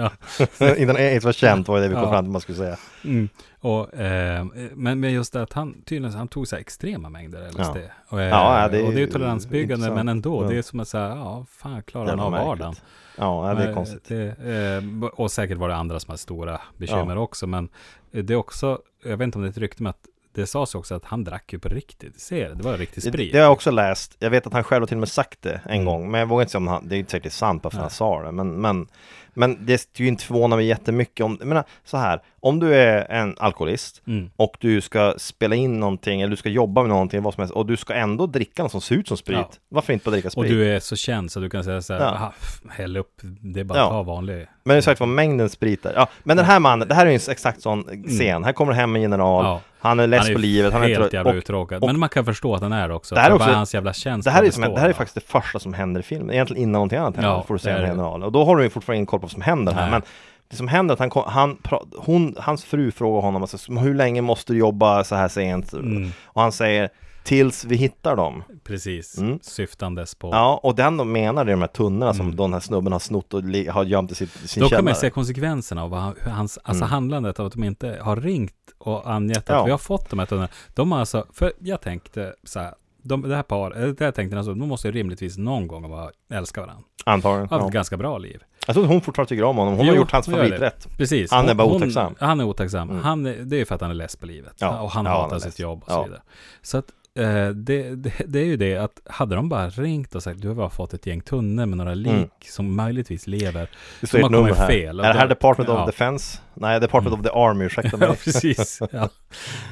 Ja. Innan aids var känt var det vi kom Ja. fram till man skulle säga. Mm. Och, eh, men, men just det att han tydligen han tog så här extrema mängder LSD. Och, eh, Ja, ja, det är och det är ju ju toleransbyggande, intressant. men ändå. Ja. Det är som att säga, ja, fan klarar han Jävla av märkligt. vardagen? Ja, ja, det är Eh, konstigt. det, eh, och säkert var det andra som hade stora bekymmer också, men det är också, jag vet inte om det är ett rykte, men att det sades också att han drack ju på riktigt. Ser, det var riktig Det, sprit. det har jag också läst. Jag vet att han själv har till och med sagt det en gång, men jag vågar inte säga om han, det är inte säkert sant varför Nej. han sa det, men, men, men det skulle ju inte förvåna mig jättemycket om, jag menar, så här, om du är en alkoholist Mm. och du ska spela in någonting eller du ska jobba med någonting, vad som helst, och du ska ändå dricka något som ser ut som sprit, Ja. varför inte bara dricka Och sprit? du är så känd så du kan säga så här, Ja. "Aha, pff, häll upp, det är bara Ja. att ta vanlig. Men det är sagt vad mängden sprit är. Ja, men den här mannen, det här är ju en exakt sån scen, här kommer hem en general, Mm. Ja. han är less ju på livet, han är helt inte jävla och, uttråkad. och- Men man kan förstå att han är det också. Det här är För också- vad hans jävla känsla Det här, är som, består det här är av. faktiskt det första som händer i filmen, egentligen innan någonting annat händer, Ja, får du se det är en det. general. Och då har du ju fortfarande ingen koll på vad som händer här, Nej. men det som händer är att han, kom- han, pra- hon, hans fru frågar honom alltså, hur länge måste du jobba så här sent? Mm. Och han säger tills vi hittar dem. Precis, Mm. syftandes på. Ja, och den de menar är de här tunnorna som Mm. den här snubben har snott och li- har gömt i sitt, sin Då källare. kan man ju se konsekvenserna av vad han- hur hans, alltså Mm. handlandet av att de inte har ringt och angett att Ja. vi har fått de här tunnorna. De har alltså, för jag tänkte så här, de, det här par, eller det här tänkte jag alltså, de måste ju rimligtvis någon gång vara, älska varandra. Antagligen. Haft Ja. ett ganska bra liv. Jag tror att hon fortfarande tycker om honom, hon har Jo, gjort hans hon gör det. favoriträtt. Precis. Han är Hon- bara hon- otacksam. Han är otacksam. Mm. Han är, det är för att han är less på livet. Ja, Och han ja, han hatar är less. sitt jobb och Ja. så vidare. Så att eh, det, det, det är ju det att hade de bara ringt och sagt du har bara fått ett gäng tunnor med några lik Mm. som möjligtvis lever. Det Så står ett man kommer nummer här. fel. Är det här Department Ja. Mm. of Defense? Nej, Department of the [LAUGHS] Army, ursäkta mig. ja, precis. Ja.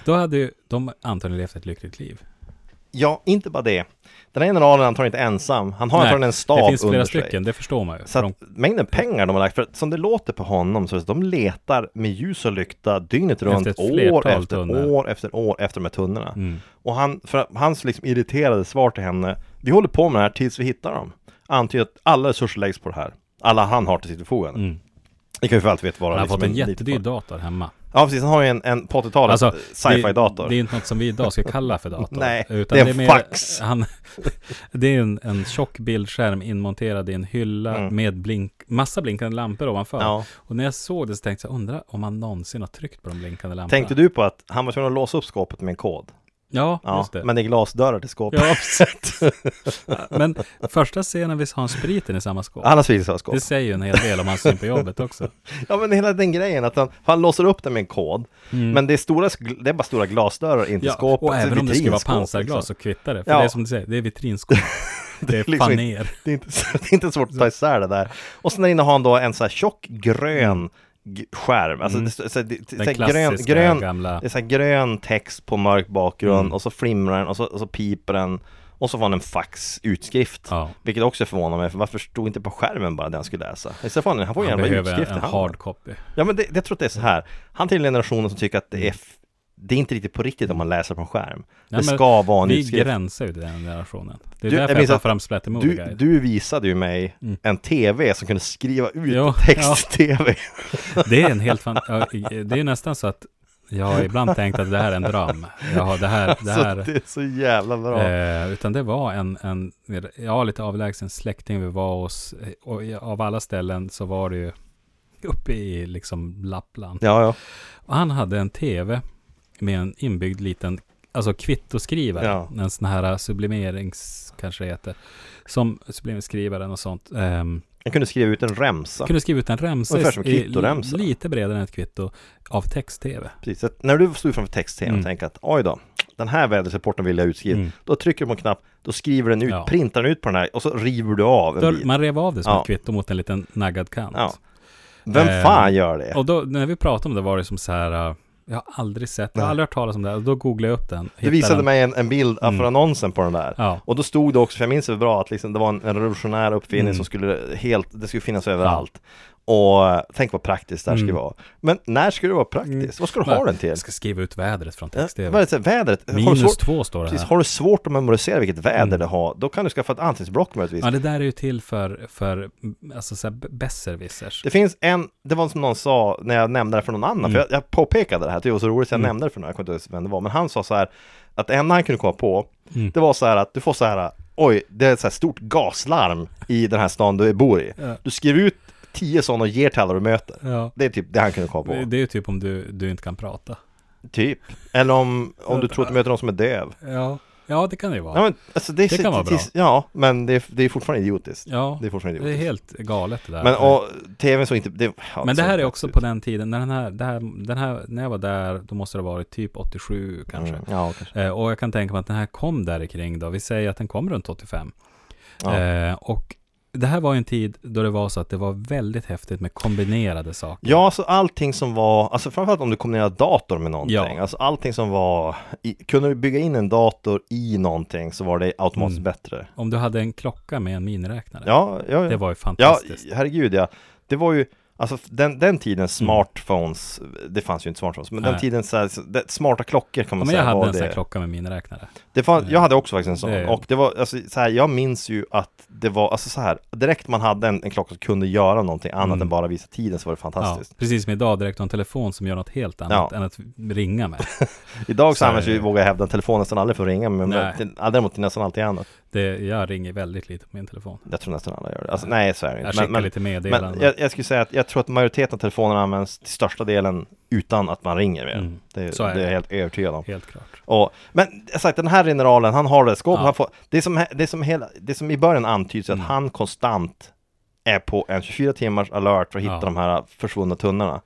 Då hade ju de antagligen levt ett lyckligt liv. Ja, inte bara det. Den här generalen är antagligen inte ensam. Han har antagligen en stab det finns flera under sig. stycken, det förstår man ju. Så De- att mängden pengar de har lagt, för att som det låter på honom så är det- de letar med ljus och lykta dygnet runt, ett år flertal efter tunnor. Mm. år efter år efter de här tunnorna. Och han, för att, hans liksom irriterade svar till henne, vi håller på med det här tills vi hittar dem. Antyder att alla resurser läggs på det här. Alla han har till sitt förfogande. Det kan ju för allt veta vara Mm. han har Mm. liksom fått en liten jättedyr part. dator hemma. Alltså, Ja precis, han har ju en, en på 80-talet sci-fi-dator. Det, det är inte något som vi idag ska kalla för dator. [LAUGHS] Nej, det är en fax. Han, [LAUGHS] det är en, en tjock bildskärm inmonterad i en hylla med blink, massa blinkande lampor ovanför. Mm. Ja. Och när jag såg det så tänkte jag, undra om han någonsin har tryckt på de blinkande lamporna. Tänkte du på att han var tvungen att låsa upp skåpet med en kod? Ja, Ja, just det. men det är glasdörrar till [LAUGHS] skåpet. Ja, precis. Men första scenen visst har han spriten i samma skåp. Alla sviker har skåp. Det säger ju en hel del om hans syn på [LAUGHS] jobbet också. Ja men hela den grejen att han, han låser upp den med en kod Men det är, stora, sk- det är bara stora glasdörrar in till Mm. Ja, skåpet och så även om det skulle vara vitrinskåp, pansarglas liksom. så kvittar det. För Ja. det är som du säger, det [LAUGHS] är vitrinskåp. det är liksom inte- faner. det, är inte, så- det är inte svårt att ta isär det där Och sen där inne har han då en så här tjock grön g- skärm Alltså det, så, så, det, så, här grön, Mm. klassiska grön, gamla- Mm. Det är så här grön text på mörk bakgrund Och så flimrar den och så, och så piper den och så får han en fax utskrift Ja. Vilket också förvånar mig, för varför stod inte på skärmen bara det han skulle läsa? Istället får han, han får ju Han en jävla behöver utskrift en i handen. hard copy. Ja men det, jag tror att det är så här Han tillhör generationen som tycker att det är f- Det är inte riktigt på riktigt om man läser på en skärm Nej, Det men ska vara en Vi utskrift gränsar ju till den generationen. Det är Du, därför jag jag minns tar att fram Splattermovie du, Guide. du visade ju mig en TV som kunde skriva ut Mm. Jo, text i TV Det är en helt fan... ja, Det är nästan så att jag har ibland tänkt att det här är en dröm. Ja, det här... Det [LAUGHS] här Så det är så jävla bra Eh, utan det var en, en, ja lite avlägsen släkting vi var hos. eh, Och i- av alla ställen så var det ju uppe i liksom Lappland. Ja ja, Och han hade en tv med en inbyggd liten, alltså kvittoskrivare. Ja. En sån här sublimerings, kanske det heter. Som sublimeringsskrivaren och sånt. ehm, jag kunde skriva ut en remsa kunde skriva ut en remsa. Ungefär som i- kvittoremsa. Lite bredare än ett kvitto av text-tv. Precis, så att när du stod framför text-tvn och Mm. tänkte att oj då den här väderrapporten vill jag utskriva. Mm. Då trycker du på en knapp, då skriver den ut, Ja. printar den ut på den här och så river du av en Då- bit. Man rev av det som Ja. ett kvitto mot en liten naggad kant. Ja. Vem Eh, fan gör det? Och då, när vi pratade om det var det som så här, uh, jag har aldrig sett, jag har Nej. aldrig hört talas om det här. Och då googlade jag upp den. Du hittade visade den. mig en, en bild mm. från annonsen på den där Ja. Och då stod det också, för jag minns det bra, att liksom det var en, en revolutionär uppfinning Mm. som skulle helt, det skulle finnas överallt Och eh, tänk vad praktiskt det här skulle vara Men när ska det vara praktiskt? Vad ska du ha den till? Jag Mm. ska skriva ut vädret från Eh, Vad är text-tv. det, så här, vädret? har du Minus svårt, två står det precis, här. Mm. har du svårt att memorisera vilket väder det har, då kan du skaffa ett ansiktsblock möjligtvis Ja, det där är ju till för, för alltså så här b- besserwissers. Det finns en, det var som någon sa när jag nämnde det för någon annan, Mm. för jag, jag påpekade det här, det var så roligt så jag nämnde det för någon, jag kommer inte ens ihåg vem det var, men han sa så här att det enda han kunde komma på, Mm. det var så här att du får så här, oj, det är ett så här stort gaslarm i den här stan du bor i. Du skriver ut tio sådana och ger till alla du möter. Ja. Det är typ det han kunde komma på. Det är ju typ om du, du inte kan prata. Typ. Eller om, om du tror att du möter någon som är döv. Ja, ja det kan det ju Ja, vara. men, alltså, det, är Det så- kan vara bra. Ja, men det är, det är fortfarande idiotiskt. Ja, Det är fortfarande det är idiotiskt. helt galet det där. Men och tvn så inte, det, ja, Men det såg här är inte också ut. på den tiden, när den här, det här, den här, när jag var där, då måste det ha varit typ 87 kanske. Mm, ja, kanske. Eh, och jag kan tänka mig att den här kom där kring då. Vi säger att den kom runt 85. Ja. Eh, och det här var ju en tid då det var så att det var väldigt häftigt med kombinerade saker. Ja, alltså allting som var, alltså framförallt om du kombinerade dator med någonting, Ja. alltså allting som var, i, kunde du bygga in en dator i någonting så var det automatiskt Mm. bättre. Om du hade en klocka med en miniräknare. Ja, ja, Det var ju ja, fantastiskt. Mm. herregud ja. Det var ju, alltså den, den tiden smartphones, det fanns ju inte smartphones, men den Nej. tiden så här, så- det, smarta klockor kan man men säga jag hade var en sån här det. klocka med miniräknare. Det fanns, jag hade också faktiskt en sån Det- och det var, alltså, så här, jag minns ju att det var, alltså så här, direkt man hade en, en klocka som kunde göra någonting annat Mm. än bara visa tiden så var det Ja, fantastiskt. precis som idag, direkt från telefon som gör något helt annat Ja. än att ringa med. Idag så Så är används ju, det. vågar jag hävda, telefonen nästan aldrig för att ringa, men Nej. till- ja, däremot till nästan alltid annat. Det, jag ringer väldigt lite på min telefon. Jag tror nästan alla gör det. Alltså, nej, så är det Jag inte. skickar Men, men, lite meddelanden. men jag, jag skulle säga att jag tror att majoriteten av telefonerna används till största delen utan att man ringer med den. Mm. det, Så det är är jag det. helt övertygad om. Helt klart. Och, men jag sagt, den här generalen, han har det skåpet, Ja. Mm. han får, det, är som, he- det, är som hela, det som i början antyds är att han konstant är på en 24 timmars alert för att hitta Ja. de här försvunna tunnorna.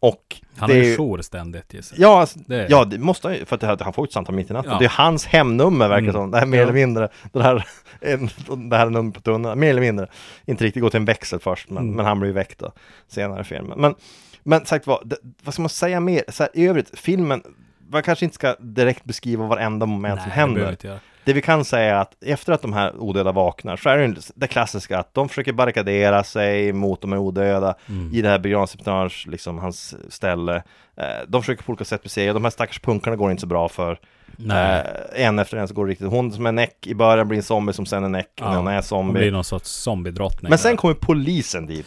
Och Han det har är ju- ju jour ständigt gissar jag. Ja, alltså, Det- ja, det måste han ju, för att det här- han får ju ett samtal mitt i natten. Eh. Ja. Det är hans hemnummer verkar det Mm. som, det här mer Ja. eller mindre, det här, en- det här numret på tunnan, mer eller mindre. Inte riktigt gå till en växel först, men, Mm. men han blir ju väckt då, senare i filmen. Men, men sagt vad, det, vad ska man säga mer? Så här, i övrigt, filmen man kanske inte ska direkt beskriva varenda moment som det behöver händer. vi inte göra. Det vi kan säga är att efter att de här odöda vaknar så är det ju det klassiska att de försöker barrikadera sig mot de här odöda Mm. i det här begravningsceptörns, liksom hans ställe. Eh, De försöker på olika sätt besegra, de här stackars punkarna går det inte så bra för. Nej. Eh, En efter en så går det riktigt, hon som är näck i början blir en zombie som sen är näck, Ja, när hon är Hon blir zombie. någon sorts zombiedrottning. Men sen där. kommer polisen dit.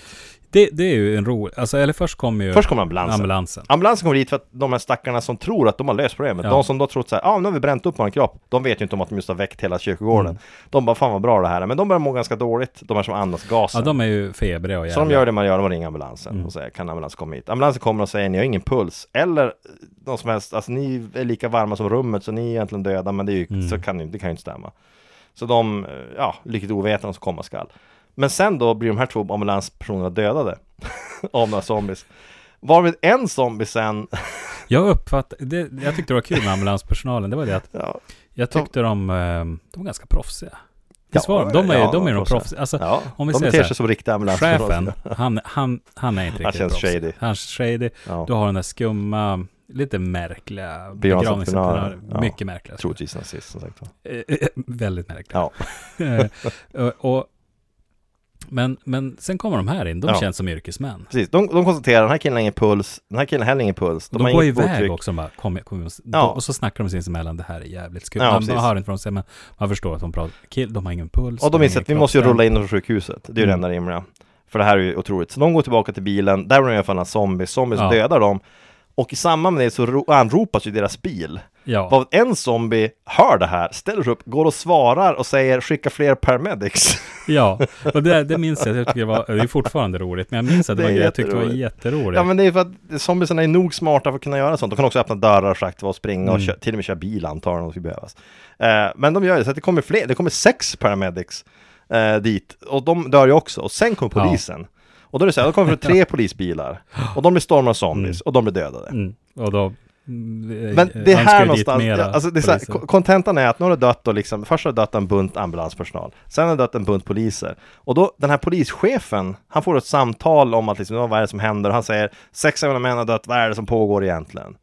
det, det är ju en rolig, alltså eller först kommer ju Först kommer ambulansen. ambulansen. Ambulansen kommer dit för att de här stackarna som tror att de har löst problemet, Ja. de som då trott så här, ja ah, nu har vi bränt upp vår kropp, de vet ju inte om att de just har väckt hela kyrkogården. Mm. De bara, fan vad bra det här är, men de börjar må ganska dåligt, de här som andas Ja, gasen. de är ju febriga och så de jävla. gör det man gör, de ringer ambulansen Mm. och säger, kan ambulansen komma hit? Ambulansen kommer och säger, ni har ingen puls, eller eh, någon som helst, alltså ni är lika varma som rummet, så ni är egentligen döda, men det, är ju, Mm. så kan, ju- det kan ju inte stämma. Så de, eh, ja, lyckligt ovetande som komma skall. Men sen då blir de här två ambulanspersonerna dödade [LAUGHS] av några zombies. Varvid en zombie sen [LAUGHS] Jag uppfattar, det, jag tyckte det var kul med ambulanspersonalen, det var det att Ja, jag tyckte de, ehm, de var ganska proffsiga. Visst Ja, var de? De är ju ja, de är de proffsiga. proffsiga. Alltså, ja. om vi de säger beter så här, sig som riktiga ambulanspersonal. chefen, han, han, han är inte riktigt känns proffsig. shady. Han känns shady. Ja, Du har den där skumma, lite märkliga Begravningsentreprenörer. begravningsentreprenörer. Ja. Mycket märkliga. troligtvis nazist som sagt. var. Eh, eh, väldigt märkliga. Ja. [LAUGHS] Eh, och, men, men sen kommer de här in, de Ja. känns som yrkesmän. Precis, de, de konstaterar den här killen har ingen puls, den här killen har heller ingen puls. De, har de går inget iväg blodtryck. också, bara, kom, kom, Ja. och så snackar de sinsemellan, det här är jävligt skumt. Ja, man, man precis. hör inte vad de säger, men man förstår att de pratar, kill, de har ingen puls. Och de har inser ingen att vi måste ju kroppsstämning. rulla in från sjukhuset, det är ju Mm. det enda rimliga. För det här är ju otroligt. Så de går tillbaka till bilen, där var det i alla fall en zombie, zombies Ja. dödar dem. Och i samband med det så ro- anropas ju deras bil. Ja. Vad en zombie hör det här, ställer sig upp, går och svarar och säger skicka fler paramedics. [LAUGHS] Ja, och det, det minns jag. Jag tycker det, var, det är fortfarande roligt, men jag minns att det, Det var är en grej jag tyckte var jätteroligt. jätteroligt. Ja men det är för att zombiesarna är nog smarta för att kunna göra sånt. De kan också öppna dörrar och schakt och springa och Mm. kö- till och med köra bil antagligen om det skulle behövas. Eh, men de gör det, så att det kommer fler, det kommer sex paramedics eh, dit. Och de dör ju också. Och sen kommer Ja. polisen. Och då är det så här, då [LAUGHS] kommer det tre polisbilar. Och de blir stormade av zombies och de blir dödade. mm. Och då... mm, Men Men det är här någonstans, ja, alltså det är så här, ko- kontentan är att nu har det dött och liksom, först har det dött en bunt ambulanspersonal, sen har det dött en bunt poliser. Och då, den här polischefen, han får ett samtal om att liksom, vad är det som händer? Och han säger, sex av mina män har dött, vad är det som pågår egentligen?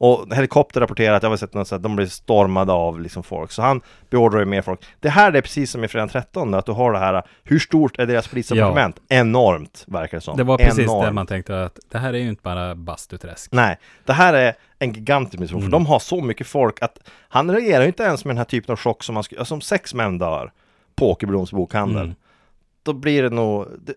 Och helikopter rapporterar att jag har sett något så att de blir stormade av liksom folk, så han beordrar ju mer folk. Det här är precis som i Fredag 13, att du har det här, hur stort är deras polisdepartement? Enormt, verkar det som. Det var precis Enormt. det man tänkte att det här är ju inte bara bastuträsk. Nej, det här är en gigantisk mission, Mm. för de har så mycket folk att han reagerar ju inte ens med den här typen av chock som man skulle, alltså om sex män dör på Åkerbroms bokhandel, Mm. då blir det nog, det,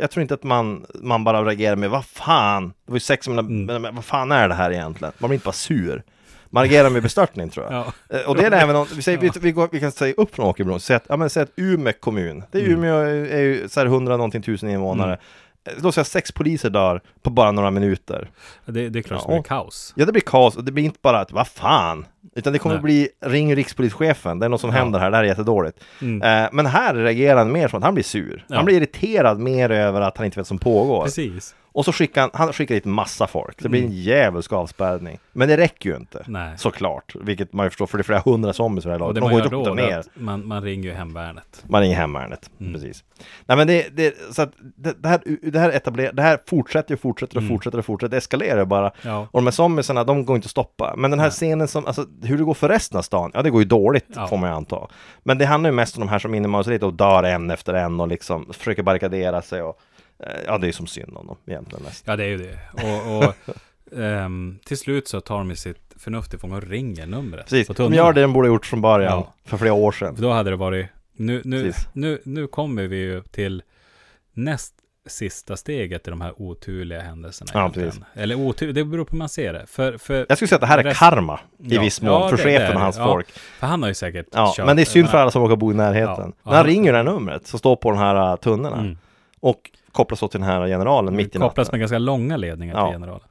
jag tror inte att man, man bara reagerar med vad fan, det var ju sex män, Mm. men, men vad fan är det här egentligen? Man blir inte bara sur. Man reagerar med bestörtning tror jag. Ja. Eh, Och det är det även om, vi, säger, vi, vi, går, vi kan säga upp från Åkerbron, säg att, ja, men säg att Umeå kommun, det är Mm. Umeå är- är ju så här 100 någonting tusen invånare, mm. då säger jag sex poliser dör på bara några minuter. Det, det är klart som Ja. är kaos. Ja, det blir kaos och det blir inte bara att vad fan, utan det kommer Nej. bli ring rikspolischefen, det är något som Ja. händer här, det här är jättedåligt. Mm. Eh, men här reagerar han mer som att han blir sur. Ja. Han blir irriterad mer över att han inte vet vad som pågår. Precis. Mm. Och så skickar han, han skickar dit massa folk, det blir en djävulsk avspärrning. Men det räcker ju inte, Nej. såklart, vilket man ju förstår, för det är flera hundra zombies i det här laget. Och det De man går gör ju då Mm. upp och är ner. att man, man ringer ju hemvärnet. Man ringer hemvärnet, precis. Nej men det, det, så att det, det här, det här etablerar, det här fortsätter och fortsätter och Mm. fortsätter och fortsätter, det eskalerar ju bara. Ja. Och de här zombiesarna, de går inte att stoppa. Men den här scenen som, alltså hur det går för resten av stan, ja det går ju dåligt Ja. får man ju anta. Men det handlar ju mest om de här som innemar sig lite och dör en efter en och liksom försöker barrikadera sig och eh, Ja, det är som synd om dem egentligen mest. Ja, det är ju det. Och, [LAUGHS] och ehm, till slut så tar de ju sitt förnuft ifrån och ringer numret. Precis, på de tunnorna. gör det de borde ha gjort från början, Ja. för flera år sedan. För då hade det varit, nu, nu, Precis. nu, nu kommer vi ju till näst sista steget i de här oturliga händelserna. Ja, egentligen. precis. Eller otur, det beror på hur man ser det. För, för, Jag skulle säga att det här är Rest- karma i Ja. viss mån, Ja, för det- det är chefen det. och hans Ja. folk. för han har ju säkert Ja, kört- men det är synd jag för menar, alla som råkar bo i Ja. närheten. Ja, Men han han- ringer ju det här numret som står på den här eh, tunnorna Mm. och kopplas åt till den här generalen mitt i natten. Kopplas med ganska långa ledningar Ja. till generalen.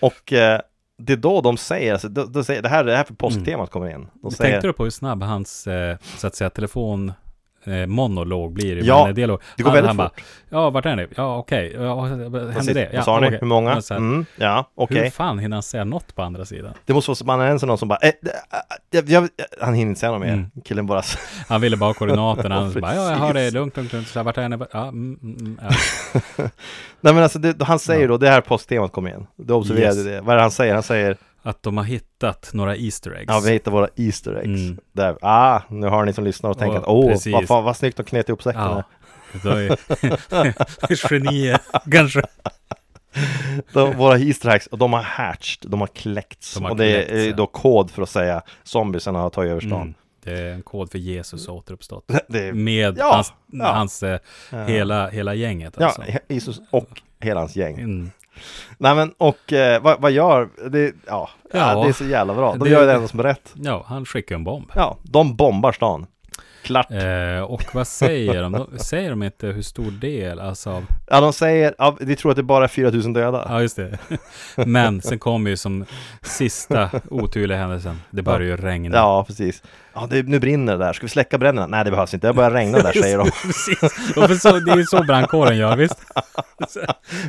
Och eh, det är då de säger, alltså, de, de säger det här är här för påsktemat kommer in. De säger, Mm. Tänkte du på hur snabb hans, eh, så att säga, telefon eh, monolog blir? Ja, men dialog. det går Han- väldigt han bara, Ja, vart är ni? Ja, okej. Ja, hände precis, det? Ja, vad sa ni? okej. Hur många? Och så här, Mm, ja, okej. Hur fan hinner han säga något på andra sidan? Det måste vara så bananen som någon som bara, eh, det- eh, jag, jag, han hinner inte säga något mer. Mm. Killen bara, [LAUGHS] Han ville bara ha koordinaterna. Han Ja, bara, ja, jag har det precis. lugnt, lugnt, lugnt. Så här, vart är ni? Ja, mm, mm, mm, ja. nej men alltså det, han säger då, det här är påsktemat kommer in. Du observerade Yes. det. Vad är det han säger? Han säger, Att de har hittat några Easter eggs. Ja, vi hittar våra Easter eggs. Mm. Där, ah, nu har ni som lyssnar och tänker Ja, att åh, precis. vad, fan, vad snyggt de knet ihop säcken. Ja. här. Då [LAUGHS] är genier, kanske. De, våra Easter eggs, och de har hatched, de har kläckts. De har och det är kläckts, eh, ja. då kod för att säga zombiesarna har tagit över stan. Mm. Det är en kod för Jesus återuppstått. [LAUGHS] Det är, Med Mm. Ja, hans, ja. hans eh, hela, hela gänget ja, alltså. he- Jesus och hela hans gäng. Mm. Nej men, och eh, vad, vad gör, det, ja, ja. Ja. det är så jävla bra. De Det- gör det enda som är rätt. ja, han skickar en bomb. Ja, de bombar stan. Klart. Eh, och vad säger de? de? Säger de inte hur stor del, alltså av Ja, de säger, ja, de tror att det bara är 4000 döda. Ja, just det. [LAUGHS] Men sen kommer ju som sista oturliga händelsen. Det börjar ju regna. Ja, precis. Ja, det, nu brinner det där. Ska vi släcka bränderna? Nej, det behövs inte. Det börjar regna [LAUGHS] där, säger de. Precis. Och för så, det är ju så brandkåren [LAUGHS] gör, visst? Om man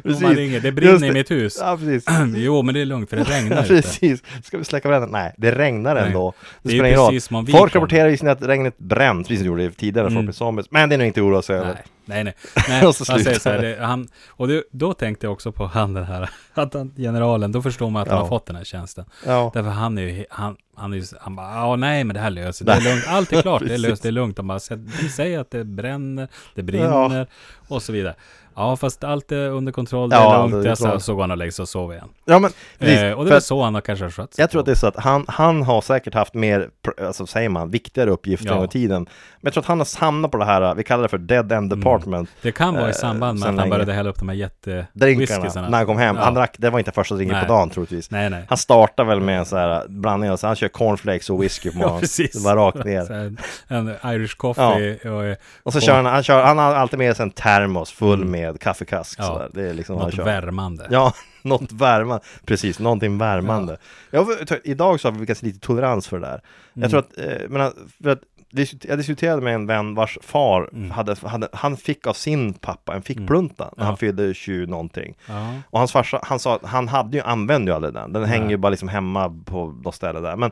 Precis. ringer, det brinner Just i det. mitt hus. Ja, [CLEARS THROAT] precis. Jo, men det är lugnt för det regnar ute. precis. Ska vi släcka bränderna? Nej, det regnar Nej. ändå. Det, Det är ju spelar ingen roll. precis som om vi Folk kom. rapporterar visserligen att regnet bränt, precis som det gjorde tidigare när folk Mm. blev zombies. Men det är nog inte att oroa sig över. [LAUGHS] Nej, nej, nej. nej. Och så han säger slutar så här, det. det, han, och det, då tänkte jag också på han den här, [LAUGHS] att han, generalen, då förstår man att han Ja. har fått den här tjänsten. Ja. Därför han är ju, he- han, han är ju, han bara, ja nej men det här löser det är lugnt, allt är klart, [LAUGHS] det är löst, det är lugnt. De bara, "Säg- vi säger att det bränner, det brinner och så vidare. Ja fast allt är under kontroll, det Ja, är lugnt, det är jag så, klart. så går han och lägger sig och sover igen. ja, men precis. Eh, och det För var att så han har kanske skött sig jag tror på. att det är så att han, han har säkert haft mer, pr- alltså säger man, viktigare uppgifter Ja. under tiden. Men jag tror att han har hamnat på det här, vi kallar det för dead end Mm. department. det kan vara i eh, samband med sen att han länge. började hälla upp de här jätte Drinkarna, när han kom hem. Ja. Han drack, det var inte första drinken Nej. på dagen troligtvis. Nej, nej. Han startar väl med en så här blandning, av- så han kör cornflakes och whisky på [LAUGHS] Ja, morgonen. precis. det var rakt Så [LAUGHS] ner. här, en Irish coffee och, eh, Och så kör han, han, kör, han har alltid med sig en termos full med kaffekask. Mm. Ja. Så där. Det är liksom vad han något kör. värmande. Ja, [LAUGHS] något värmande. Precis, någonting värmande. Jag, tror- idag så har vi lyckats lite tolerans för det där. Mm. Jag tror att, eh, men, för att dis- jag diskuterade med en vän vars far hade, hade, han fick av sin pappa en fickplunta när han fyllde 20 någonting. Mm, Ja. Och hans farsa, han sa att han hade ju, använde ju aldrig den. Den hänger ju bara liksom hemma på något ställe där. Men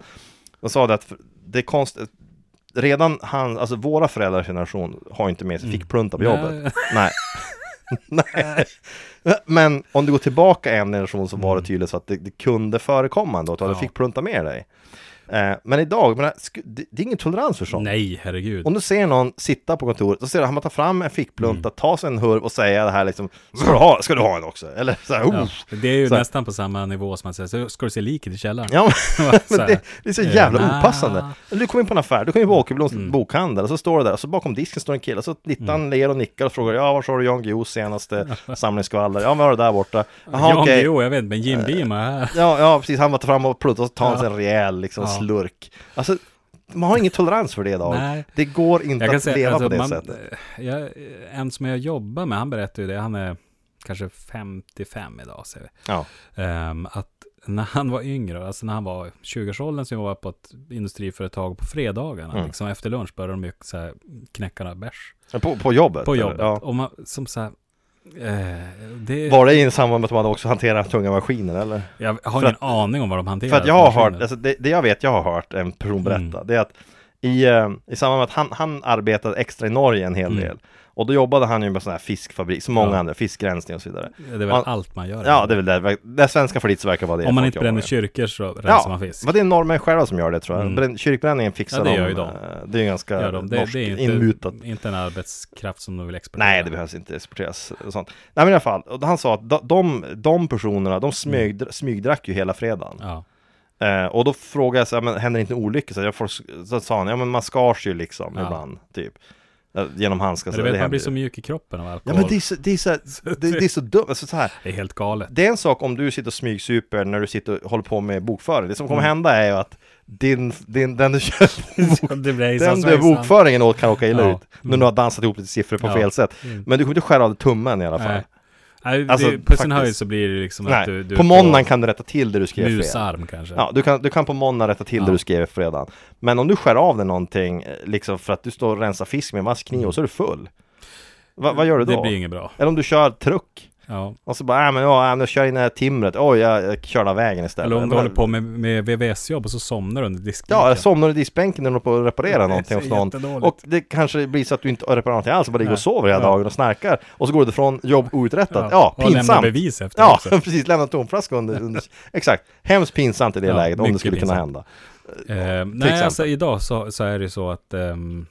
de sa det att för- det är konstigt, redan han, alltså våra föräldrars generation har ju inte med sig fickplunta på Nej. jobbet. Mm. Nej. [LAUGHS] Nej. [LAUGHS] Mm. Men om du går tillbaka en generation så var det tydligt så att det, det kunde förekomma ändå, att du Ja. hade fickplunta med dig. Eh, men idag, jag menar, sku- det, det är ingen tolerans för sånt. Nej, herregud. Om du ser någon sitta på kontoret, då ser du han tar fram en fickplunta, Mm. ta sig en hurv och säga det här liksom Ska du ha, ska du ha en också? Eller så här, Ja, oh. det är ju Så- nästan på samma nivå som man säger, så ska du se liket i källaren? Ja, [LAUGHS] Så men här. det, det är så Eh, jävla nah. opassande. Du kommer in på en affär, du kommer in på Åkerbloms Mm. bokhandel, och så står du där, och så bakom disken står en kille, och så tittar han, ler och nickar och frågar, ja, var har du Jan Guillous [LAUGHS] senaste samlingsskvaller? Ja, men var det där borta? Jaha, Jan okej. Eh, Guillou, jag vet, men Jim Beam är här. Ja, ja, precis, han var fram och pruttade, och så tar han Ja. sig en rejäl liksom, Ja. slurk. Alltså, man har ingen tolerans för det idag. Nej. Det går [LAUGHS] inte Jag kan att säga, leva alltså, på det man, sättet. jag, eh, en som jag jobbar med, han berättar ju det, han är kanske 55 idag, säger vi. Ja. Ehm, att när han var yngre, alltså när han var i 20-årsåldern, så var jag på ett industriföretag på fredagarna, Mm. liksom efter lunch började de ju så här, knäcka några bärs På, på jobbet? på eller? jobbet. Ja. Och man, som så här, eh, det, Var det i samband med att man också hanterar tunga maskiner eller? jag har för ingen att- aning om vad de hanterar. För att jag har maskiner. hört, alltså det, det jag vet jag har hört en person berätta, Mm. det är att i, eh, i samband med att han, han arbetade extra i Norge en hel Mm. del, och då jobbade han ju på sån här fiskfabrik, som många Ja. andra, fiskrensning och så vidare. Det är väl Man- allt man gör. Ja, det är väl det, det svenska för lite verkar vara det. Om man folk inte bränner jobbar med. kyrkor så rensar man fisk. men det är norrmän själva som gör det tror jag. Mm. Bränn- Kyrkbränningen fixar Ja, det gör de. ju de. eh, Det är ju ganska Gör de. Det, norskt, det är inte, inmutat. inte en arbetskraft som de vill exportera. Nej, det behövs inte exporteras och sånt. Nej, men i alla fall, och han sa att de, de, de personerna, de smög, Mm. smygdrack ju hela fredagen. Ja. Eh, och då frågade jag så här, men händer inte en olycka? Så, jag får, så sa han, ja men man skars ju liksom Ja. ibland, typ. Eh, Genom handskar. Men så du vet, man händer blir ju. så mjuk i kroppen av Ja alkohol. men det är så, det är [LAUGHS] så, här- det, det är så dumt, alltså, så här. det är [LAUGHS] helt galet. Det är en sak om du sitter och smygsuper när du sitter och håller på med bokföring. Det som Mm. kommer hända är ju att din, din, den du kör på bok, [LAUGHS] det blir den du bokföringen åt kan åka illa Ja. Mm. ut. När du har dansat ihop lite siffror på Ja. fel sätt. Men du kommer inte skära av dig tummen i alla fall. Nej. Nej, Alltså, det, på sin faktiskt. höjd så blir det liksom Nej. att du, du på får måndagen kan du rätta till det du skrev fel. musarm kanske. Ja, du kan, du kan på måndag rätta till det du skrev i fredagen. Men om du skär av dig någonting, eh, liksom för att du står och rensar fisk med en vass kniv och så är du full. Va, vad gör du då? Mm. Det blir inget bra. Eller om du kör truck. Ja. Och så bara, äh, men ja, äh, men jag kör in det här timret. Oj, jag, jag körde av vägen istället. Eller om du Men- håller på med, med VVS-jobb och så somnar du under diskbänken. Ja, jag somnar i diskbänken när de håller på att reparera någonting hos någon. jättedåligt. Och det kanske blir så att du inte reparerar någonting alls, bara ligger och Nej. sover hela Ja. dagen och snarkar. Och så går du från jobb outrättat. Ja, Ja, och lämna pinsamt. bevis efter Ja, också. [LAUGHS] Eh, precis. Lämna en tomflaska under, [LAUGHS] under... Exakt. Hemskt pinsamt i det Ja, läget, om det mycket skulle kunna pinsamt. hända. Eh, nej, exempel. alltså idag så, så är det ju så att ehm,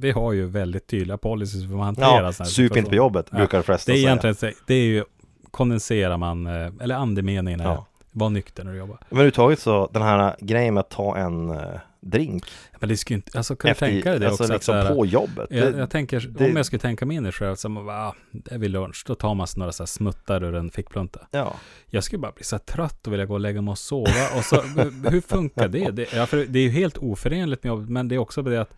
vi har ju väldigt tydliga policies för hur man hanterar Ja, sådana här sup inte på situationer. jobbet, Ja. brukar de flesta Det är säga. egentligen, så- det är ju, kondenserar man, eh, eller andemeningen är, Ja. var nykter när du jobbar. Men överhuvudtaget så, den här grejen med att ta en eh, drink Men det skulle ju inte, alltså kan du tänka dig det alltså också? att liksom så här, på jobbet. jag, Det- jag tänker, det- om jag skulle tänka mig in i själv, så man bara, ah, det är vid lunch, då tar man sig några så här smuttar ur en fickplunta. ja. Jag skulle bara bli så här trött och vilja gå och lägga mig och sova. [LAUGHS] Och så, hur funkar det? Det, ja, för det är ju helt oförenligt med jobbet, men det är också det att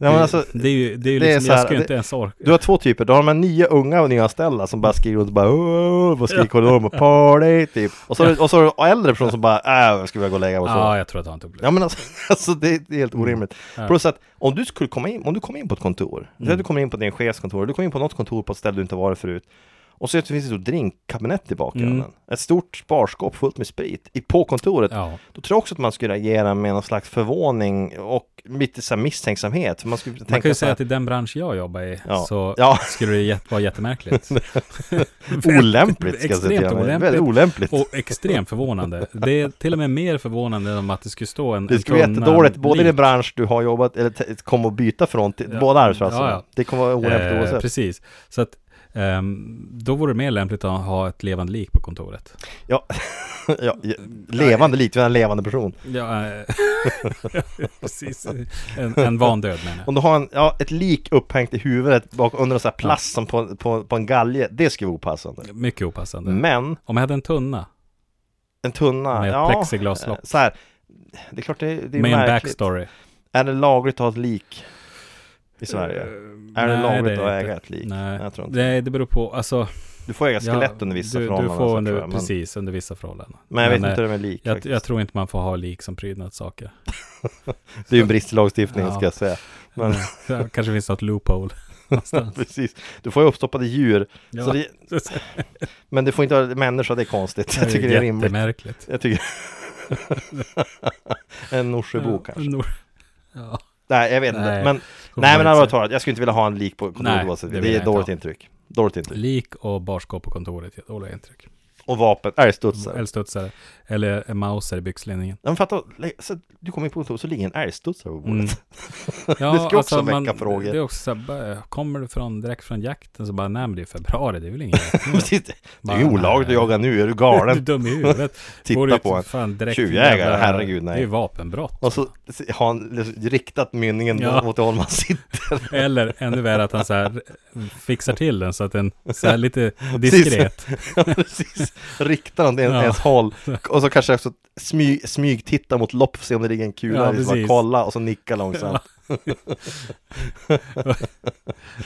Nej, men alltså, det, är ju, det är ju det är liksom, så här, jag skulle det- inte ens orka. Du har två typer, du har de här nya unga och nyanställda som bara skriker runt och bara "Åh", och skriker [LAUGHS] i korridoren och bara, party typ. Och så, har du- och så har du äldre personer som bara äh, jag skulle vilja gå och lägga mig och Ja, sova. jag tror att han tog Ja men alltså, [LAUGHS] alltså det, det är Mm. helt orimligt. Plus att om du skulle komma in, om du kommer in på ett kontor, mm. du kommer in på din chefs kontor, du kommer in på något kontor på ett ställe du inte varit förut. Och så ser du att det finns ett stort drinkkabinett i bakgrunden. Ett stort sparskåp fullt med sprit i, på kontoret. Mm. Ja. Då tror jag också att man skulle reagera med någon slags förvåning och lite så här misstänksamhet. Man, skulle Man kan tänka ju så säga här, att i den bransch jag jobbar i Ja. så Ja. [LAUGHS] skulle det jät- vara jättemärkligt. Olämpligt ska jag säga Extremt till honom. olämpligt. Väldigt olämpligt. Och extremt förvånande. Det är till och med mer förvånande än att det skulle stå en Det en skulle vara tunna jättedåligt, både i den eh, lik. bransch du har jobbat, eller t- kommer att byta från, till, båda arbetsplatserna. Ja, ja. Det kommer vara olämpligt Eh, oavsett. Precis. Så att ehm, då vore det mer lämpligt att ha ett levande lik på kontoret. Ja. [LAUGHS] ja, ja, levande likt, vi har en levande person. Ja, eh, [LAUGHS] precis. En, en vandöd menar jag. Om du har en, ja, ett lik upphängt i huvudet bak, under en sån här plast som på, på, på en galge, det skulle vara opassande. Mycket opassande. Men, Om jag hade en tunna en tunna, med ett ja, eh, plexiglaslock. så här, det är klart det, det är med en märkligt. backstory. Är det lagligt att ha ett lik i Sverige? Eh, är det nej, lagligt är att inte. äga ett lik? Nej, Jag tror inte. det, det beror på. Alltså, Du får äga skelett under vissa du, förhållanden. Du alltså, får tror under, jag, men, precis under vissa förhållanden. men jag vet eh, inte hur det är med lik. jag, faktiskt. jag tror inte man får ha lik som prydnadssaker. Det är ju en brist i lagstiftningen ska Ja. jag säga. [LAUGHS] Men Det kanske finns [LAUGHS] något loophole någonstans. precis, du får ju uppstoppade djur. Ja. Så det, men du får inte ha människa, det är konstigt. är Jag ju tycker det är rimligt. Jättemärkligt. Jag tycker... [LAUGHS] en Norsebo Ja, kanske. nor- Ja. Nej, jag vet inte. Nej, Men, får nej, man men allvarligt inte talat, jag skulle inte vilja ha en lik på kontoret Nej, oavsett. det Det, vill är jag inte dåligt ha. intryck. Dåligt intryck. Lik och barskåp på kontoret ger dåliga intryck. Och vapen, Mm. älgstudsare. Älgstudsare. Eller en mauser i byxlinningen. Ja, men fatta, lä- så du kommer in på kontoret så ligger en älgstudsare på bordet. [LAUGHS] Mm. Ja, alltså, Det ska också väcka frågor. Det är också så här, bara, kommer du från, direkt från jakten så bara, nej men det är februari, det är väl ingen jakt nu?" Precis. [LAUGHS] Det är ju Bara, olagligt att nej. jaga nu, är du Du är [LAUGHS] galen? dum i huvudet. [LAUGHS] Titta Går ut, på en fan, direkt tjuvjägare, jävla- herregud, nej. Det är ju vapenbrott. Och så har han liksom riktat mynningen Ja. mot det håll man sitter. [LAUGHS] Eller ännu värre att han så här fixar till den så att den så [LAUGHS] här lite diskret. Ja, precis. Riktar den åt en- Ja. ens [LAUGHS] håll. Och så kanske också smy, smygtitta mot lopp för att se om det ligger en kula. Ja, Ja, liksom bara precis. kolla och så nicka långsamt.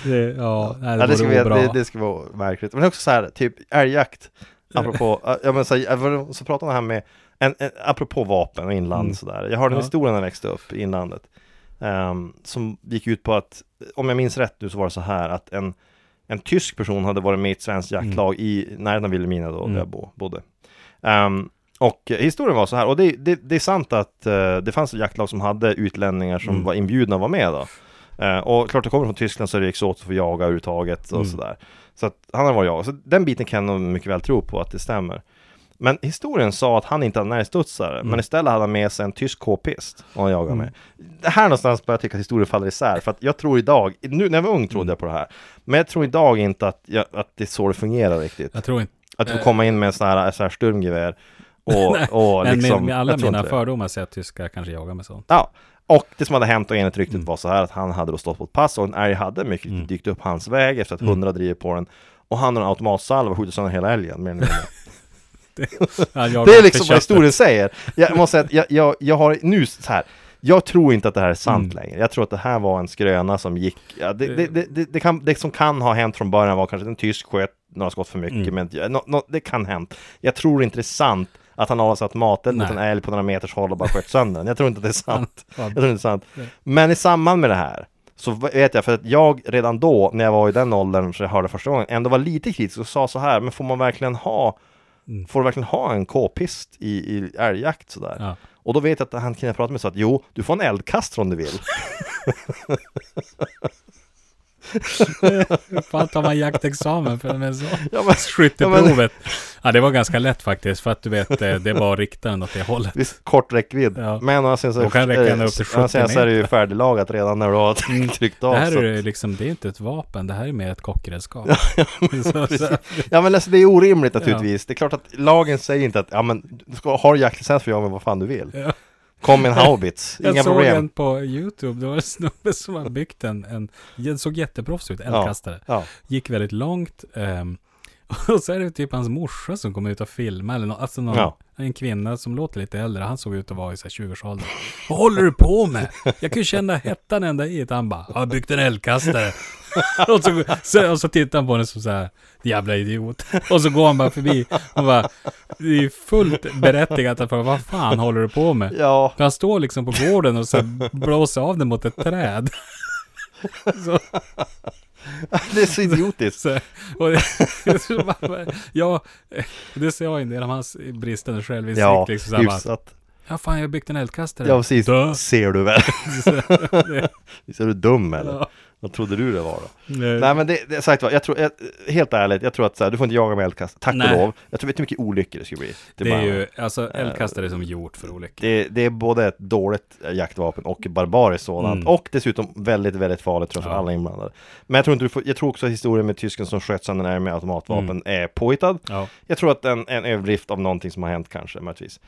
Det, ja, nej, Ja, det, det, ska vara, vore bra. det, det ska vara märkligt. Men det är också så här, typ älgjakt. Apropå, ja, men så, här, var- så pratar man här med, en, en, apropå vapen och inland Mm. sådär. Jag hörde en Ja. historia när jag växte upp i inlandet. ehm, som gick ut på att, om jag minns rätt nu så var det så här att en, en tysk person hade varit med i ett svenskt jaktlag i närheten av Vilhelmina då, där Mm. jag bo, bodde. Ehm, och eh, historien var så här, och det, det, det är sant att eh, det fanns ett jaktlag som hade utlänningar som Mm. var inbjudna att vara med då. Eh, och klart, det kommer från Tyskland så är det exotiskt att få jaga överhuvudtaget och Mm. sådär. Så att han har varit jag. Så den biten kan jag nog mycket väl tro på att det stämmer. Men historien sa att han inte hade närstudsare, Mm. men istället hade han med sig en tysk k-pist och han jagade med. Det här någonstans börjar jag tycka att historien faller isär, för att jag tror idag, nu när jag var ung trodde Mm. jag på det här, men jag tror idag inte att, jag, att det är så det fungerar riktigt. Jag tror inte. Att du får komma in med en sån här, sån här [LAUGHS] sturmgevär och, Eh. Nej, och men liksom... med, med alla jag tror mina inte det. fördomar säger jag att tyskar kanske jagar med sånt. Ja, och det som hade hänt och enligt Mm. ryktet var så här att han hade då stått på ett pass och en älg hade mycket riktigt dykt upp hans väg efter att Mm. hundra driver på den. Och han har en automatsalva skjutit sönder hela älgen. mer eller mindre. Det är liksom vad historien säger. Jag måste säga att jag, jag, jag har nu så här. Jag tror inte att det här är sant Mm. längre. Jag tror att det här var en skröna som gick. Ja, det, det, det, det, det, kan, det som kan ha hänt från början var kanske att en tysk sköt några skott för mycket. Mm. Men ja, nå- nå- det kan ha hänt. Jag tror inte det är sant att han avsatt maten mot en Nej. älg på några meters håll och bara sköt sönder den. Jag tror inte att det är sant. Ja. Jag tror inte det är sant. Men i samband med det här så vet jag, för att jag redan då, när jag var i den åldern, så jag hörde första gången, ändå var lite kritisk och sa så här, men får man verkligen ha, får du verkligen ha en k-pist i, i älgjakt sådär? Mm. Ja. Och då vet jag att han kunde prata med mig så att jo, du får en eldkastare om du vill. [LAUGHS] Hur fan tar man jaktexamen för med så? Ja, men- Skytteprovet. Ja, det var ganska lätt faktiskt. För att du vet, eh, det var riktaren åt det hållet. Visst, kort räckvidd. Ja. Men å andra sidan så, Då kan det räcka är det- ända upp till Mm. å andra sidan så är det ju färdiglagat redan när du har [LAUGHS] tryckt av. Det här så. är ju liksom, det är inte ett vapen, det här är mer [LAUGHS] ett kockredskap. så, så, Ja men alltså, det är orimligt naturligtvis. Det är klart att lagen säger inte att ja men du ska ha jaktlicens för jag men vad fan du vill. Ja. Kom [LAUGHS] med en haubits, jag inga såg problem. en på YouTube, det var en snubbe som hade byggt en, en den såg jätteproffs ut, eldkastare. Ja. Gick väldigt långt. ehm, [LAUGHS] och så är det typ hans morsa som kom ut och filmade, eller nå- alltså någon, Ja. en kvinna som låter lite äldre. Han såg ut att vara i så här 20-årsåldern. Vad håller du på med? Jag kunde känna hettan ända hit. Han bara, jag har byggt en eldkastare. [LAUGHS] och, så, så, och så tittar han på henne som så här, jävla idiot. Och så går han bara förbi. Och bara, det är ju fullt berättigat att fråga, vad fan håller du på med? Ja, För han står liksom på gården och så här blåser av den mot ett träd. [LAUGHS] Så, det är så idiotiskt. så, och det, [LAUGHS] så bara, ja, det sa ju en del om hans bristande självinsikt. Ja, liksom, så här, bara, hyfsat. ja, fan, jag har byggt en eldkastare. Ja precis, Dö. ser du väl? [LAUGHS] Visst är du dum eller? Ja. Eh. Vad trodde du det var då? Nej men det, det sagt var, jag tror, jag, helt ärligt, jag tror att så här, du får inte jaga med eldkast, tack Nej. och lov. Jag tror, vet du hur mycket olyckor det skulle bli? det, bara- Eh, är ju, alltså eldkastare är som gjort för olyckor. det, det är både ett dåligt jaktvapen och barbariskt sådant Mm. Och dessutom väldigt, väldigt farligt tror jag för Ja. alla inblandade Men jag tror inte du får, jag tror också att historien med tysken som sköt sönder den här med automatvapen Mm. är påhittad Ja. Jag tror att en, en överdrift av någonting som har hänt kanske möjligtvis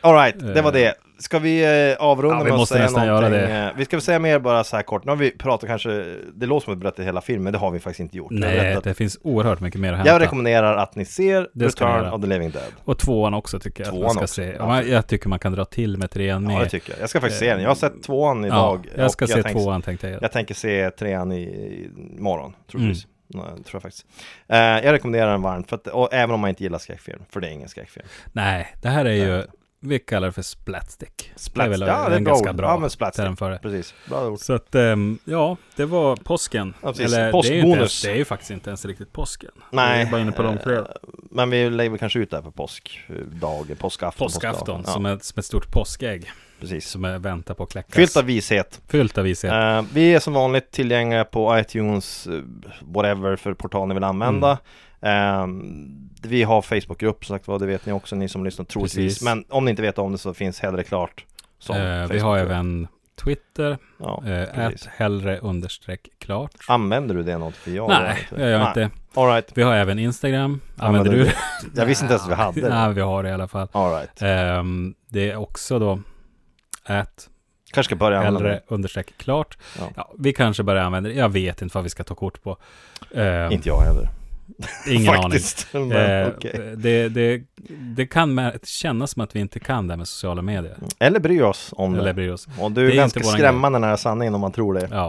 Alright, det var det Ska vi eh, avrunda Eh. Ja, vi med att måste säga nästan göra någonting? det. Eh, Vi ska väl säga mer bara så här kort Nu har vi pratat kanske, det låter som att vi berättat hela filmen, men det har vi faktiskt inte gjort Vi har Nej, berättat- det finns oerhört mycket mer att hämta. Jag rekommenderar att ni ser Det ska ni Return göra. of the Living Dead Och tvåan också tycker jag att man Tvåan ska också, se. ja. Man, jag tycker man kan dra till med trean med. Ja det tycker jag, jag ska faktiskt se den, jag har sett tvåan Eh, Ja, idag jag ska och se tänkte- tvåan tänkte jag. Jag tänker se trean i, i morgon, troligtvis. Mm. Nej, det tror jag faktiskt. Eh, jag rekommenderar den varmt, för att, och även om man inte gillar skräckfilm, för det är ingen skräckfilm. Nej, det här är ju, vi kallar det för splatstick. Splatstick, det är, ja, väl det är en bra ganska ord. bra Ja, men splatstick. term för det. Precis, bra ord. Så att, ehm, ja, det var påsken. Ja, precis. det, är ju inte Påskbonus. ens, det är ju faktiskt inte ens riktigt påsken. Nej, Vi är bara inne på de tre. eh, Men vi lägger väl kanske ut det här på påskdagen, påskafton. Påskafton, Ja, som, är, som ett stort påskägg. precis. Som är väntar på att kläckas. Fyllt av vishet. Fyllt av vishet. Eh, vi är som vanligt tillgängliga på iTunes, eh, whatever för portal ni vill använda. Mm. Eh, vi har Facebookgrupp som sagt var, det vet ni också ni som lyssnar troligtvis. Precis. Men om ni inte vet om det så finns hellre klart som Eh, vi Facebook. har även Twitter, Ja, eh, precis. ät hellre understreck klart. Använder du det något? För jag gör Nej, jag gör Nej. inte. Alright, Vi har även Instagram. Använder du det? jag visste inte ens att vi hade det. Nej, vi har det i alla fall. Alright, Ehm, det är också då att kanske ska börja använda hellre det. understreck klart. Ja. Ja. vi kanske börjar använda det. Jag vet inte vad vi ska ta kort på. Ehm, Inte jag heller. ingen aning. Faktiskt. aning. Men, Eh, okej. det, det, det kan mär- kännas som att vi inte kan det här med sociala medier. Eller bry oss om Eller det. bryr oss. Och du Det är, är ganska inte våran skrämmande nära sanningen om man tror det. Ja,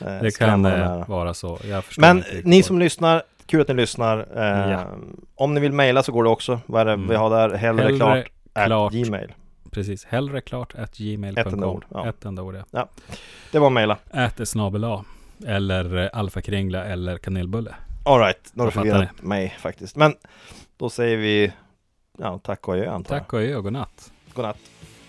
Eh, det kan skrämmande eh, nära. vara så. Jag förstår Men inte riktigt ni vad- som lyssnar, kul att ni lyssnar. Eh, Ja. Om ni vill mejla så går det också. Vad är det Mm. vi har där? Hellre, Hellre klart, at klart. gmail. Precis, hellre klart at gmail.com. Ett enda ord, ja. Ett enda ord, ja. Det var mejla. Ät snabel A. Eller eh, alfakringla eller kanelbulle. Alright, nu har du Jag fattar förvirrat mig faktiskt. Men då säger vi ja, tack och adjö antar jag. Tack och adjö och godnatt. Godnatt.